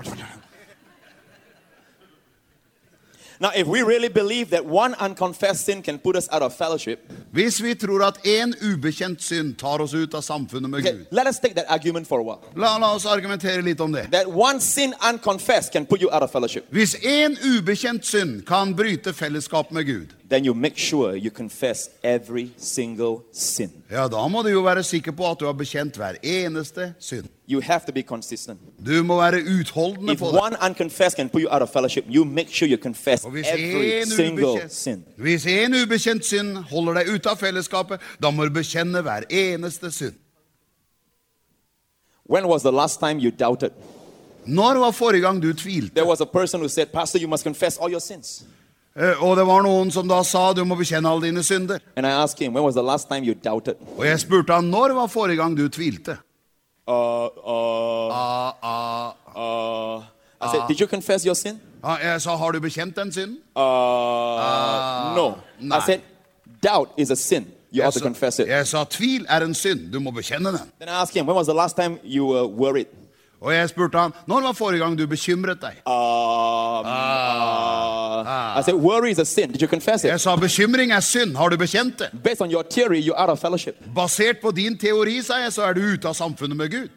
[SPEAKER 3] now, if we really believe that one unconfessed sin can put us out of fellowship,
[SPEAKER 2] Hvis vi tror at én ubekjent synd tar oss ut av samfunnet med
[SPEAKER 3] okay,
[SPEAKER 2] Gud
[SPEAKER 3] let us take that argument for a while.
[SPEAKER 2] La, la oss argumentere litt om det.
[SPEAKER 3] That one sin unconfessed can put you out of fellowship.
[SPEAKER 2] Hvis én ubekjent synd kan bryte fellesskap med Gud,
[SPEAKER 3] Then you make sure you confess every single sin.
[SPEAKER 2] ja, da må du jo være sikker på at du har bekjent hver eneste synd.
[SPEAKER 3] You have to be consistent.
[SPEAKER 2] Du må være utholdende
[SPEAKER 3] If
[SPEAKER 2] på det.
[SPEAKER 3] one unconfessed can put you out of fellowship, you make sure you confess
[SPEAKER 2] Og hvis
[SPEAKER 3] every
[SPEAKER 2] en,
[SPEAKER 3] single sin.
[SPEAKER 2] ubekjent, hvis en ubekjent synd holder deg ute av fellesskapet, da må du bekjenne hver eneste synd.
[SPEAKER 3] When was the last time you doubted?
[SPEAKER 2] Når var forrige gang du tvilte?
[SPEAKER 3] There was a person who said, Pastor, you must confess all your sins.
[SPEAKER 2] Eh, Og det var noen som da sa du må bekjenne alle dine synder.
[SPEAKER 3] And I asked him, When was the last time you doubted?
[SPEAKER 2] Og jeg spurte han når var forrige gang du tvilte?
[SPEAKER 3] Uh, uh,
[SPEAKER 2] Ah, ah,
[SPEAKER 3] uh. I said, Did you confess your sin?
[SPEAKER 2] ah, jeg sa har du bekjent den synden?
[SPEAKER 3] Uh, no.
[SPEAKER 2] nah.
[SPEAKER 3] I said, Doubt is a sin. You
[SPEAKER 2] Jeg
[SPEAKER 3] ought to
[SPEAKER 2] sa-
[SPEAKER 3] confess it.
[SPEAKER 2] Jeg sa tvil er en synd, du må bekjenne den.
[SPEAKER 3] Then I asked him, When was the last time you were worried?
[SPEAKER 2] Og jeg spurte han, når var forrige gang du bekymret deg?
[SPEAKER 3] Um, uh, I said, Worry is a sin. Did you confess
[SPEAKER 2] Jeg
[SPEAKER 3] it?
[SPEAKER 2] sa, bekymring er synd, har du bekjent det?
[SPEAKER 3] Based on your theory, you're out of fellowship.
[SPEAKER 2] Basert på din teori, sa jeg, så er du ute av samfunnet med Gud.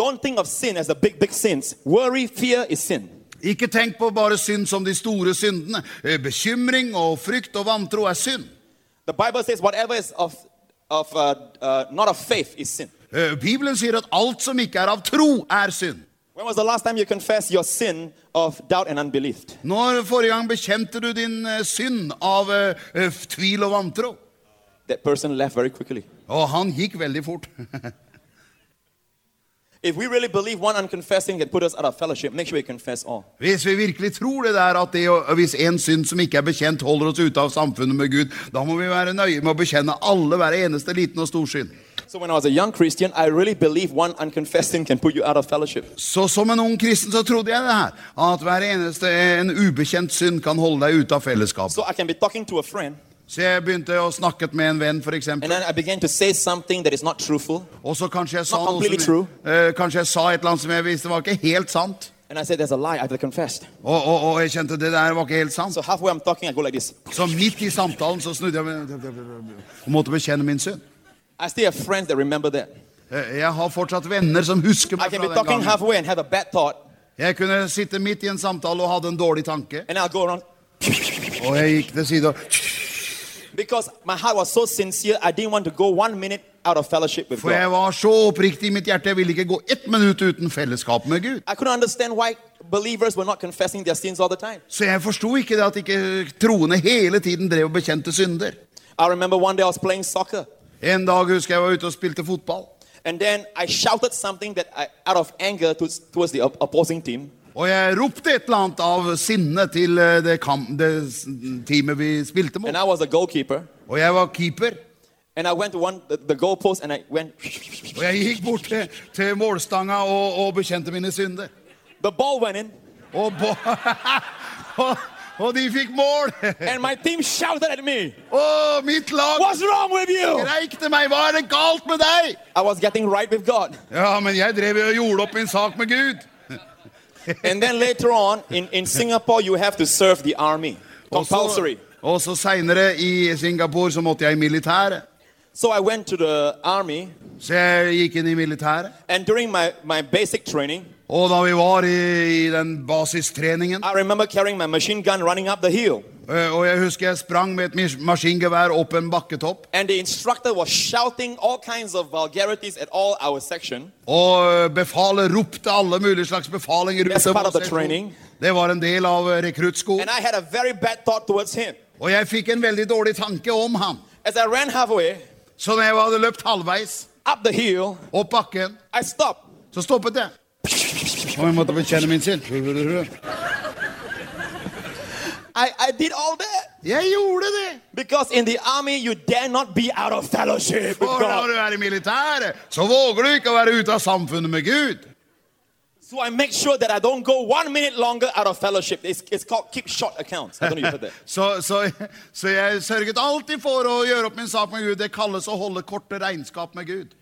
[SPEAKER 3] Don't think of sin as the big, big sins. Worry, fear is sin.
[SPEAKER 2] Ikke tenk på bare synd som de store syndene. Eh, Bekymring og frykt og vantro er synd.
[SPEAKER 3] The Bible says whatever is of, of uh, uh, not of faith is sin.
[SPEAKER 2] Eh, Bibelen sier at alt som ikke er av tro, er synd.
[SPEAKER 3] When was the last time you confessed your sin of doubt and unbelief?
[SPEAKER 2] Når forrige gang bekjente du din eh, synd av eh, eh, tvil og vantro?
[SPEAKER 3] That person left very quickly.
[SPEAKER 2] Og han gikk veldig fort.
[SPEAKER 3] If we really believe one unconfessed sin can put us out of fellowship, make sure we confess all.
[SPEAKER 2] Hvis vi virkelig tror det der at det, å- hvis en synd som ikke er bekjent holder oss ute av samfunnet med Gud, da må vi være nøye med å bekjenne alle hver eneste liten og stor synd.
[SPEAKER 3] So when I was a young Christian, I really believed one unconfessed sin can put you out of fellowship.
[SPEAKER 2] Så som en ung kristen så trodde jeg det her, at hver eneste en ubekjent synd kan holde deg ute av fellesskapet.
[SPEAKER 3] So I can be talking to a friend,
[SPEAKER 2] Så jeg begynte å snakke med en venn for
[SPEAKER 3] and
[SPEAKER 2] eksempel,
[SPEAKER 3] then I began to say something that is not truthful.
[SPEAKER 2] og så kanskje jeg sa
[SPEAKER 3] Not
[SPEAKER 2] noe
[SPEAKER 3] completely
[SPEAKER 2] som,
[SPEAKER 3] true.
[SPEAKER 2] eh, kanskje jeg sa et eller annet som jeg visste var ikke helt sant.
[SPEAKER 3] And I said, There's a lie, I've confessed.
[SPEAKER 2] Og, og, og jeg kjente det der var ikke helt sant.
[SPEAKER 3] So halfway I'm talking, I go like this.
[SPEAKER 2] Så midt i samtalen så snudde jeg meg og måtte bekjenne min synd.
[SPEAKER 3] I still have friends that remember that.
[SPEAKER 2] Eh, Jeg har fortsatt venner som husker
[SPEAKER 3] I
[SPEAKER 2] meg
[SPEAKER 3] can
[SPEAKER 2] fra
[SPEAKER 3] be
[SPEAKER 2] den
[SPEAKER 3] talking
[SPEAKER 2] gangen.
[SPEAKER 3] halfway and have a bad thought,
[SPEAKER 2] Jeg kunne sitte midt i en samtale og hadde en dårlig tanke,
[SPEAKER 3] and I'll go around
[SPEAKER 2] og jeg gikk til side og
[SPEAKER 3] because my heart was so sincere. I didn't want to go one minute out of fellowship with
[SPEAKER 2] For jeg
[SPEAKER 3] God.
[SPEAKER 2] var så oppriktig i mitt hjerte, jeg ville ikke gå ett minutt uten fellesskap med Gud.
[SPEAKER 3] I couldn't understand why believers were not confessing their sins all the time.
[SPEAKER 2] Så jeg forsto ikke det at ikke troende hele tiden drev og bekjente synder.
[SPEAKER 3] I remember one day I was playing soccer,
[SPEAKER 2] En dag husker jeg var ute og spilte fotball,
[SPEAKER 3] and then I shouted something that I, out of anger to, towards the op- opposing team.
[SPEAKER 2] og jeg ropte et eller annet av sinne til eh, det, kamp, det s- teamet vi spilte mot.
[SPEAKER 3] And I was a goalkeeper,
[SPEAKER 2] Og jeg var keeper,
[SPEAKER 3] and I went to one the, the goalpost, and I went.
[SPEAKER 2] og jeg gikk bort til, til målstanga og, og bekjente mine synder.
[SPEAKER 3] The ball went in,
[SPEAKER 2] Og, bo- og, og de fikk mål!
[SPEAKER 3] and my team shouted at me,
[SPEAKER 2] Og mitt lag
[SPEAKER 3] "What's wrong with you?"
[SPEAKER 2] Skreik til meg, hva er det galt med deg?
[SPEAKER 3] I was getting right with God.
[SPEAKER 2] Ja, men jeg drev jo og gjorde opp min sak med Gud.
[SPEAKER 3] And then later on, in, in Singapore, you have to serve the army.
[SPEAKER 2] Og så,
[SPEAKER 3] Compulsory.
[SPEAKER 2] og så senere i Singapore så måtte jeg i militæret.
[SPEAKER 3] So I went to the army,
[SPEAKER 2] Så jeg gikk inn i militæret.
[SPEAKER 3] and during my, my basic training,
[SPEAKER 2] Og da vi var i, i den basistreningen,
[SPEAKER 3] I remember carrying my machine gun running up the hill.
[SPEAKER 2] eh, og jeg husker jeg sprang med et mis- maskingevær opp en bakketopp,
[SPEAKER 3] And the instructor was shouting all kinds of vulgarities at all our section.
[SPEAKER 2] og eh, befalet ropte alle mulige slags befalinger.
[SPEAKER 3] That's
[SPEAKER 2] utover
[SPEAKER 3] part of the
[SPEAKER 2] sesjonen.
[SPEAKER 3] training.
[SPEAKER 2] Det var en del av eh, rekruttskolen.
[SPEAKER 3] And I had a very bad thought towards him.
[SPEAKER 2] Og jeg fikk en veldig dårlig tanke om han.
[SPEAKER 3] As I ran halfway
[SPEAKER 2] Så når jeg hadde løpt halvveis
[SPEAKER 3] up the hill,
[SPEAKER 2] opp bakken,
[SPEAKER 3] I stopped.
[SPEAKER 2] så stoppet jeg. Og jeg måtte bekjenne min synd.
[SPEAKER 3] I, I did all that
[SPEAKER 2] Jeg gjorde det.
[SPEAKER 3] because in the army you dare not be out of fellowship with
[SPEAKER 2] For når
[SPEAKER 3] God.
[SPEAKER 2] du er i militæret, så våger du ikke å være ute av samfunnet med Gud.
[SPEAKER 3] So I make sure that I don't go one minute longer out of fellowship. It's, it's called keep short accounts. I don't know if you heard that.
[SPEAKER 2] Så, så, så jeg sørget alltid for å gjøre opp min sak med Gud. Det kalles å holde korte regnskap med Gud.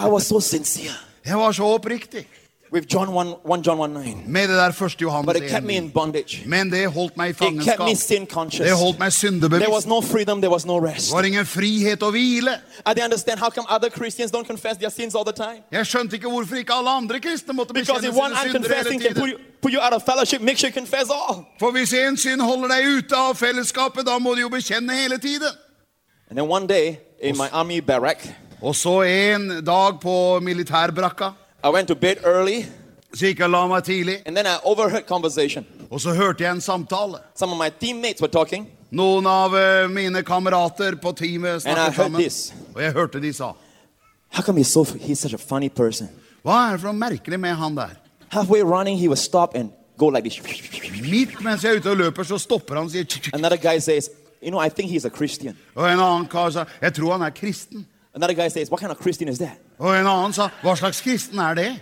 [SPEAKER 3] I was so sincere
[SPEAKER 2] Jeg var så oppriktig
[SPEAKER 3] with John 1, 1 John 1 9.
[SPEAKER 2] med det der første
[SPEAKER 3] But
[SPEAKER 2] Johannes
[SPEAKER 3] it kept me in
[SPEAKER 2] 1.
[SPEAKER 3] bondage.
[SPEAKER 2] Men det holdt meg i
[SPEAKER 3] It kept me
[SPEAKER 2] fangenskap.
[SPEAKER 3] sin conscious.
[SPEAKER 2] Det holdt meg
[SPEAKER 3] There was
[SPEAKER 2] syndebevisst.
[SPEAKER 3] no freedom, there was no
[SPEAKER 2] Det
[SPEAKER 3] rest.
[SPEAKER 2] var ingen frihet å hvile.
[SPEAKER 3] I didn't understand how come other Christians don't confess their sins all the time.
[SPEAKER 2] Jeg skjønte ikke hvorfor ikke alle andre kristne måtte
[SPEAKER 3] Because
[SPEAKER 2] bekjenne
[SPEAKER 3] if one
[SPEAKER 2] sine synder hele
[SPEAKER 3] unconfessing can put
[SPEAKER 2] tiden.
[SPEAKER 3] you, put you out of fellowship, make sure you confess all.
[SPEAKER 2] For hvis en synd holder deg ute av fellesskapet, da må du jo bekjenne hele tiden.
[SPEAKER 3] And then one day in my army barrack,
[SPEAKER 2] Og så en dag på militærbrakka,
[SPEAKER 3] I went to bed early
[SPEAKER 2] så gikk jeg og la meg tidlig,
[SPEAKER 3] and then I overheard conversation.
[SPEAKER 2] og så hørte jeg en samtale.
[SPEAKER 3] Some of my teammates were talking
[SPEAKER 2] Noen av eh, mine kamerater på teamet
[SPEAKER 3] and I
[SPEAKER 2] snakket
[SPEAKER 3] heard
[SPEAKER 2] sammen,
[SPEAKER 3] this.
[SPEAKER 2] og jeg hørte de sa,
[SPEAKER 3] How come he's so he's such a funny person?
[SPEAKER 2] hva er det for noe merkelig med han der?
[SPEAKER 3] Halfway running, he would stop and go like this.
[SPEAKER 2] Midt mens jeg er ute og løper, så stopper han og sier, tsk, tsk.
[SPEAKER 3] Another guy says, "You know, I think he's a Christian."
[SPEAKER 2] og en annen kar sa, jeg tror han er kristen.
[SPEAKER 3] Another guy says, "What kind of Christian is that?"
[SPEAKER 2] Og en annen sa, hva slags kristen er det?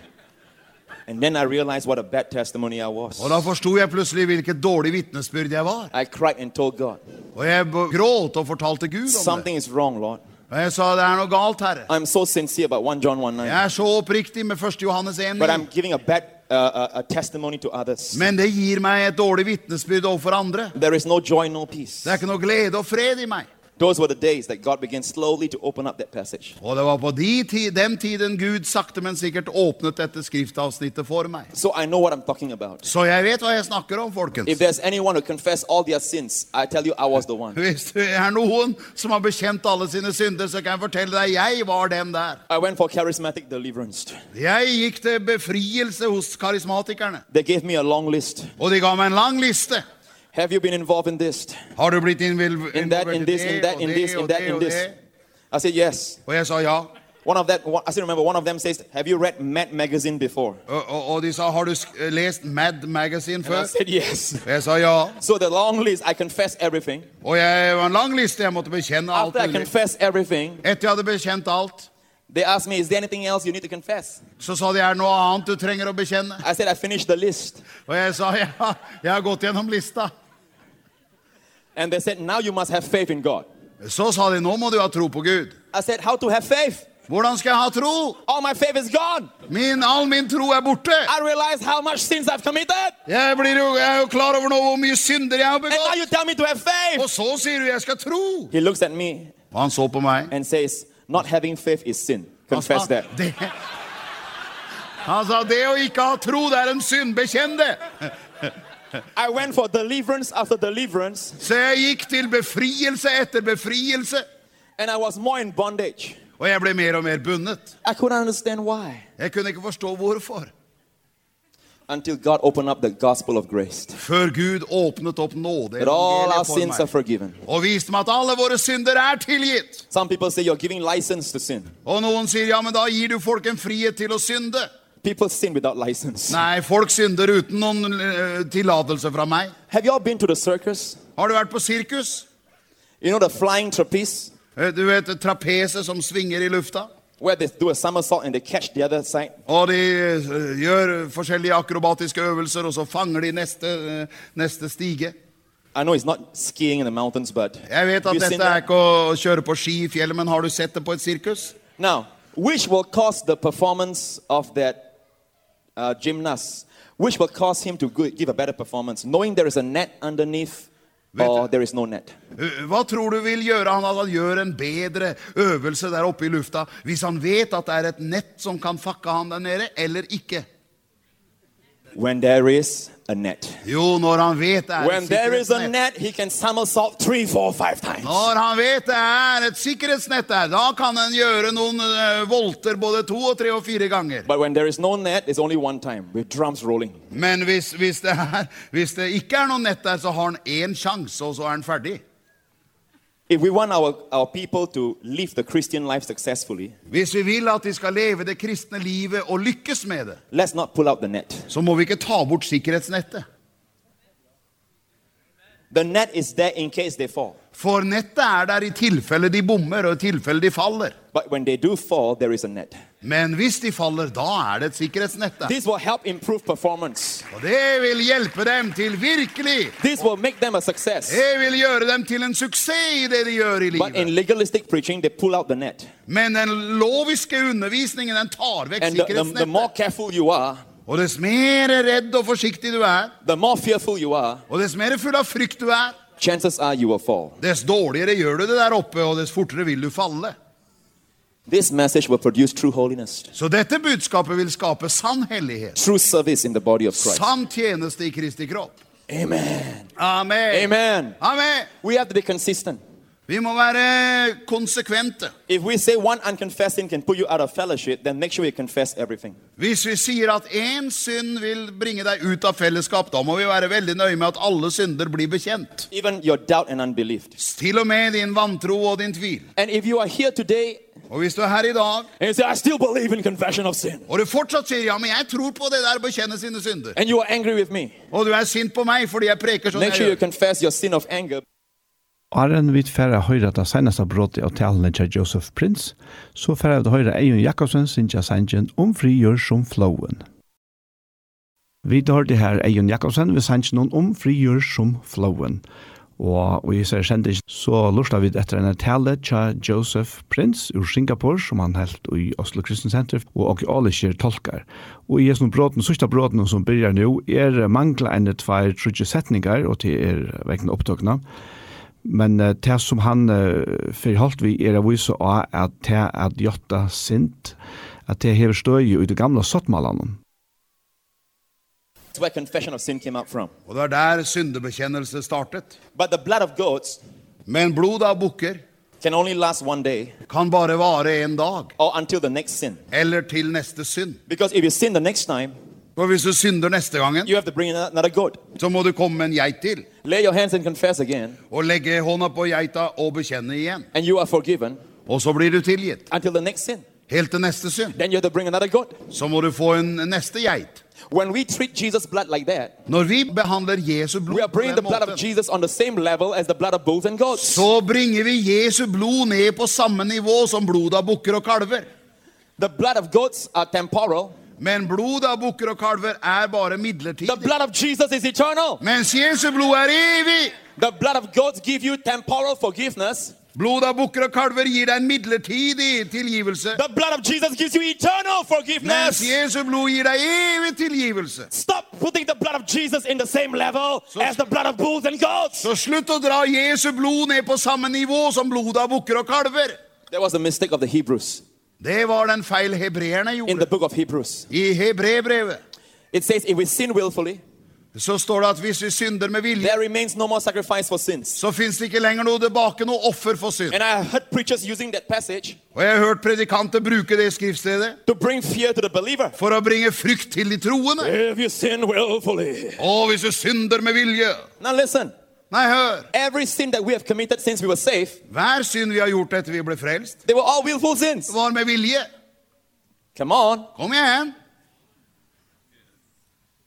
[SPEAKER 3] And then I realized what a bad testimony I was.
[SPEAKER 2] Og da forstod jeg plutselig hvilket dårlig vittnesbyrd jeg var.
[SPEAKER 3] I cried and told God,
[SPEAKER 2] Og jeg b- gråt og fortalte Gud om det.
[SPEAKER 3] "Something is wrong, Lord.
[SPEAKER 2] Og jeg sa, det er noe galt, herre.
[SPEAKER 3] I'm so sincere about 1 John 1 9,
[SPEAKER 2] Jeg er så oppriktig med 1. Johannes 1.
[SPEAKER 3] but I'm giving a bad uh, uh, a testimony to others.
[SPEAKER 2] Men det gir meg et dårlig vittnesbyrd overfor andre.
[SPEAKER 3] There is no joy, no peace."
[SPEAKER 2] Det er ikke noe glede og fred i meg.
[SPEAKER 3] Those were the days that God began slowly to open up that passage.
[SPEAKER 2] Og det var på de ti den tiden Gud sakte, men sikkert åpnet dette skriftavsnittet for meg.
[SPEAKER 3] So I know what I'm talking about.
[SPEAKER 2] Så jeg vet hva jeg snakker om,
[SPEAKER 3] If
[SPEAKER 2] folkens.
[SPEAKER 3] there's anyone who confess all their sins, I tell you I was the one.
[SPEAKER 2] Hvis det er noen som har bekjent alle sine synder, så kan jeg fortelle deg, jeg var den der.
[SPEAKER 3] I went for charismatic deliverance.
[SPEAKER 2] Jeg gikk til befrielse hos karismatikerne.
[SPEAKER 3] They gave me a long list.
[SPEAKER 2] Og de ga meg en lang liste.
[SPEAKER 3] Have you been involved in this?
[SPEAKER 2] Har du blitt innvilvet
[SPEAKER 3] In that, in this, in that, in this, in that, in this. I said yes.
[SPEAKER 2] Og jeg sa ja.
[SPEAKER 3] One of that one, I still remember one of them says, "Have you read Mad magazine before?"
[SPEAKER 2] Og, og, og de sa, har du sk- lest Mad Magazine
[SPEAKER 3] And I
[SPEAKER 2] før?
[SPEAKER 3] said yes.
[SPEAKER 2] Og jeg sa ja.
[SPEAKER 3] So the long list, I confess everything.
[SPEAKER 2] Og jeg det var en lang liste, jeg måtte bekjenne alt
[SPEAKER 3] After I
[SPEAKER 2] mulig.
[SPEAKER 3] confess everything,
[SPEAKER 2] Etter jeg hadde bekjent alt,
[SPEAKER 3] they asked me, "Is there anything else you need to confess?"
[SPEAKER 2] så sa de, er det noe annet du trenger å bekjenne?
[SPEAKER 3] I said, "I finished the list."
[SPEAKER 2] Og jeg sa, ja, jeg har gått gjennom lista.
[SPEAKER 3] And they said, "Now you must have faith in God."
[SPEAKER 2] Så sa de, nå må du ha tro på Gud.
[SPEAKER 3] I said, "How to have faith?"
[SPEAKER 2] Hvordan skal jeg ha tro?
[SPEAKER 3] All my faith is gone.
[SPEAKER 2] Min, all min tro er borte.
[SPEAKER 3] I realize how much sins I've committed.
[SPEAKER 2] Jeg, blir jo, jeg er jo klar over nå hvor mye synder jeg har
[SPEAKER 3] And now
[SPEAKER 2] begått.
[SPEAKER 3] you tell me to have faith.
[SPEAKER 2] Og så sier du, jeg skal tro.
[SPEAKER 3] He looks at me
[SPEAKER 2] Og han så på meg.
[SPEAKER 3] and says, Not having faith is sin.
[SPEAKER 2] Han sa,
[SPEAKER 3] Confess that.
[SPEAKER 2] det. Han sa, det å ikke ha tro, det er en synd. Bekjenn det.
[SPEAKER 3] I went for deliverance after deliverance,
[SPEAKER 2] Så jeg gikk til befrielse etter befrielse.
[SPEAKER 3] and I was more in bondage.
[SPEAKER 2] Og jeg ble mer og mer bundet.
[SPEAKER 3] I couldn't understand why
[SPEAKER 2] Jeg kunne ikke forstå hvorfor.
[SPEAKER 3] until God opened up the gospel of grace.
[SPEAKER 2] Før Gud åpnet opp nåde
[SPEAKER 3] That all our
[SPEAKER 2] evangeliet
[SPEAKER 3] sins are
[SPEAKER 2] for meg,
[SPEAKER 3] forgiven.
[SPEAKER 2] og viste meg at alle våre synder er tilgitt.
[SPEAKER 3] Some people say you're giving license to sin.
[SPEAKER 2] Og noen sier, ja, men da gir du folk en frihet til å synde.
[SPEAKER 3] People sin without license.
[SPEAKER 2] Nei, folk synder uten noen eh, tillatelse fra meg.
[SPEAKER 3] Have you all been to the circus?
[SPEAKER 2] Har du vært på sirkus?
[SPEAKER 3] You know the flying trapeze
[SPEAKER 2] Eh, Du vet, trapeset som svinger i lufta.
[SPEAKER 3] where they do a somersault and they catch the other side?
[SPEAKER 2] Og de eh, gjør forskjellige akrobatiske øvelser, og så fanger de neste, eh, neste stige.
[SPEAKER 3] I know it's not skiing in the mountains, but
[SPEAKER 2] Jeg vet
[SPEAKER 3] have
[SPEAKER 2] at
[SPEAKER 3] you seen
[SPEAKER 2] dette
[SPEAKER 3] that?
[SPEAKER 2] er ikke å kjøre på ski i fjellet, men har du sett det på et sirkus?
[SPEAKER 3] Now, which will cause the performance of that uh, gymnast, which will cause him to go- give a better performance, knowing there is a net underneath
[SPEAKER 2] Vet
[SPEAKER 3] or there is no net.
[SPEAKER 2] Eh, Hva tror du vil gjøre han at han gjør en bedre øvelse der oppe i lufta, hvis han vet at det er et nett som kan fakke han der nede, eller ikke?
[SPEAKER 3] When there is a net.
[SPEAKER 2] Jo, når han vet det er
[SPEAKER 3] When
[SPEAKER 2] et
[SPEAKER 3] there is a
[SPEAKER 2] sikkerhetsnett.
[SPEAKER 3] net, he can somersault three, four, five times.
[SPEAKER 2] Når han vet det er et sikkerhetsnett der, da kan han gjøre noen eh, volter både to og tre og fire ganger.
[SPEAKER 3] But when there is no net, it's only one time with drums rolling.
[SPEAKER 2] Men hvis, hvis, det er, hvis det ikke er noe nett der, så har han én sjanse, og så er han ferdig.
[SPEAKER 3] If we want our, our people to live the Christian life successfully,
[SPEAKER 2] Hvis vi vil at de skal leve det kristne livet og lykkes med det,
[SPEAKER 3] let's not pull out the net.
[SPEAKER 2] så må vi ikke ta bort sikkerhetsnettet.
[SPEAKER 3] The net is there in case they fall.
[SPEAKER 2] For nettet er der i tilfelle de bommer og i tilfelle de faller.
[SPEAKER 3] But when they do fall, there is a net.
[SPEAKER 2] Men hvis de faller, da er det et sikkerhetsnett der.
[SPEAKER 3] This will help improve performance.
[SPEAKER 2] Og det vil hjelpe dem til virkelig.
[SPEAKER 3] This will make them a success.
[SPEAKER 2] Det vil gjøre dem til en suksess i det de gjør i
[SPEAKER 3] But
[SPEAKER 2] livet.
[SPEAKER 3] in legalistic preaching, they pull out the net.
[SPEAKER 2] Men den loviske undervisningen, den tar vekk
[SPEAKER 3] And the, the, the more
[SPEAKER 2] sikkerhetsnettet.
[SPEAKER 3] careful you are,
[SPEAKER 2] Og dess mer redd og forsiktig du er,
[SPEAKER 3] the more fearful you are,
[SPEAKER 2] og dess mer full av frykt du er,
[SPEAKER 3] chances are you will fall.
[SPEAKER 2] dess dårligere gjør du det der oppe, og dess fortere vil du falle.
[SPEAKER 3] This message will produce true holiness,
[SPEAKER 2] Så dette budskapet vil skape sann hellighet.
[SPEAKER 3] true service in the body of Christ.
[SPEAKER 2] Sann tjeneste i Kristi kropp.
[SPEAKER 3] Amen.
[SPEAKER 2] Amen.
[SPEAKER 3] Amen.
[SPEAKER 2] Amen.
[SPEAKER 3] We have to be consistent.
[SPEAKER 2] Vi må være konsekvente.
[SPEAKER 3] If we say one unconfessed sin can put you out of fellowship, then make sure you confess everything.
[SPEAKER 2] Hvis vi sier at én synd vil bringe deg ut av fellesskap, da må vi være veldig nøye med at alle synder blir bekjent.
[SPEAKER 3] Even your doubt and unbelief.
[SPEAKER 2] Til og med din vantro og din tvil.
[SPEAKER 3] And if you are here today
[SPEAKER 2] Og hvis du er her i dag,
[SPEAKER 3] and you say, I still believe in confession of sin,
[SPEAKER 2] og du fortsatt sier 'ja, men jeg tror på det der å bekjenne sine synder',
[SPEAKER 3] and you are angry with me,
[SPEAKER 2] og du er sint på meg fordi jeg preker sånn
[SPEAKER 3] make sure you
[SPEAKER 2] jeg gjør
[SPEAKER 3] confess your sin of anger.
[SPEAKER 1] Arren vid færre høyre det seneste brådet av talene til Joseph Prince, så færre det høyre Eion Jakobsen Um sinja sangen om frigjør som flowen. Vi tar det her Eion Jakobsen ved sangen om frigjør som flowen. Og og i ser sending så lustar vi etter en tale til Joseph Prince ur Singapore som han helt i Oslo Christian Center og og alle skjer tolkar. Og i sånn bråten, sørste bråten som byrjar nå, er mangla enn et tvær trudje setningar, og til er vekkene opptøkna. Men uh, det som han uh, forholdt vi er å vise av at det er jotta sint, at det hever støy i det gamle sottmalene.
[SPEAKER 3] That's where confession of sin came out from.
[SPEAKER 2] Og det er der syndebekjennelse startet.
[SPEAKER 3] But the blood of goats
[SPEAKER 2] Men blodet av bukker
[SPEAKER 3] can only last one day
[SPEAKER 2] kan bare vare en dag,
[SPEAKER 3] or until the next sin.
[SPEAKER 2] eller til neste synd.
[SPEAKER 3] Because if you sin the next time,
[SPEAKER 2] For hvis du synder neste gangen,
[SPEAKER 3] you have to bring in another goat.
[SPEAKER 2] så må du komme med en geit til,
[SPEAKER 3] Lay your hands and confess again,
[SPEAKER 2] og legge hånda på geita og bekjenne igjen.
[SPEAKER 3] and you are forgiven
[SPEAKER 2] Og så blir du tilgitt.
[SPEAKER 3] until the next sin.
[SPEAKER 2] Helt til neste synd.
[SPEAKER 3] Then you have to bring another goat.
[SPEAKER 2] Så må du få en neste geit.
[SPEAKER 3] When we treat Jesus' blood like that,
[SPEAKER 2] Når vi behandler Jesu blod
[SPEAKER 3] We are
[SPEAKER 2] på
[SPEAKER 3] bringing the
[SPEAKER 2] den
[SPEAKER 3] blood of
[SPEAKER 2] måten,
[SPEAKER 3] Jesus on the same level as the blood of bulls and goats.
[SPEAKER 2] så bringer vi Jesu blod ned på samme nivå som blodet av bukker og kalver.
[SPEAKER 3] The blood of goats are temporal.
[SPEAKER 2] Men blodet av bukker og kalver er bare
[SPEAKER 3] The
[SPEAKER 2] midlertidig.
[SPEAKER 3] blood of Jesus is eternal.
[SPEAKER 2] Mens Jesu blod er evig.
[SPEAKER 3] The blood of goats give you temporal forgiveness.
[SPEAKER 2] Blodet av bukker og kalver gir deg en midlertidig tilgivelse.
[SPEAKER 3] The blood of Jesus gives you eternal
[SPEAKER 2] Mens
[SPEAKER 3] forgiveness.
[SPEAKER 2] Jesu blod gir deg evig tilgivelse.
[SPEAKER 3] Stop putting the blood of Jesus in the same level as the blood of bulls and goats.
[SPEAKER 2] Så slutt å dra Jesu blod ned på samme nivå som blodet av bukker og kalver.
[SPEAKER 3] That was a mistake of the Hebrews
[SPEAKER 2] Det var den feil hebreerne
[SPEAKER 3] in the
[SPEAKER 2] gjorde.
[SPEAKER 3] book of Hebrews.
[SPEAKER 2] I hebrebrevet
[SPEAKER 3] It says, if we sin willfully,
[SPEAKER 2] så står det at hvis vi synder med vilje,
[SPEAKER 3] there remains no more sacrifice for sins.
[SPEAKER 2] så finnes det ikke lenger noe tilbake, noe offer for synd.
[SPEAKER 3] And I heard preachers using that passage
[SPEAKER 2] Og jeg har hørt predikanter bruke det skriftstedet
[SPEAKER 3] to bring fear to the believer.
[SPEAKER 2] for å bringe frykt til de troende.
[SPEAKER 3] If you sin willfully.
[SPEAKER 2] Å, hvis du synder med vilje.
[SPEAKER 3] Now listen.
[SPEAKER 2] Nei, hør.
[SPEAKER 3] Every sin that we have committed since we were saved,
[SPEAKER 2] Hver synd vi har gjort etter vi ble frelst,
[SPEAKER 3] they were all willful sins.
[SPEAKER 2] var med vilje.
[SPEAKER 3] Come on.
[SPEAKER 2] Kom igjen.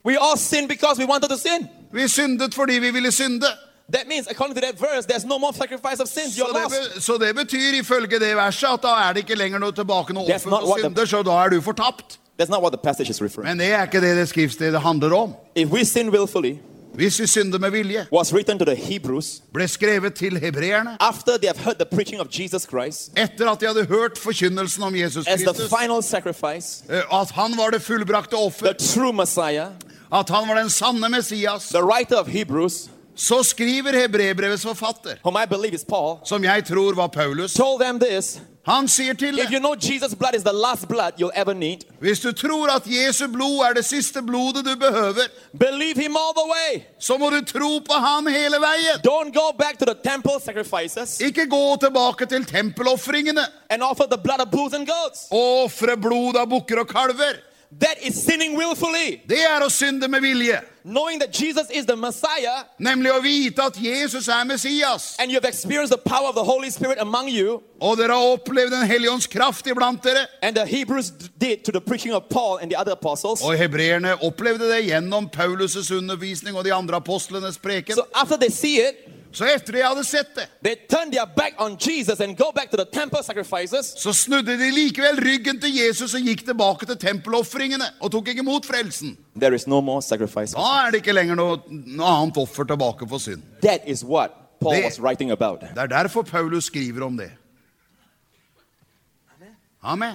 [SPEAKER 3] We all sinned because we wanted to sin.
[SPEAKER 2] Vi syndet fordi vi ville synde.
[SPEAKER 3] That means, according to that verse, there's no more sacrifice of sins.
[SPEAKER 2] Så
[SPEAKER 3] You're
[SPEAKER 2] det,
[SPEAKER 3] lost.
[SPEAKER 2] be, så det betyr ifølge det verset at da er det ikke lenger noe tilbake, noe
[SPEAKER 3] That's
[SPEAKER 2] offer
[SPEAKER 3] not
[SPEAKER 2] for
[SPEAKER 3] what the-
[SPEAKER 2] synder, så da er du fortapt.
[SPEAKER 3] That's not what the passage is referring.
[SPEAKER 2] Men det er ikke det det skriftstedet handler om.
[SPEAKER 3] If we sin willfully,
[SPEAKER 2] Hvis vi synder med vilje,
[SPEAKER 3] was written to the Hebrews
[SPEAKER 2] ble skrevet til hebreerne
[SPEAKER 3] after they have heard the preaching of Jesus Christ
[SPEAKER 2] etter at de hadde hørt forkynnelsen om Jesus
[SPEAKER 3] as the
[SPEAKER 2] Kristus,
[SPEAKER 3] final sacrifice,
[SPEAKER 2] eh, at han var det fullbrakte
[SPEAKER 3] the
[SPEAKER 2] offer,
[SPEAKER 3] true Messiah.
[SPEAKER 2] at han var den sanne Messias,
[SPEAKER 3] The writer of Hebrews
[SPEAKER 2] så skriver Hebrebrevets forfatter,
[SPEAKER 3] whom I believe is Paul,
[SPEAKER 2] som jeg tror var Paulus,
[SPEAKER 3] told them this
[SPEAKER 2] han sier til
[SPEAKER 3] If
[SPEAKER 2] deg,
[SPEAKER 3] you know Jesus' blood is the last blood you'll ever need,
[SPEAKER 2] hvis du tror at Jesu blod er det siste blodet du behøver,
[SPEAKER 3] believe Him all the way.
[SPEAKER 2] så må du tro på han hele veien.
[SPEAKER 3] Don't go back to the temple sacrifices
[SPEAKER 2] Ikke gå tilbake til tempeloffringene
[SPEAKER 3] and offer the blood of bulls and goats.
[SPEAKER 2] og ofre blod av bukker og kalver.
[SPEAKER 3] That is sinning willfully.
[SPEAKER 2] Det er å synde med vilje.
[SPEAKER 3] Knowing that Jesus is the Messiah
[SPEAKER 2] Nemlig å vite at Jesus er Messias.
[SPEAKER 3] and you've experienced the power of the Holy Spirit among you,
[SPEAKER 2] Og dere har opplevd den hellige ånds kraft iblant dere.
[SPEAKER 3] and the Hebrews did to the preaching of Paul and the other apostles.
[SPEAKER 2] Og hebreerne opplevde det gjennom Paulus' undervisning og de andre apostlenes preken.
[SPEAKER 3] So after they see it,
[SPEAKER 2] Så etter de hadde sett det,
[SPEAKER 3] they turn their back on Jesus and go back to the temple sacrifices.
[SPEAKER 2] så snudde de likevel ryggen til Jesus og gikk tilbake til tempelofringene og tok ikke imot frelsen.
[SPEAKER 3] There is no more sacrifice.
[SPEAKER 2] Da er det ikke lenger noe, noe annet offer tilbake for synd.
[SPEAKER 3] That is what Paul
[SPEAKER 2] There-
[SPEAKER 3] was writing about.
[SPEAKER 2] Det er derfor Paulus skriver om det. Amen.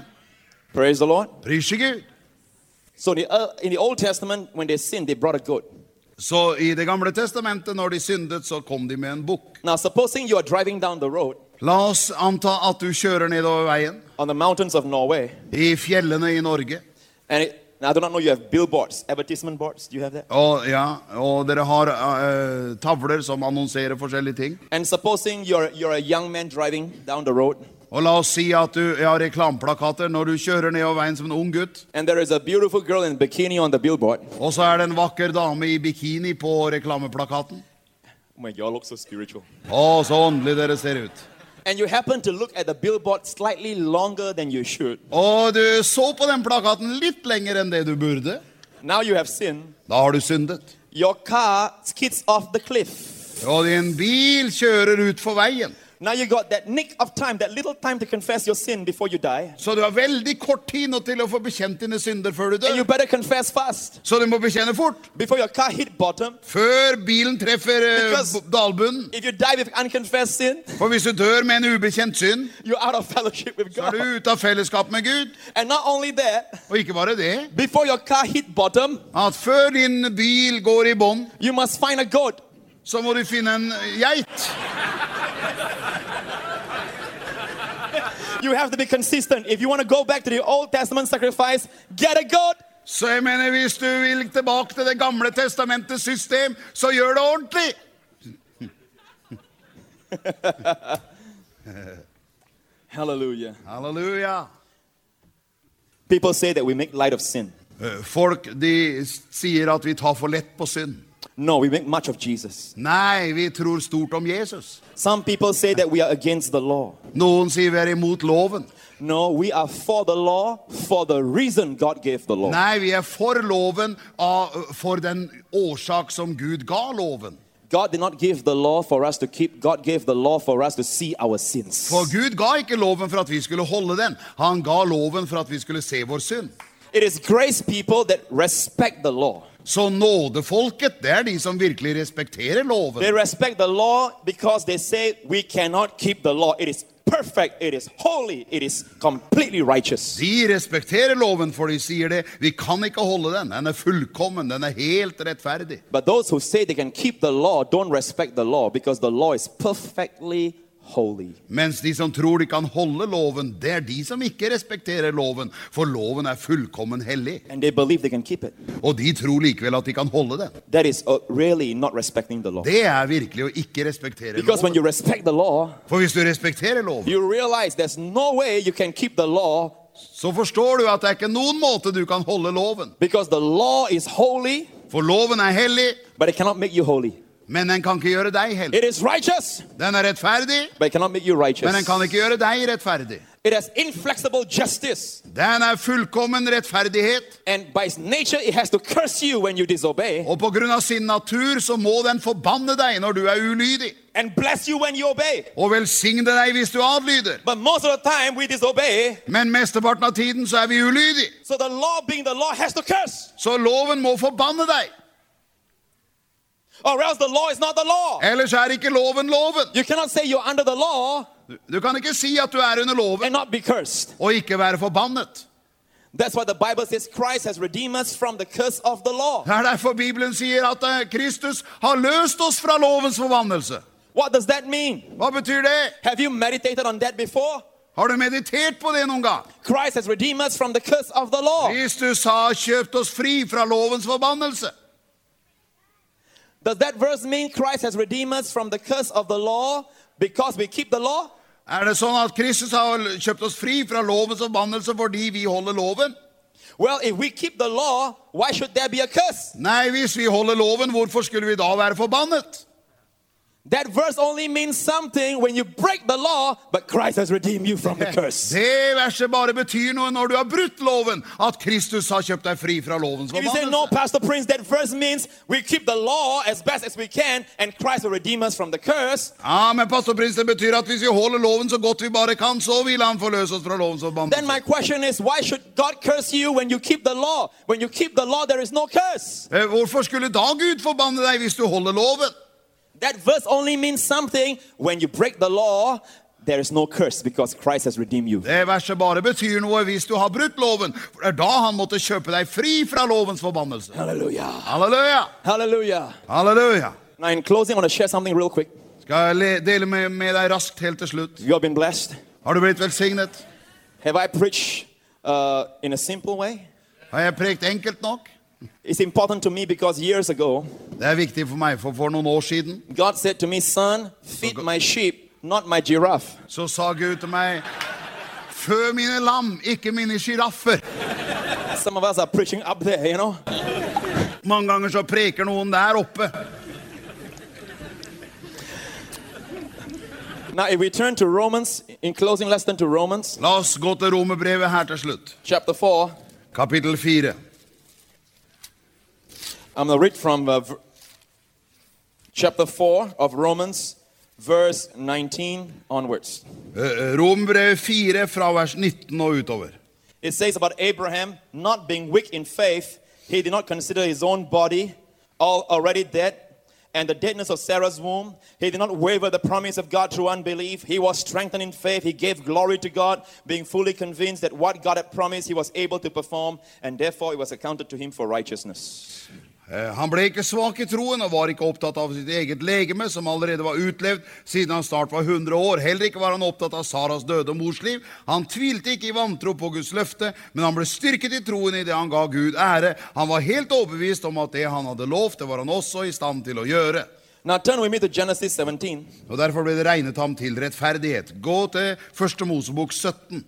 [SPEAKER 3] Praise the Lord.
[SPEAKER 2] Pris til Gud.
[SPEAKER 3] So in the, uh, in the Old Testament, when they sinned, they brought a goat.
[SPEAKER 2] Så i Det gamle testamentet, når de syndet, så kom de med en bukk.
[SPEAKER 3] Now, supposing you are driving down the road
[SPEAKER 2] La oss anta at du kjører nedover veien,
[SPEAKER 3] on the mountains of Norway,
[SPEAKER 2] i fjellene i Norge.
[SPEAKER 3] and it, now I do not know you have billboards, advertisement boards. Do you have that?
[SPEAKER 2] Og, ja, og dere har eh, tavler som annonserer forskjellige ting.
[SPEAKER 3] And supposing you're you're a young man driving down the road,
[SPEAKER 2] Og la oss si at du har reklameplakater når du kjører nedover veien som en ung gutt.
[SPEAKER 3] and there is a beautiful girl in bikini on the billboard. Oh
[SPEAKER 2] Og så er det en vakker dame i bikini på reklameplakaten.
[SPEAKER 3] Oh my, y'all look so spiritual.
[SPEAKER 2] Å, så åndelig dere ser ut.
[SPEAKER 3] And you happen to look at the billboard slightly longer than you should.
[SPEAKER 2] Og du så på den plakaten litt lenger enn det du burde.
[SPEAKER 3] Now you have sinned.
[SPEAKER 2] Da har du syndet.
[SPEAKER 3] Your car skids off the cliff.
[SPEAKER 2] Og din bil kjører ut for veien.
[SPEAKER 3] Now you got that nick of time, that little time to confess your sin before you die.
[SPEAKER 2] Så du har veldig kort tid nå til å få bekjent dine synder før du
[SPEAKER 3] And you
[SPEAKER 2] dør.
[SPEAKER 3] better confess fast
[SPEAKER 2] Så du må bekjenne fort.
[SPEAKER 3] before your car hit bottom.
[SPEAKER 2] Før bilen treffer eh,
[SPEAKER 3] Because-
[SPEAKER 2] b- dalbunnen.
[SPEAKER 3] If you die with unconfessed sin,
[SPEAKER 2] For hvis du dør med en ubekjent synd,
[SPEAKER 3] you're out of fellowship with
[SPEAKER 2] så er
[SPEAKER 3] God.
[SPEAKER 2] du ute av fellesskap med Gud.
[SPEAKER 3] And not only that,
[SPEAKER 2] Og ikke bare det,
[SPEAKER 3] before your car hit bottom,
[SPEAKER 2] at før din bil går i bånd,
[SPEAKER 3] you must find a goat.
[SPEAKER 2] så må du finne en geit.
[SPEAKER 3] You have to be consistent. If you want to go back to the Old Testament sacrifice, get a goat.
[SPEAKER 2] Så jeg mener, hvis du vil tilbake til det gamle testamentets system, så gjør det ordentlig.
[SPEAKER 3] Hallelujah.
[SPEAKER 2] Halleluja.
[SPEAKER 3] People say that we make light of sin.
[SPEAKER 2] Eh, Folk, de s- sier at vi tar for lett på synd.
[SPEAKER 3] No, we make much of Jesus.
[SPEAKER 2] Nei, vi tror stort om Jesus.
[SPEAKER 3] Some people say that we are against the law.
[SPEAKER 2] Noen sier vi er imot loven.
[SPEAKER 3] No, we are for the law for the reason God gave the law.
[SPEAKER 2] Nei, vi er for loven av, for den årsak som Gud ga loven.
[SPEAKER 3] God did not give the law for us to keep. God gave the law for us to see our sins.
[SPEAKER 2] For Gud ga ikke loven for at vi skulle holde den. Han ga loven for at vi skulle se vår synd.
[SPEAKER 3] It is grace people that respect the law.
[SPEAKER 2] Så nådefolket, det er de som virkelig respekterer loven.
[SPEAKER 3] They respect the law because they say we cannot keep the law. It is perfect, it is holy, it is completely righteous.
[SPEAKER 2] De respekterer loven, for de sier det. Vi kan ikke holde den. Den er fullkommen. Den er helt rettferdig.
[SPEAKER 3] But those who say they can keep the law don't respect the law because the law is perfectly holy.
[SPEAKER 2] Mens de som tror de kan holde loven, det er de som ikke respekterer loven. For loven er fullkommen hellig.
[SPEAKER 3] And they believe they can keep it.
[SPEAKER 2] Og de tror likevel at de kan holde den.
[SPEAKER 3] That is uh, really not respecting the law.
[SPEAKER 2] Det er virkelig å ikke respektere
[SPEAKER 3] Because when
[SPEAKER 2] loven.
[SPEAKER 3] you respect the law,
[SPEAKER 2] For hvis du respekterer loven,
[SPEAKER 3] you realize there's no way you can keep the law
[SPEAKER 2] så forstår du at det er ikke noen måte du kan holde loven.
[SPEAKER 3] because the law is holy,
[SPEAKER 2] For loven er hellig,
[SPEAKER 3] but it cannot make you holy.
[SPEAKER 2] men den kan ikke gjøre deg hellig.
[SPEAKER 3] It is righteous,
[SPEAKER 2] Den er rettferdig,
[SPEAKER 3] but it cannot make you righteous.
[SPEAKER 2] men den kan ikke gjøre deg rettferdig.
[SPEAKER 3] It has inflexible justice.
[SPEAKER 2] Den er fullkommen rettferdighet,
[SPEAKER 3] And by its nature, it has to curse you when you disobey
[SPEAKER 2] og på grunn av sin natur så må den forbanne deg når du er ulydig,
[SPEAKER 3] and bless you when you obey.
[SPEAKER 2] og velsigne deg hvis du adlyder.
[SPEAKER 3] But most of the time, we disobey.
[SPEAKER 2] Men mesteparten av tiden så er vi ulydige,
[SPEAKER 3] So the law, being the law, has to curse,
[SPEAKER 2] så loven må forbanne deg.
[SPEAKER 3] or else the law is not the law.
[SPEAKER 2] Ellers er ikke loven loven.
[SPEAKER 3] You cannot say you're under the law
[SPEAKER 2] Du- Du kan ikke si at du er under loven
[SPEAKER 3] and not be cursed.
[SPEAKER 2] og ikke være forbannet.
[SPEAKER 3] That's why the Bible says Christ has redeemed us from the curse of the law.
[SPEAKER 2] Det er derfor Bibelen sier at eh, Kristus har løst oss fra lovens forvandlelse.
[SPEAKER 3] What does that mean?
[SPEAKER 2] Hva betyr det?
[SPEAKER 3] Have you meditated on that before?
[SPEAKER 2] Har du meditert på det noen gang?
[SPEAKER 3] Christ has redeemed us from the curse of the law.
[SPEAKER 2] Kristus har kjøpt oss fri fra lovens forbannelse.
[SPEAKER 3] Does that verse mean Christ has redeemed us from the curse of the law because we keep the law?
[SPEAKER 2] Er det sånn at Kristus har kjøpt oss fri fra lovens forbannelse fordi vi holder loven?
[SPEAKER 3] Well, if we keep the law, why should there be a curse?
[SPEAKER 2] Nei, hvis vi holder loven, hvorfor skulle vi da være forbannet?
[SPEAKER 3] That verse only means something when you break the law, but Christ has redeemed you from the curse.
[SPEAKER 2] Det verset bare betyr noe når du har brutt loven, at Kristus har kjøpt deg fri fra lovens
[SPEAKER 3] If you say, no,
[SPEAKER 2] forbannelse.
[SPEAKER 3] Pastor Prince, that verse means we keep the law as best as we can and Christ will redeem us from the curse,
[SPEAKER 2] Ja, men pastor Prins, det betyr at hvis vi holder loven så godt vi bare kan, så vil han forløse oss fra lovens
[SPEAKER 3] then
[SPEAKER 2] forbannelse.
[SPEAKER 3] my question is, why should God curse you when you keep the law? When you keep the law, there is no curse.
[SPEAKER 2] Eh, Hvorfor skulle da Gud forbanne deg hvis du holder loven?
[SPEAKER 3] That verse only means something when you break the law, there is no curse because Christ has redeemed you.
[SPEAKER 2] Det verset bare betyr noe hvis du har brutt loven, for det er da han måtte kjøpe deg fri fra lovens forbannelse.
[SPEAKER 3] Hallelujah.
[SPEAKER 2] Halleluja!
[SPEAKER 3] Hallelujah.
[SPEAKER 2] Halleluja!
[SPEAKER 3] Now, in closing, I want to share something real quick.
[SPEAKER 2] Skal jeg le- dele med, med deg raskt helt til slutt.
[SPEAKER 3] You have been blessed.
[SPEAKER 2] Har du blitt velsignet?
[SPEAKER 3] Have I preached uh, in a simple way?
[SPEAKER 2] Har jeg prekt enkelt nok?
[SPEAKER 3] It's important to me because years ago,
[SPEAKER 2] Det er viktig for meg, for for noen år siden
[SPEAKER 3] God said to me, Son, feed my sheep, not my giraffe.
[SPEAKER 2] så sa Gud til meg Fø mine lam, ikke mine giraffer.
[SPEAKER 3] Some of us are preaching up there, you know.
[SPEAKER 2] Mange ganger så preker noen der oppe.
[SPEAKER 3] Now, if we turn to Romans, in closing, let's turn to Romans
[SPEAKER 2] La oss gå til romerbrevet her til slutt.
[SPEAKER 3] chapter 4.
[SPEAKER 2] Kapittel 4.
[SPEAKER 3] I'm going to read from uh, v- chapter 4 of Romans, verse 19 onwards.
[SPEAKER 2] Eh, Romerbrevet 4 fra vers 19 og utover.
[SPEAKER 3] It says about Abraham not being weak in faith, he did not consider his own body al- already dead and the deadness of Sarah's womb. He did not waver the promise of God through unbelief. He was strengthened in faith. He gave glory to God, being fully convinced that what God had promised he was able to perform, and therefore it was accounted to him for righteousness.
[SPEAKER 2] Eh, Han ble ikke svak i troen og var ikke opptatt av sitt eget legeme, som allerede var utlevd siden han snart var 100 år. Heller ikke var han opptatt av Saras døde mors liv. Han tvilte ikke i vantro på Guds løfte, men han ble styrket i troen i det han ga Gud ære. Han var helt overbevist om at det han hadde lovt, det var han også i stand til å gjøre.
[SPEAKER 3] Now turn with me to Genesis 17.
[SPEAKER 2] Og derfor ble det regnet ham til rettferdighet. Gå til 1. Mosebok 17.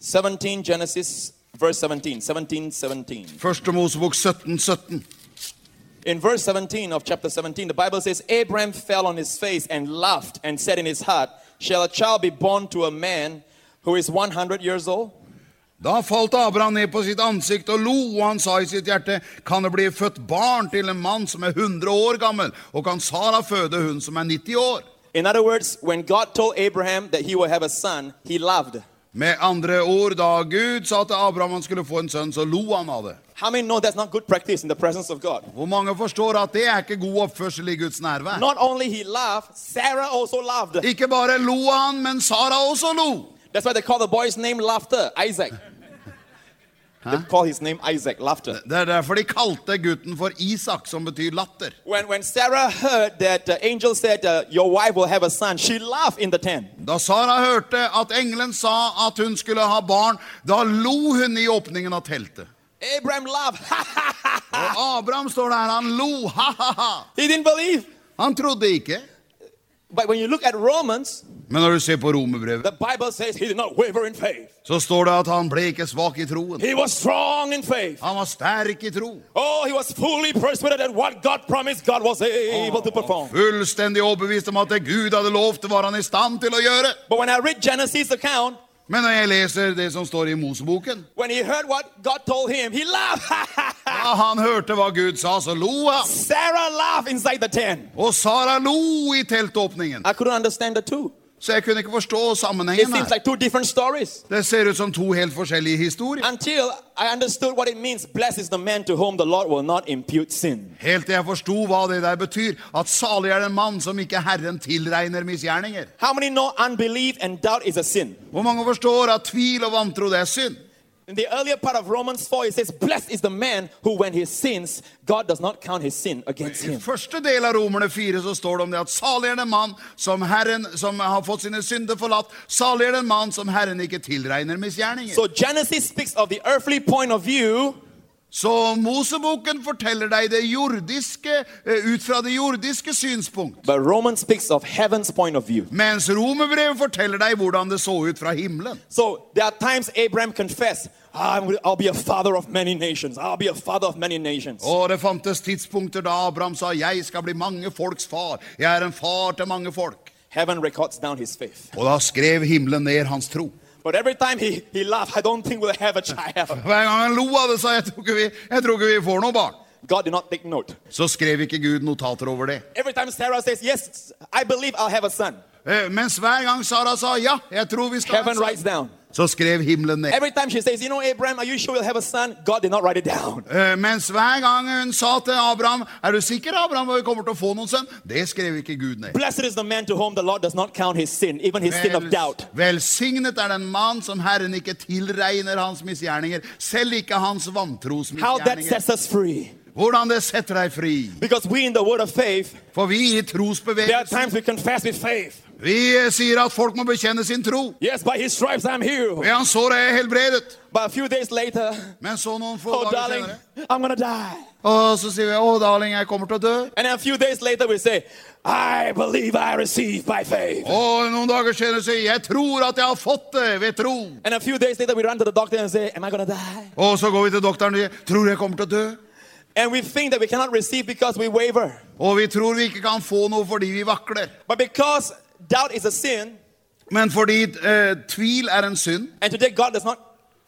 [SPEAKER 3] 17 Genesis verse 17. 17 17.
[SPEAKER 2] 1. Mosebok 17, 17.
[SPEAKER 3] In verse 17 of chapter 17, the Bible says, Abraham fell on his face and laughed and said in his heart, Shall a child be born to a man who is 100 years old?
[SPEAKER 2] Da falt Abraham ned på sitt ansikt og lo, og han sa i sitt hjerte, kan det bli født barn til en mann som er 100 år gammel, og kan Sara føde hun som er 90 år?
[SPEAKER 3] In other words, when God told Abraham that he will have a son, he laughed.
[SPEAKER 2] Med andre ord, da Gud sa til Abraham han skulle få en sønn, så lo han av det.
[SPEAKER 3] How many know that's not good practice in the presence of God?
[SPEAKER 2] Hvor mange forstår at det er ikke god oppførsel i Guds nærvær?
[SPEAKER 3] Not only he laughed, Sarah also laughed.
[SPEAKER 2] Ikke bare lo han, men Sara også lo.
[SPEAKER 3] That's why they call the boy's name Laughter, Isaac. They call his name Isaac, Laughter.
[SPEAKER 2] Det er derfor de kalte gutten for Isak, som betyr latter.
[SPEAKER 3] When, when Sarah heard that the angel said, uh, Your wife will have a son, she laughed in the tent.
[SPEAKER 2] Da Sara hørte at engelen sa at hun skulle ha barn, da lo hun i åpningen av teltet.
[SPEAKER 3] Abraham laughed.
[SPEAKER 2] Og Abraham står der, han lo, ha, ha, ha.
[SPEAKER 3] He didn't believe.
[SPEAKER 2] Han trodde ikke.
[SPEAKER 3] But when you look at Romans,
[SPEAKER 2] Men når du ser på romerbrevet,
[SPEAKER 3] the Bible says he did not waver in faith.
[SPEAKER 2] så står det at han ble ikke svak i troen.
[SPEAKER 3] He was strong in faith.
[SPEAKER 2] Han var sterk i tro.
[SPEAKER 3] Oh, he was fully persuaded that what God promised, God was able to perform.
[SPEAKER 2] Fullstendig overbevist om at det Gud hadde lovt, var han i stand til å gjøre.
[SPEAKER 3] But when I read Genesis' account,
[SPEAKER 2] Men når jeg leser det som står i Moseboken,
[SPEAKER 3] when he heard what God told him, he laughed.
[SPEAKER 2] da han hørte hva Gud sa, så lo han.
[SPEAKER 3] Sarah laughed inside the tent.
[SPEAKER 2] Og Sara lo i teltåpningen.
[SPEAKER 3] I couldn't understand the two.
[SPEAKER 2] Så jeg kunne ikke forstå
[SPEAKER 3] It
[SPEAKER 2] sammenhengen
[SPEAKER 3] seems
[SPEAKER 2] her.
[SPEAKER 3] like two different stories.
[SPEAKER 2] Det ser ut som to helt forskjellige historier.
[SPEAKER 3] Until I understood what it means blessed is the man to whom the Lord will not impute sin.
[SPEAKER 2] Helt til jeg forsto hva det der betyr, at salig er den mann som ikke Herren tilregner misgjerninger.
[SPEAKER 3] How many know unbelief and doubt is a sin?
[SPEAKER 2] Hvor mange forstår at tvil og vantro det er synd?
[SPEAKER 3] In the earlier part of Romans 4, it says, Blessed is the man who, when he sins, God does not count his sin against
[SPEAKER 2] I
[SPEAKER 3] him.
[SPEAKER 2] første del av Romerne 4 så står det om det at salig er den mann som Herren som har fått sine synder forlatt, salig er den mann som Herren ikke tilregner misgjerninger. Så,
[SPEAKER 3] So Genesis speaks of the earthly point of view,
[SPEAKER 2] Moseboken forteller deg det jordiske eh, ut fra det jordiske synspunkt,
[SPEAKER 3] but Romans speaks of heaven's point of view.
[SPEAKER 2] mens Romerbrevet forteller deg hvordan det så ut fra himmelen.
[SPEAKER 3] So there are times Abraham confessed, I'm, I'll be a father of many nations. I'll be a father of many nations.
[SPEAKER 2] Og det fantes tidspunkter da Abraham sa, jeg skal bli mange folks far. Jeg er en far til mange folk.
[SPEAKER 3] Heaven records down his faith.
[SPEAKER 2] Og da skrev himmelen ned hans tro.
[SPEAKER 3] But every time he, he laughed, I don't think we'll have a child.
[SPEAKER 2] Hver gang han lo av det, sa jeg, tror ikke vi, jeg tror ikke vi får noe barn.
[SPEAKER 3] God did not take note.
[SPEAKER 2] Så skrev ikke Gud notater over det.
[SPEAKER 3] Every time Sarah says, Yes, I believe I'll have a son,
[SPEAKER 2] Eh, Mens hver gang Sara sa ja, jeg tror vi skal ha
[SPEAKER 3] heaven
[SPEAKER 2] en sønn»,
[SPEAKER 3] writes down.
[SPEAKER 2] så skrev himmelen ned.
[SPEAKER 3] Every time she says, You know, Abraham, are you sure you'll have a son? God did not write it down.
[SPEAKER 2] Eh, Mens hver gang hun sa til Abraham, er du sikker Abraham at vi kommer til å få noen sønn? Det skrev ikke Gud ned.
[SPEAKER 3] Blessed is the man to whom the Lord does not count his sin, even his sin of
[SPEAKER 2] Vels-
[SPEAKER 3] doubt.
[SPEAKER 2] Velsignet er den mann som Herren ikke tilregner hans misgjerninger, selv ikke hans
[SPEAKER 3] How that
[SPEAKER 2] vantros
[SPEAKER 3] sets us free.
[SPEAKER 2] Hvordan det setter deg fri.
[SPEAKER 3] Because we in the word of faith,
[SPEAKER 2] For vi i
[SPEAKER 3] there are
[SPEAKER 2] trosbevegelsen,
[SPEAKER 3] times we confess with faith.
[SPEAKER 2] vi
[SPEAKER 3] er-
[SPEAKER 2] eh, sier at folk må bekjenne sin tro.
[SPEAKER 3] Yes, by his stripes I'm healed.
[SPEAKER 2] Ved hans sår er jeg helbredet.
[SPEAKER 3] But a few days later,
[SPEAKER 2] Men så noen få
[SPEAKER 3] oh
[SPEAKER 2] dager
[SPEAKER 3] darling,
[SPEAKER 2] senere.
[SPEAKER 3] I'm gonna die.
[SPEAKER 2] Og så sier vi, å darling, jeg kommer til å dø.
[SPEAKER 3] And then a few days later we say, I believe I receive by faith.
[SPEAKER 2] Og noen dager senere sier jeg tror at jeg har fått det ved tro.
[SPEAKER 3] And a few days later we run to the doctor and say, Am I gonna die?
[SPEAKER 2] Og så går vi til doktoren og sier tror jeg kommer til å dø.
[SPEAKER 3] And we think that we cannot receive because we waver.
[SPEAKER 2] Og vi tror vi ikke kan få noe fordi vi vakler.
[SPEAKER 3] But because doubt is a sin,
[SPEAKER 2] Men fordi eh, tvil er en synd,
[SPEAKER 3] and today God does not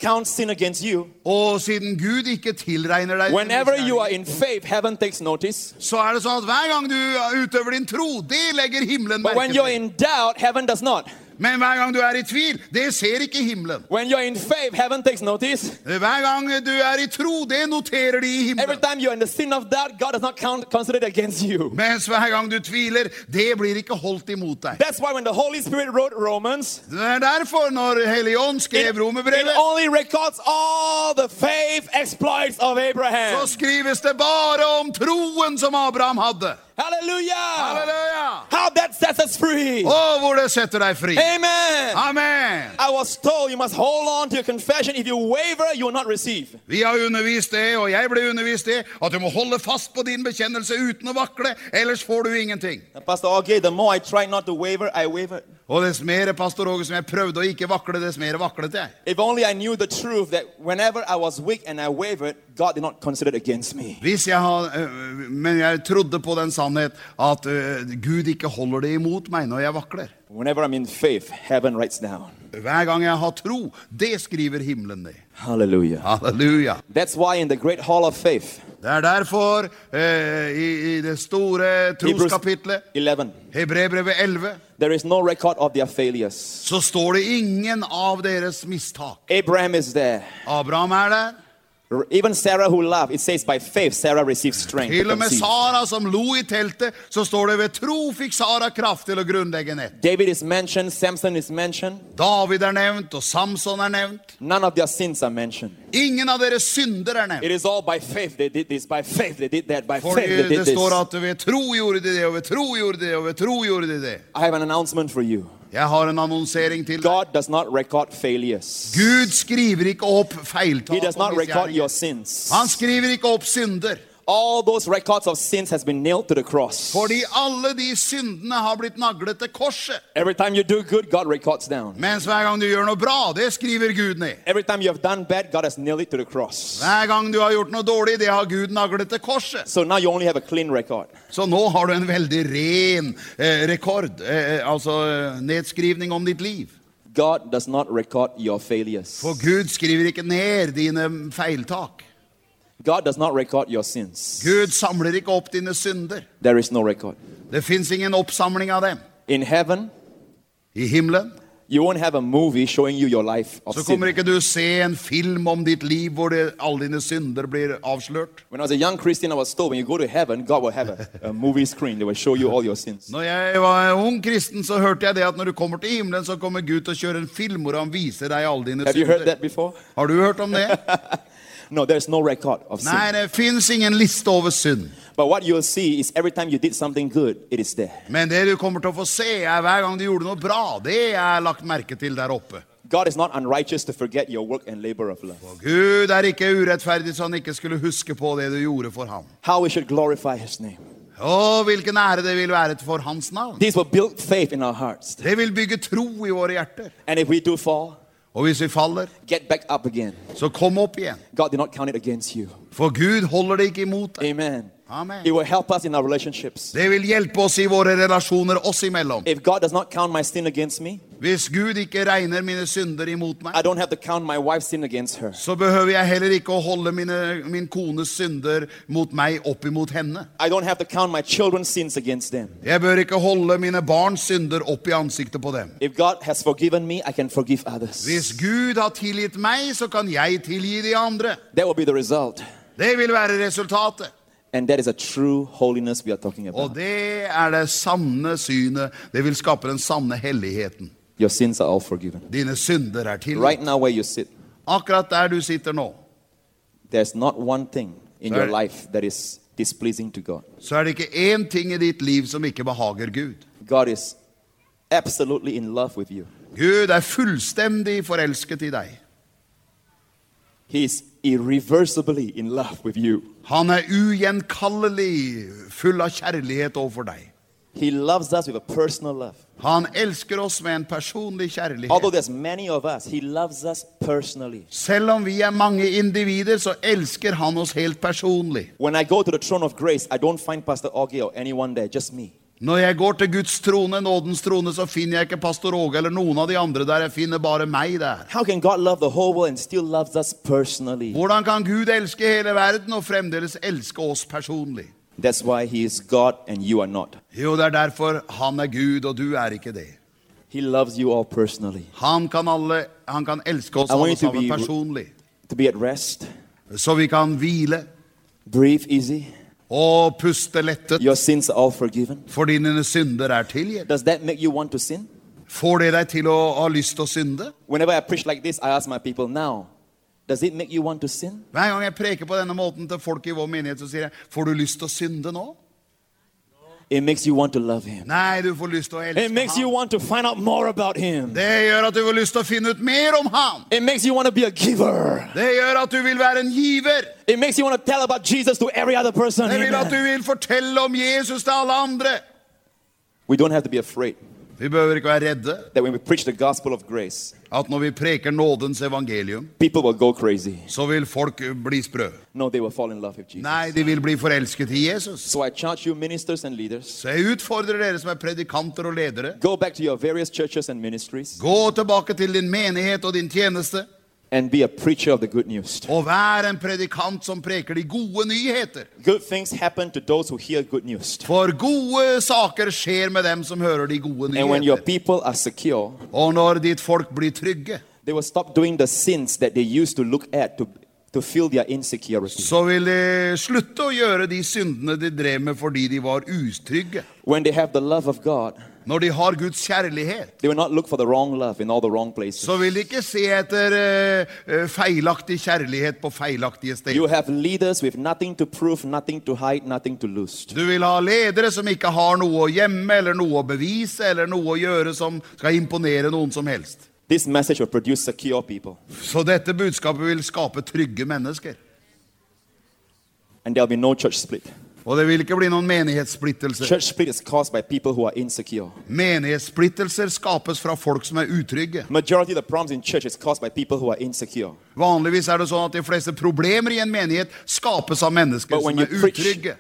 [SPEAKER 3] count sin against you,
[SPEAKER 2] og siden Gud ikke tilregner deg
[SPEAKER 3] whenever you are in faith, heaven takes notice.
[SPEAKER 2] så er det sånn at hver gang du utøver din tro, det legger himmelen
[SPEAKER 3] But
[SPEAKER 2] merke
[SPEAKER 3] when you're
[SPEAKER 2] til.
[SPEAKER 3] in doubt, heaven does not.
[SPEAKER 2] Men hver gang du er i tvil, det ser ikke himmelen.
[SPEAKER 3] When you're in faith, heaven takes notice.
[SPEAKER 2] Hver gang du er i tro, det noterer de i
[SPEAKER 3] Every
[SPEAKER 2] himmelen.
[SPEAKER 3] time you're in the sin of doubt, God does not count, consider it against you.
[SPEAKER 2] Mens hver gang du tviler, det blir ikke holdt imot deg.
[SPEAKER 3] That's why when the Holy Spirit wrote Romans,
[SPEAKER 2] Det er derfor når Helion
[SPEAKER 3] it,
[SPEAKER 2] skrev
[SPEAKER 3] it
[SPEAKER 2] romerbrevet,
[SPEAKER 3] only records all the faith exploits of Abraham.
[SPEAKER 2] så skrives det bare om troen som Abraham hadde.
[SPEAKER 3] Hallelujah!
[SPEAKER 2] Halleluja!
[SPEAKER 3] How that sets us free.
[SPEAKER 2] Og hvor det setter deg fri.
[SPEAKER 3] Amen.
[SPEAKER 2] Amen!
[SPEAKER 3] I was told you must hold on to your confession. If you waver, you will not receive.
[SPEAKER 2] Vi har undervist det, og jeg ble undervist det, at du må holde fast på din bekjennelse uten å vakle, ellers får du ingenting.
[SPEAKER 3] Now, Pastor Augie, the more I try not to waver, I waver.
[SPEAKER 2] Og dess mer, pastor Åge, som jeg prøvde å ikke vakle, dess mer vaklet jeg.
[SPEAKER 3] If only I knew the truth that whenever I was weak and I wavered, God did not consider it against me.
[SPEAKER 2] Hvis jeg har, øh, men jeg trodde på den sannhet at øh, Gud ikke holder det imot meg når jeg vakler.
[SPEAKER 3] Whenever I'm in faith, heaven writes down.
[SPEAKER 2] Hver gang jeg har tro, det skriver himmelen ned.
[SPEAKER 3] Hallelujah.
[SPEAKER 2] Halleluja.
[SPEAKER 3] That's why in the great hall of faith,
[SPEAKER 2] Det er derfor eh, i, i det store
[SPEAKER 3] Hebrews
[SPEAKER 2] troskapitlet,
[SPEAKER 3] 11,
[SPEAKER 2] Hebrebrevet 11,
[SPEAKER 3] there is no record of their failures.
[SPEAKER 2] så står det ingen av deres mistak.
[SPEAKER 3] Abraham is there.
[SPEAKER 2] Abraham er der.
[SPEAKER 3] R- Even Sarah, who loved, it says by faith, Sarah received strength. to
[SPEAKER 2] Til og med
[SPEAKER 3] conceive.
[SPEAKER 2] Sara som lo i teltet, så står det ved tro fikk Sara kraft til å grunnlegge nett.
[SPEAKER 3] David is mentioned, Samson is mentioned.
[SPEAKER 2] David er nevnt, og Samson er nevnt.
[SPEAKER 3] None of their sins are mentioned.
[SPEAKER 2] Ingen av deres synder er
[SPEAKER 3] It
[SPEAKER 2] nevnt.
[SPEAKER 3] is all by faith they did this, by faith they did that, by
[SPEAKER 2] Fordi
[SPEAKER 3] faith they did
[SPEAKER 2] det står
[SPEAKER 3] this.
[SPEAKER 2] at ved tro gjorde de det, og ved tro gjorde de det, og ved tro gjorde de det.
[SPEAKER 3] I have an announcement for you.
[SPEAKER 2] Jeg har en annonsering til deg.
[SPEAKER 3] God does not record failures.
[SPEAKER 2] Gud skriver ikke opp feiltak
[SPEAKER 3] He does
[SPEAKER 2] og
[SPEAKER 3] not record
[SPEAKER 2] misgjerninger.
[SPEAKER 3] your sins.
[SPEAKER 2] Han skriver ikke opp synder,
[SPEAKER 3] All those records of sins has been nailed to the cross.
[SPEAKER 2] fordi alle de syndene har blitt naglet til korset.
[SPEAKER 3] Every time you do good, God records down.
[SPEAKER 2] Mens hver gang du gjør noe bra, det skriver Gud ned.
[SPEAKER 3] Every time you have done bad, God has nailed it to the cross.
[SPEAKER 2] Hver gang du har gjort noe dårlig, det har Gud naglet til korset.
[SPEAKER 3] So now you only have a clean record.
[SPEAKER 2] Så nå har du en veldig ren eh, rekord, eh, eh, altså eh, nedskrivning om ditt liv.
[SPEAKER 3] God does not record your failures.
[SPEAKER 2] For Gud skriver ikke ned dine feiltak.
[SPEAKER 3] God does not record your sins.
[SPEAKER 2] Gud samler ikke opp dine synder.
[SPEAKER 3] There is no record.
[SPEAKER 2] Det finns ingen oppsamling av dem.
[SPEAKER 3] In heaven,
[SPEAKER 2] I himmelen
[SPEAKER 3] You won't have a movie showing you your life of
[SPEAKER 2] Så
[SPEAKER 3] sin.
[SPEAKER 2] kommer ikke du se en film om ditt liv hvor det, alle dine synder blir avslørt.
[SPEAKER 3] When I was a young Christian, I was told when you go to heaven, God will have a, a movie screen that will show you all your sins.
[SPEAKER 2] Når jeg var ung kristen, så hørte jeg det at når du kommer til himmelen, så kommer Gud til å kjøre en film hvor han viser deg alle dine
[SPEAKER 3] Have you heard
[SPEAKER 2] synder.
[SPEAKER 3] that before?
[SPEAKER 2] Har du hørt om det?
[SPEAKER 3] No, there's no record of sin.
[SPEAKER 2] Nei, det fins ingen liste over synd.
[SPEAKER 3] But what you'll see is every time you did something good, it is there.
[SPEAKER 2] Men det du kommer til å få se, er hver gang du gjorde noe bra. Det er lagt merke til der oppe.
[SPEAKER 3] God is not unrighteous to forget your work and labor of love.
[SPEAKER 2] Og Gud er ikke urettferdig så han ikke skulle huske på det du gjorde for ham.
[SPEAKER 3] How we should glorify His name.
[SPEAKER 2] Å, hvilken ære det vil være for hans navn.
[SPEAKER 3] These will build faith in our hearts.
[SPEAKER 2] Det vil bygge tro i våre hjerter.
[SPEAKER 3] And if we do fall,
[SPEAKER 2] Og hvis vi faller,
[SPEAKER 3] get back up again.
[SPEAKER 2] så kom opp igjen.
[SPEAKER 3] God did not count it against you.
[SPEAKER 2] For Gud holder det ikke imot deg.
[SPEAKER 3] Amen.
[SPEAKER 2] Amen.
[SPEAKER 3] It will help us in our relationships.
[SPEAKER 2] Det vil hjelpe oss i våre relasjoner oss imellom.
[SPEAKER 3] If God does not count my sin against me,
[SPEAKER 2] Hvis Gud ikke regner mine synder imot
[SPEAKER 3] I
[SPEAKER 2] meg,
[SPEAKER 3] don't have to count my wife's sin against her.
[SPEAKER 2] så behøver jeg heller ikke å holde mine, min kones synder mot meg opp imot henne.
[SPEAKER 3] I don't have to count my children's sins against them.
[SPEAKER 2] Jeg bør ikke holde mine barns synder opp i ansiktet på dem.
[SPEAKER 3] If God has forgiven me, I can forgive others.
[SPEAKER 2] Hvis Gud har tilgitt meg, så kan jeg tilgi de andre.
[SPEAKER 3] That will be the result.
[SPEAKER 2] Det vil være resultatet.
[SPEAKER 3] And that is a true holiness we are talking
[SPEAKER 2] Og
[SPEAKER 3] about.
[SPEAKER 2] det er det sanne synet. Det vil skape den sanne helligheten.
[SPEAKER 3] Your sins are all forgiven.
[SPEAKER 2] Dine synder er tilgitt.
[SPEAKER 3] Right now, where you sit,
[SPEAKER 2] Akkurat der du sitter nå,
[SPEAKER 3] there's not one thing in your
[SPEAKER 2] Right.
[SPEAKER 3] life that is displeasing to God.
[SPEAKER 2] så er det ikke én ting i ditt liv som ikke behager Gud.
[SPEAKER 3] God is absolutely in love with you,
[SPEAKER 2] Gud er fullstendig forelsket i deg.
[SPEAKER 3] He is irreversibly in love with you.
[SPEAKER 2] Han er ugjenkallelig full av kjærlighet overfor deg.
[SPEAKER 3] He loves us with a personal love.
[SPEAKER 2] Han elsker oss med en personlig
[SPEAKER 3] Although
[SPEAKER 2] kjærlighet.
[SPEAKER 3] there's many of us, He loves us personally.
[SPEAKER 2] Selv om vi er mange individer, så elsker han oss helt personlig.
[SPEAKER 3] When I go to the throne of grace, I don't find Pastor Augie or anyone there, just me.
[SPEAKER 2] Når jeg går til Guds trone, nådens trone, så finner jeg ikke pastor Åge eller noen av de andre der. Jeg finner bare meg der.
[SPEAKER 3] How can God love the whole world and still loves us personally?
[SPEAKER 2] Hvordan kan Gud elske hele verden og fremdeles elske oss personlig?
[SPEAKER 3] That's why He is God and you are not.
[SPEAKER 2] Jo, det er derfor han er Gud, og du er ikke det.
[SPEAKER 3] He loves you all personally.
[SPEAKER 2] Han kan, alle, han kan elske oss
[SPEAKER 3] I want
[SPEAKER 2] alle
[SPEAKER 3] you to
[SPEAKER 2] sammen
[SPEAKER 3] be-
[SPEAKER 2] personlig.
[SPEAKER 3] To be at rest,
[SPEAKER 2] Så vi kan hvile
[SPEAKER 3] breathe easy,
[SPEAKER 2] og puste lettet,
[SPEAKER 3] your sins are all forgiven.
[SPEAKER 2] for dine synder er tilgitt.
[SPEAKER 3] Does that make you want to sin?
[SPEAKER 2] Får det deg til å ha lyst til å synde?
[SPEAKER 3] Whenever I preach like this, I ask my people now, does it make you want to sin?
[SPEAKER 2] Hver gang jeg preker på denne måten til folk i vår menighet, så sier jeg, får du lyst til å synde nå?
[SPEAKER 3] It makes you want to love Him.
[SPEAKER 2] Nei, du får lyst til å elske
[SPEAKER 3] It makes
[SPEAKER 2] ham.
[SPEAKER 3] you want to find out more about Him.
[SPEAKER 2] Det gjør at du får lyst til å finne ut mer om ham.
[SPEAKER 3] It makes you want to be a giver.
[SPEAKER 2] Det gjør at du vil være en giver.
[SPEAKER 3] It makes you want to tell about Jesus to every other person.
[SPEAKER 2] Det vil at du
[SPEAKER 3] Amen.
[SPEAKER 2] vil fortelle om Jesus til alle andre.
[SPEAKER 3] We don't have to be afraid
[SPEAKER 2] Vi behøver ikke være redde
[SPEAKER 3] that when we preach the gospel of grace,
[SPEAKER 2] at når vi preker nådens evangelium,
[SPEAKER 3] people will go crazy.
[SPEAKER 2] så vil folk bli sprø.
[SPEAKER 3] No, they will fall in love with Jesus.
[SPEAKER 2] Nei, de vil bli forelsket i Jesus.
[SPEAKER 3] So I charge you, ministers and leaders,
[SPEAKER 2] Så jeg utfordrer dere som er predikanter og ledere.
[SPEAKER 3] go back to your various churches and ministries
[SPEAKER 2] Gå tilbake til din menighet og din tjeneste,
[SPEAKER 3] and be a preacher of the good news.
[SPEAKER 2] og vær en predikant som preker de gode nyheter.
[SPEAKER 3] Good things happen to those who hear good news.
[SPEAKER 2] For gode saker skjer med dem som hører de gode
[SPEAKER 3] And when your
[SPEAKER 2] nyheter.
[SPEAKER 3] people are secure,
[SPEAKER 2] Og når ditt folk blir trygge,
[SPEAKER 3] they will stop doing the sins that they used to look at to, to feel their insecurity.
[SPEAKER 2] så vil de slutte å gjøre de syndene de drev med fordi de var utrygge.
[SPEAKER 3] When they have the love of God,
[SPEAKER 2] Når de har Guds kjærlighet,
[SPEAKER 3] they will not look for the wrong love in all the wrong places.
[SPEAKER 2] så vil de ikke se etter eh, eh, feilaktig kjærlighet på feilaktige
[SPEAKER 3] You
[SPEAKER 2] steder.
[SPEAKER 3] have leaders with nothing to prove, nothing to hide, nothing to lose.
[SPEAKER 2] Du vil ha ledere som ikke har noe å gjemme eller noe å bevise eller noe å gjøre som skal imponere noen som helst.
[SPEAKER 3] This message will produce secure people,
[SPEAKER 2] Så dette budskapet vil skape trygge mennesker.
[SPEAKER 3] and there'll be no church split.
[SPEAKER 2] Og det vil ikke bli noen menighetssplittelser.
[SPEAKER 3] Church split is caused by people who are insecure.
[SPEAKER 2] Menighetssplittelser skapes fra folk som er utrygge.
[SPEAKER 3] Majority of the problems in church is caused by people who are insecure.
[SPEAKER 2] Vanligvis er det sånn at de fleste problemer i en menighet skapes av mennesker
[SPEAKER 3] But when
[SPEAKER 2] som
[SPEAKER 3] you
[SPEAKER 2] er
[SPEAKER 3] preach,
[SPEAKER 2] utrygge.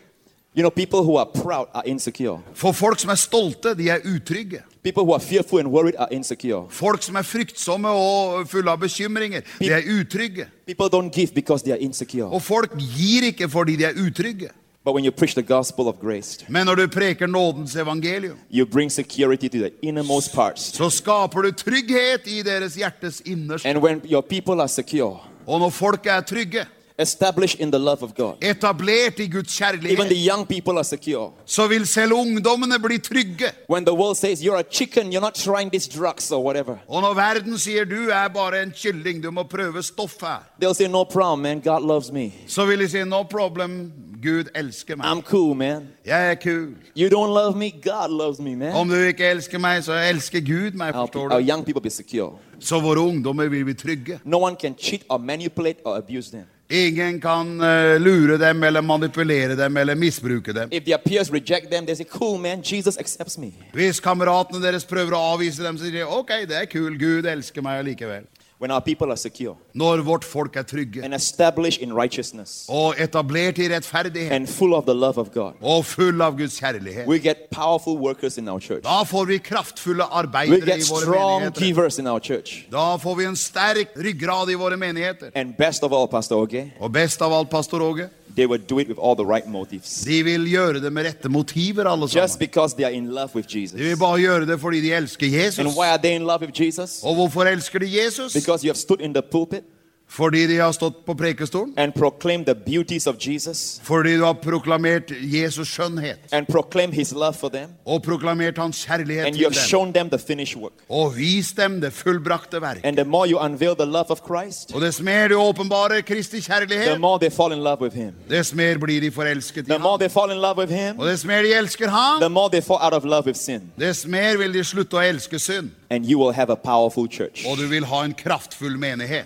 [SPEAKER 3] you know, people who are proud are insecure.
[SPEAKER 2] For folk som er stolte, de er utrygge.
[SPEAKER 3] People who are fearful and worried are insecure.
[SPEAKER 2] Folk som er fryktsomme og fulle av bekymringer, de er utrygge.
[SPEAKER 3] People don't give because they are insecure.
[SPEAKER 2] Og folk gir ikke fordi de er utrygge.
[SPEAKER 3] But when you preach the gospel of grace,
[SPEAKER 2] Men når du preker nådens evangelium,
[SPEAKER 3] you bring security to the innermost parts.
[SPEAKER 2] så skaper du trygghet i deres hjertes innerste.
[SPEAKER 3] And when your people are secure,
[SPEAKER 2] Og når folk er trygge,
[SPEAKER 3] established in the love of God,
[SPEAKER 2] etablert i Guds
[SPEAKER 3] even the
[SPEAKER 2] kjærlighet,
[SPEAKER 3] young people are secure.
[SPEAKER 2] så vil selv ungdommene bli trygge.
[SPEAKER 3] When the world says you're a chicken, you're not trying these drugs or whatever,
[SPEAKER 2] Og når verden sier du er bare en kylling, du må prøve stoff her,
[SPEAKER 3] they'll say, No problem, man. God loves me.
[SPEAKER 2] så vil de si no problem, Gud elsker meg.
[SPEAKER 3] I'm cool, man.
[SPEAKER 2] Jeg er kul.
[SPEAKER 3] You don't love me, God loves me, man.
[SPEAKER 2] Om du ikke elsker meg, så elsker Gud meg,
[SPEAKER 3] Our,
[SPEAKER 2] forstår
[SPEAKER 3] our
[SPEAKER 2] du.
[SPEAKER 3] young people be secure.
[SPEAKER 2] Så våre ungdommer vil bli trygge.
[SPEAKER 3] No one can cheat or manipulate or abuse them.
[SPEAKER 2] Ingen kan eh, lure dem eller manipulere dem eller misbruke dem.
[SPEAKER 3] If their peers reject them, they say, Cool, man, Jesus accepts me.
[SPEAKER 2] Hvis kameratene deres prøver å avvise dem, så sier de ok, det er kul, Gud elsker meg allikevel.
[SPEAKER 3] When our people are secure
[SPEAKER 2] Når vårt folk er trygge
[SPEAKER 3] and established in righteousness
[SPEAKER 2] og etablert i rettferdighet
[SPEAKER 3] and full of the love of God,
[SPEAKER 2] og full av Guds kjærlighet,
[SPEAKER 3] we get powerful workers in our church.
[SPEAKER 2] da får vi kraftfulle
[SPEAKER 3] We
[SPEAKER 2] arbeidere
[SPEAKER 3] get
[SPEAKER 2] i våre
[SPEAKER 3] strong
[SPEAKER 2] menigheter.
[SPEAKER 3] givers in our church.
[SPEAKER 2] Da får vi en sterk ryggrad i våre menigheter.
[SPEAKER 3] And best of all, Pastor Oge,
[SPEAKER 2] Og best av alt, pastor Åge,
[SPEAKER 3] they will do it with all the right motives.
[SPEAKER 2] de vil gjøre det med rette motiver, alle
[SPEAKER 3] Just
[SPEAKER 2] sammen.
[SPEAKER 3] because they are in love with
[SPEAKER 2] De vil
[SPEAKER 3] Jesus.
[SPEAKER 2] bare gjøre det fordi de elsker
[SPEAKER 3] And
[SPEAKER 2] Jesus.
[SPEAKER 3] why are they in love with Jesus?
[SPEAKER 2] Og hvorfor elsker de Jesus?
[SPEAKER 3] Because you have stood in the pulpit
[SPEAKER 2] Fordi de har stått på prekestolen.
[SPEAKER 3] and proclaimed the beauties of Jesus
[SPEAKER 2] Fordi du har proklamert Jesus skjønnhet.
[SPEAKER 3] and proclaimed his love for them.
[SPEAKER 2] Og proklamert hans kjærlighet
[SPEAKER 3] And you
[SPEAKER 2] til
[SPEAKER 3] have
[SPEAKER 2] dem.
[SPEAKER 3] shown them the finished work.
[SPEAKER 2] Og vis dem det fullbrakte verk.
[SPEAKER 3] And the more you unveil the love of Christ,
[SPEAKER 2] Og dess mer du åpenbarer Kristi
[SPEAKER 3] the
[SPEAKER 2] kjærlighet,
[SPEAKER 3] more they fall in love with him.
[SPEAKER 2] dess mer blir de forelsket i
[SPEAKER 3] The more
[SPEAKER 2] ham.
[SPEAKER 3] they fall in love with him,
[SPEAKER 2] Og dess mer de elsker ham,
[SPEAKER 3] the more they fall out of love with sin.
[SPEAKER 2] dess mer vil de slutte å elske synd.
[SPEAKER 3] And you will have a powerful church.
[SPEAKER 2] Og du vil ha en kraftfull menighet.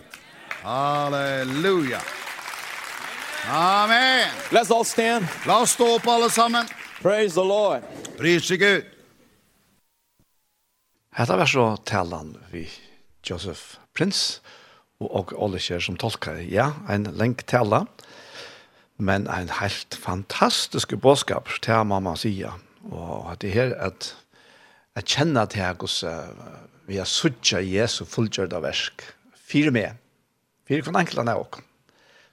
[SPEAKER 2] Halleluja. Amen.
[SPEAKER 3] Let's all stand.
[SPEAKER 2] La oss stå opp alle sammen.
[SPEAKER 3] Praise the Lord.
[SPEAKER 2] Prise Gud.
[SPEAKER 1] Hetta var så talan vi Joseph Prince og og Oliver som tolkar. Ja, ein lenk tala, men ein helt fantastisk boskap til mamma sia. Og at det her at at kjenna til her hos eh, vi har suttja Jesu fullgjørda versk. Fyre med. Fyre kvann enkelan av okkom.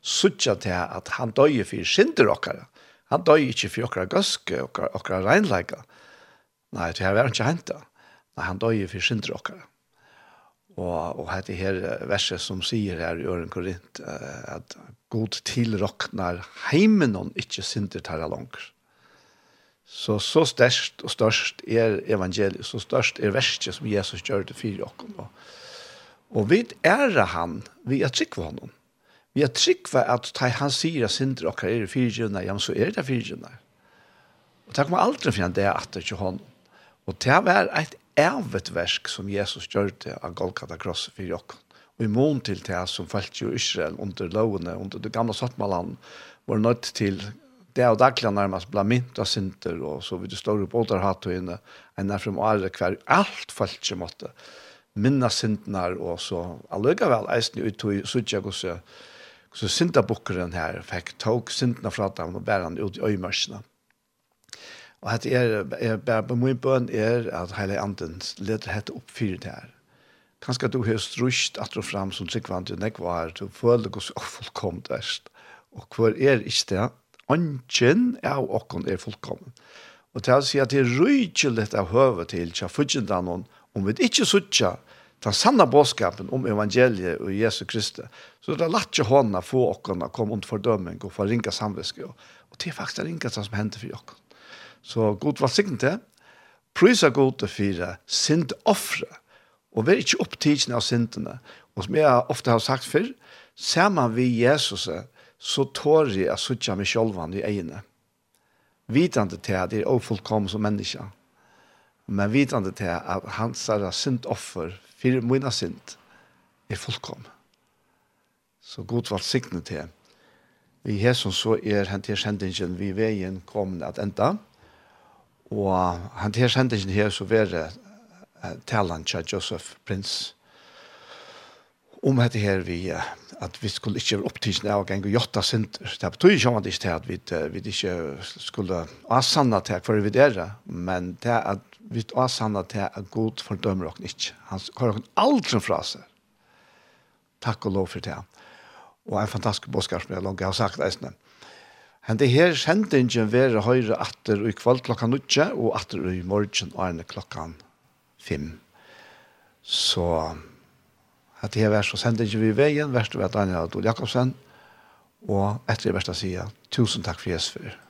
[SPEAKER 1] Suttja til at han døye fyrir synder okkara. Han døye ikkje fyrir okkara gøske, okkara, okkara reinleika. Nei, det her var ikke hentet. Nei, han døg for synder dere. Og, og dette her eh, verset som sier her i Øren Korint, eh, at god tilroknar heimen hon ikke synder tar langer. Så, så størst og størst er evangeliet, så størst er verset som Jesus gjør det for dere. Og, og vi ærer han, vi er trygg for honom. Vi er trygg for at ta- han sier at synder dere er fyrtjønner, ja, men så er det fyrtjønner. Og det kommer aldri finne det er etter til hånden. Og det var et evet versk som Jesus gjør det av Golgata Kross for jokken. Og i mån til det som falt jo Israel under lovene, under det gamle Svartmaland, var nødt til det og daglig nærmest ble mynt av synder, og så vidt det står opp återhatt og inne, enn er frem året hver, alt falt ikke måtte minna syndnar, og så allikevel eisen ut og sutja gosse, så syndabukkeren her fikk tog syndna fra dem og bæra han ut i øymarsene. Og at er, er, er min bøn er at hele anden leder hette opp fyrir det her. Kanskje du har strusht at du fram som tryggvand du nek var, du føler hos og fullkommet verst. Og hvor er ikke det? Anken av okken er fullkommen. Og til å si at det er rydgjelig av høve til tja fudgjendene om vi ikke suttja den sanna bådskapen om evangeliet og Jesu Kristi, så det er lett ikke hånda få okken å komme under fordømming og få ringa samviske. Og det er faktisk det ringa som hender for okken. Så god valgsikken til. Prysa god til fire, sint offre. Og vær ikke opptidsen av sintene. Og som jeg ofte har sagt før, ser man vi Jesus, så tår jeg å suttje meg selv i egne. Vitande til at jeg er ofullkommen som menneske. Men vitande til at hans er sint offer, fire mine sint, er fullkommen. Så god valgsikken til. Vi her som så er hent her sendingen vi veien kom at enda. Og han her sendingen her så var det eh, talan til Joseph Prince om dette her vi eh, at vi skulle ikke være opptidsen av gang og jotta synder. Det betyr ikke om at ikke det at vi, eh, vi ikke skulle avsanna til hva vi er, men det er at vi avsanna til at god fordømmer dere ikke. Han har aldri fra seg. Takk og lov for det. Og en fantastisk bådskap som jeg langt har sagt eisene. Hent det her sendingen være høyre atter i kvall klokka 9 og atter i morgen og erne klokka 5. Så at det her vær så sendingen vi i veien, verste var Daniel Adol Jakobsen, og etter det verste sier, tusen takk for Jesper.